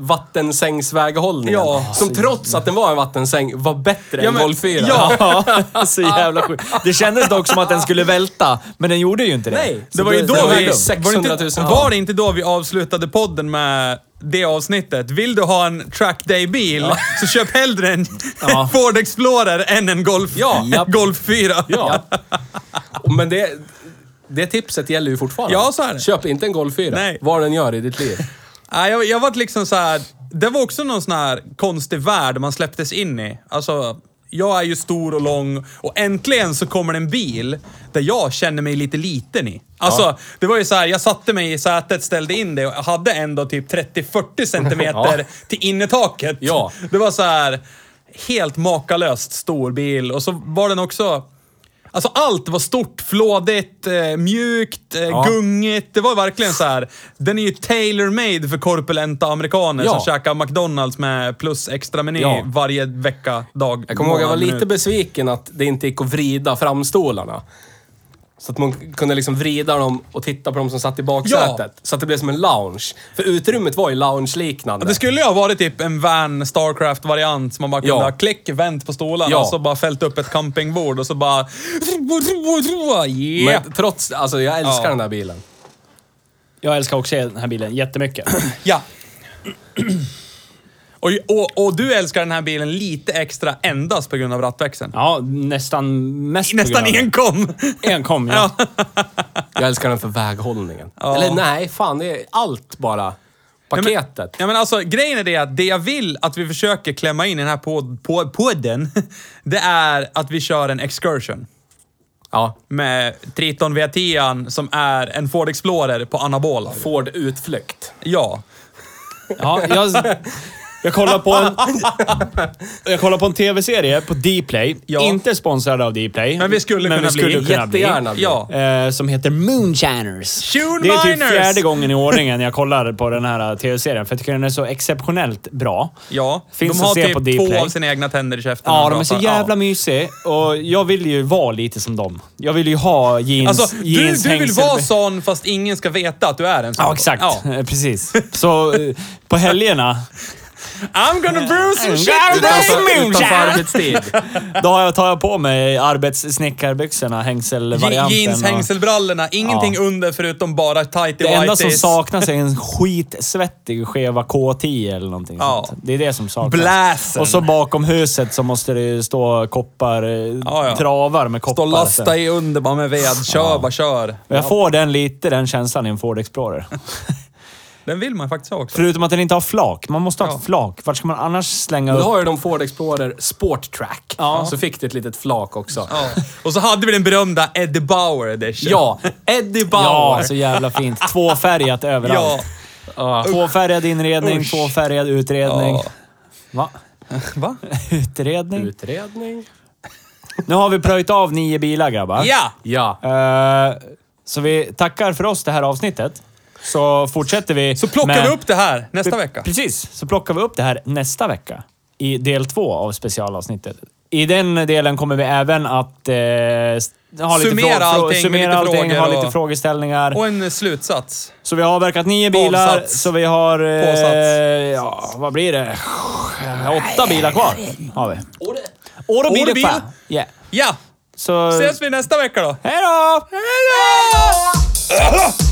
[SPEAKER 3] vattensängsväghållningen.
[SPEAKER 2] Ja.
[SPEAKER 3] som trots att den var en vattensäng var bättre
[SPEAKER 2] Ja,
[SPEAKER 3] än
[SPEAKER 2] men-
[SPEAKER 3] Golf 4.
[SPEAKER 2] Ja.
[SPEAKER 1] Ja, [LAUGHS] så jävla sjukt. Det kändes dock som att den skulle välta, men den gjorde ju inte det.
[SPEAKER 3] Nej.
[SPEAKER 2] Det var ju då
[SPEAKER 3] det var ju
[SPEAKER 2] vi...
[SPEAKER 3] 600
[SPEAKER 2] var,
[SPEAKER 3] 000.
[SPEAKER 2] det inte, var det inte då vi avslutade podden med det avsnittet? Vill du ha en track day-bil så köp hellre en
[SPEAKER 1] Ja.
[SPEAKER 2] [LAUGHS] Ford Explorer än en Golf,
[SPEAKER 3] Ja.
[SPEAKER 1] Japp.
[SPEAKER 2] Golf 4.
[SPEAKER 3] Ja. Men det, det tipset gäller ju fortfarande.
[SPEAKER 2] Ja, så är det.
[SPEAKER 3] Köp inte en Golf 4.
[SPEAKER 2] Nej.
[SPEAKER 3] Vad den gör i ditt liv.
[SPEAKER 2] Nej, jag, jag vart liksom så här. Det var också någon sån här konstig värld man släpptes in i. Alltså, jag är ju stor och lång och äntligen så kommer det en bil där jag känner mig lite liten i. Alltså, det var ju så här, jag satte mig i sätet, ställde in det och jag hade ändå typ 30-40 centimeter till innertaket.
[SPEAKER 3] Ja.
[SPEAKER 2] Det var så här helt makalöst stor bil och så var den också... Alltså allt var stort, flådigt, eh, mjukt, eh, gungigt. Det var verkligen så här. Den är ju tailor-made för korpulenta amerikaner
[SPEAKER 3] Ja.
[SPEAKER 2] som käkar McDonalds med plus extra meny
[SPEAKER 3] Ja.
[SPEAKER 2] varje vecka, dag,
[SPEAKER 3] Jag kommer ihåg jag var
[SPEAKER 2] månad,
[SPEAKER 3] lite
[SPEAKER 2] minut.
[SPEAKER 3] besviken att det inte gick att vrida framstolarna. Så att man kunde liksom vrida dem och titta på dem som satt i baksätet. Så att det blev som en lounge. För utrymmet var ju lounge-liknande.
[SPEAKER 2] Det skulle ju ha varit typ en van Starcraft-variant som man bara kunde
[SPEAKER 3] Ja.
[SPEAKER 2] ha klick, vänt på stolarna
[SPEAKER 3] Ja.
[SPEAKER 2] och så bara fällt upp ett campingbord och så
[SPEAKER 3] [LAUGHS]
[SPEAKER 2] bara... Yeah.
[SPEAKER 3] Men trots alltså jag älskar
[SPEAKER 2] Ja.
[SPEAKER 3] den här bilen.
[SPEAKER 1] Jag älskar också den här bilen jättemycket.
[SPEAKER 2] Ja. [CLEARS THROAT] Och, och, och du älskar den här bilen lite extra endast på grund av rattväxeln.
[SPEAKER 1] Ja, nästan mest på
[SPEAKER 2] Nästan
[SPEAKER 1] grund av-
[SPEAKER 2] enkom!
[SPEAKER 1] enkom.
[SPEAKER 2] [LAUGHS]
[SPEAKER 1] Ja.
[SPEAKER 3] Jag älskar den för väghållningen.
[SPEAKER 2] Ja.
[SPEAKER 3] Eller nej, fan det är allt bara. Paketet.
[SPEAKER 2] Ja, men alltså, grejen är det att det jag vill att vi försöker klämma in i den här pod- pod- podden, [LAUGHS] det är att vi kör en excursion
[SPEAKER 3] ja.
[SPEAKER 2] med Triton V10 som är en Ford Explorer på anabola.
[SPEAKER 3] Ford utflykt.
[SPEAKER 2] Ja.
[SPEAKER 1] Ja, jag, [LAUGHS] jag kollar på en... Jag kollar på en tv-serie på Dplay.
[SPEAKER 2] Ja.
[SPEAKER 1] Inte sponsrad av Dplay.
[SPEAKER 2] Men vi skulle kunna bli.
[SPEAKER 3] Jättegärna.
[SPEAKER 2] Ja.
[SPEAKER 1] Eh, som heter Moonshiners.
[SPEAKER 2] Tune
[SPEAKER 1] Det är typ
[SPEAKER 2] Miners!
[SPEAKER 1] fjärde gången i ordningen jag kollar på den här eh, tv-serien, för jag tycker den är så exceptionellt bra.
[SPEAKER 2] ja.
[SPEAKER 1] Finns
[SPEAKER 2] de har
[SPEAKER 1] att se
[SPEAKER 2] typ
[SPEAKER 1] på
[SPEAKER 2] två
[SPEAKER 1] Dplay.
[SPEAKER 2] av sina egna tänder i käften. när
[SPEAKER 1] Ja, de är så
[SPEAKER 2] pratar.
[SPEAKER 1] jävla mysiga och jag vill ju vara lite som dem. Jag vill ju ha jeans,
[SPEAKER 2] Alltså, du,
[SPEAKER 1] jeans
[SPEAKER 2] du vill
[SPEAKER 1] hängsel-
[SPEAKER 2] vara sån fast ingen ska veta att du är en sån.
[SPEAKER 1] Ja, exakt.
[SPEAKER 2] Ja.
[SPEAKER 1] Eh, [LAUGHS] Precis. Så eh, på helgerna,
[SPEAKER 2] I'm gonna brew some shit
[SPEAKER 1] Utanför-
[SPEAKER 2] today!
[SPEAKER 1] utanför
[SPEAKER 2] [LAUGHS]
[SPEAKER 3] arbetstid.
[SPEAKER 1] då har jag- tar jag på mig arbetssnickarbyxorna,
[SPEAKER 2] Je-
[SPEAKER 1] hängselvarianten.
[SPEAKER 2] Jeans,
[SPEAKER 1] och-
[SPEAKER 2] hängselbrallorna, ingenting under förutom bara tighty
[SPEAKER 1] Det enda som
[SPEAKER 2] whities.
[SPEAKER 1] saknas är en skitsvettig Cheva K10 eller någonting
[SPEAKER 2] Ja.
[SPEAKER 1] sånt. Det är det som saknas.
[SPEAKER 2] Bläsen.
[SPEAKER 1] Och så bakom huset så måste det stå koppar, eh,
[SPEAKER 2] ja.
[SPEAKER 1] travar med koppar.
[SPEAKER 2] Stå och lasta
[SPEAKER 1] sen.
[SPEAKER 2] i under bara med ved. Kör bara, kör.
[SPEAKER 1] Och jag får den lite, den känslan i en
[SPEAKER 2] [LAUGHS]
[SPEAKER 1] Ford Explorer.
[SPEAKER 2] Den vill man faktiskt ha också.
[SPEAKER 1] Förutom att den inte har flak. Man måste ha
[SPEAKER 2] Ja.
[SPEAKER 1] ett flak. Vart ska man annars slänga
[SPEAKER 3] Du
[SPEAKER 1] upp?
[SPEAKER 3] har ju de Ford Explorer Sport Track. Så fick du ett litet flak också.
[SPEAKER 2] Ja. Och så hade vi den berömda Eddie Bauer edition.
[SPEAKER 3] Ja, Eddie
[SPEAKER 1] Ja,
[SPEAKER 3] Bauer.
[SPEAKER 1] så jävla fint. Tvåfärgat
[SPEAKER 2] [LAUGHS] Ja.
[SPEAKER 1] överallt. Tvåfärgad inredning, tvåfärgad utredning.
[SPEAKER 2] Ja.
[SPEAKER 1] Va? [LAUGHS]
[SPEAKER 2] Va?
[SPEAKER 1] Utredning?
[SPEAKER 3] Utredning.
[SPEAKER 1] Nu har vi plöjt av nio bilar grabbar.
[SPEAKER 2] Ja!
[SPEAKER 3] Ja.
[SPEAKER 1] Eh, Så vi tackar för oss det här avsnittet. Så fortsätter vi
[SPEAKER 2] Så plockar
[SPEAKER 1] med-
[SPEAKER 2] vi upp det här nästa vecka.
[SPEAKER 1] Precis, så plockar vi upp det här nästa vecka i del två av specialavsnittet. I den delen kommer vi även att eh, s- ha lite
[SPEAKER 2] Summera
[SPEAKER 1] frå- frå-
[SPEAKER 2] allting med
[SPEAKER 1] summera
[SPEAKER 2] lite
[SPEAKER 1] allting,
[SPEAKER 2] frågor
[SPEAKER 1] ha
[SPEAKER 2] och-
[SPEAKER 1] lite frågeställningar.
[SPEAKER 2] Och en slutsats.
[SPEAKER 1] Så vi har avverkat nio bilar,
[SPEAKER 2] Avsats.
[SPEAKER 1] så vi har... eh,
[SPEAKER 2] Påsats.
[SPEAKER 1] ja, vad blir det? Åtta bilar kvar har vi. Åre
[SPEAKER 2] Åre
[SPEAKER 1] bilar
[SPEAKER 2] bil.
[SPEAKER 1] kvar. Yeah.
[SPEAKER 2] Ja!
[SPEAKER 1] Så...
[SPEAKER 2] Ses vi nästa vecka då!
[SPEAKER 1] Hej då!
[SPEAKER 2] Hej då!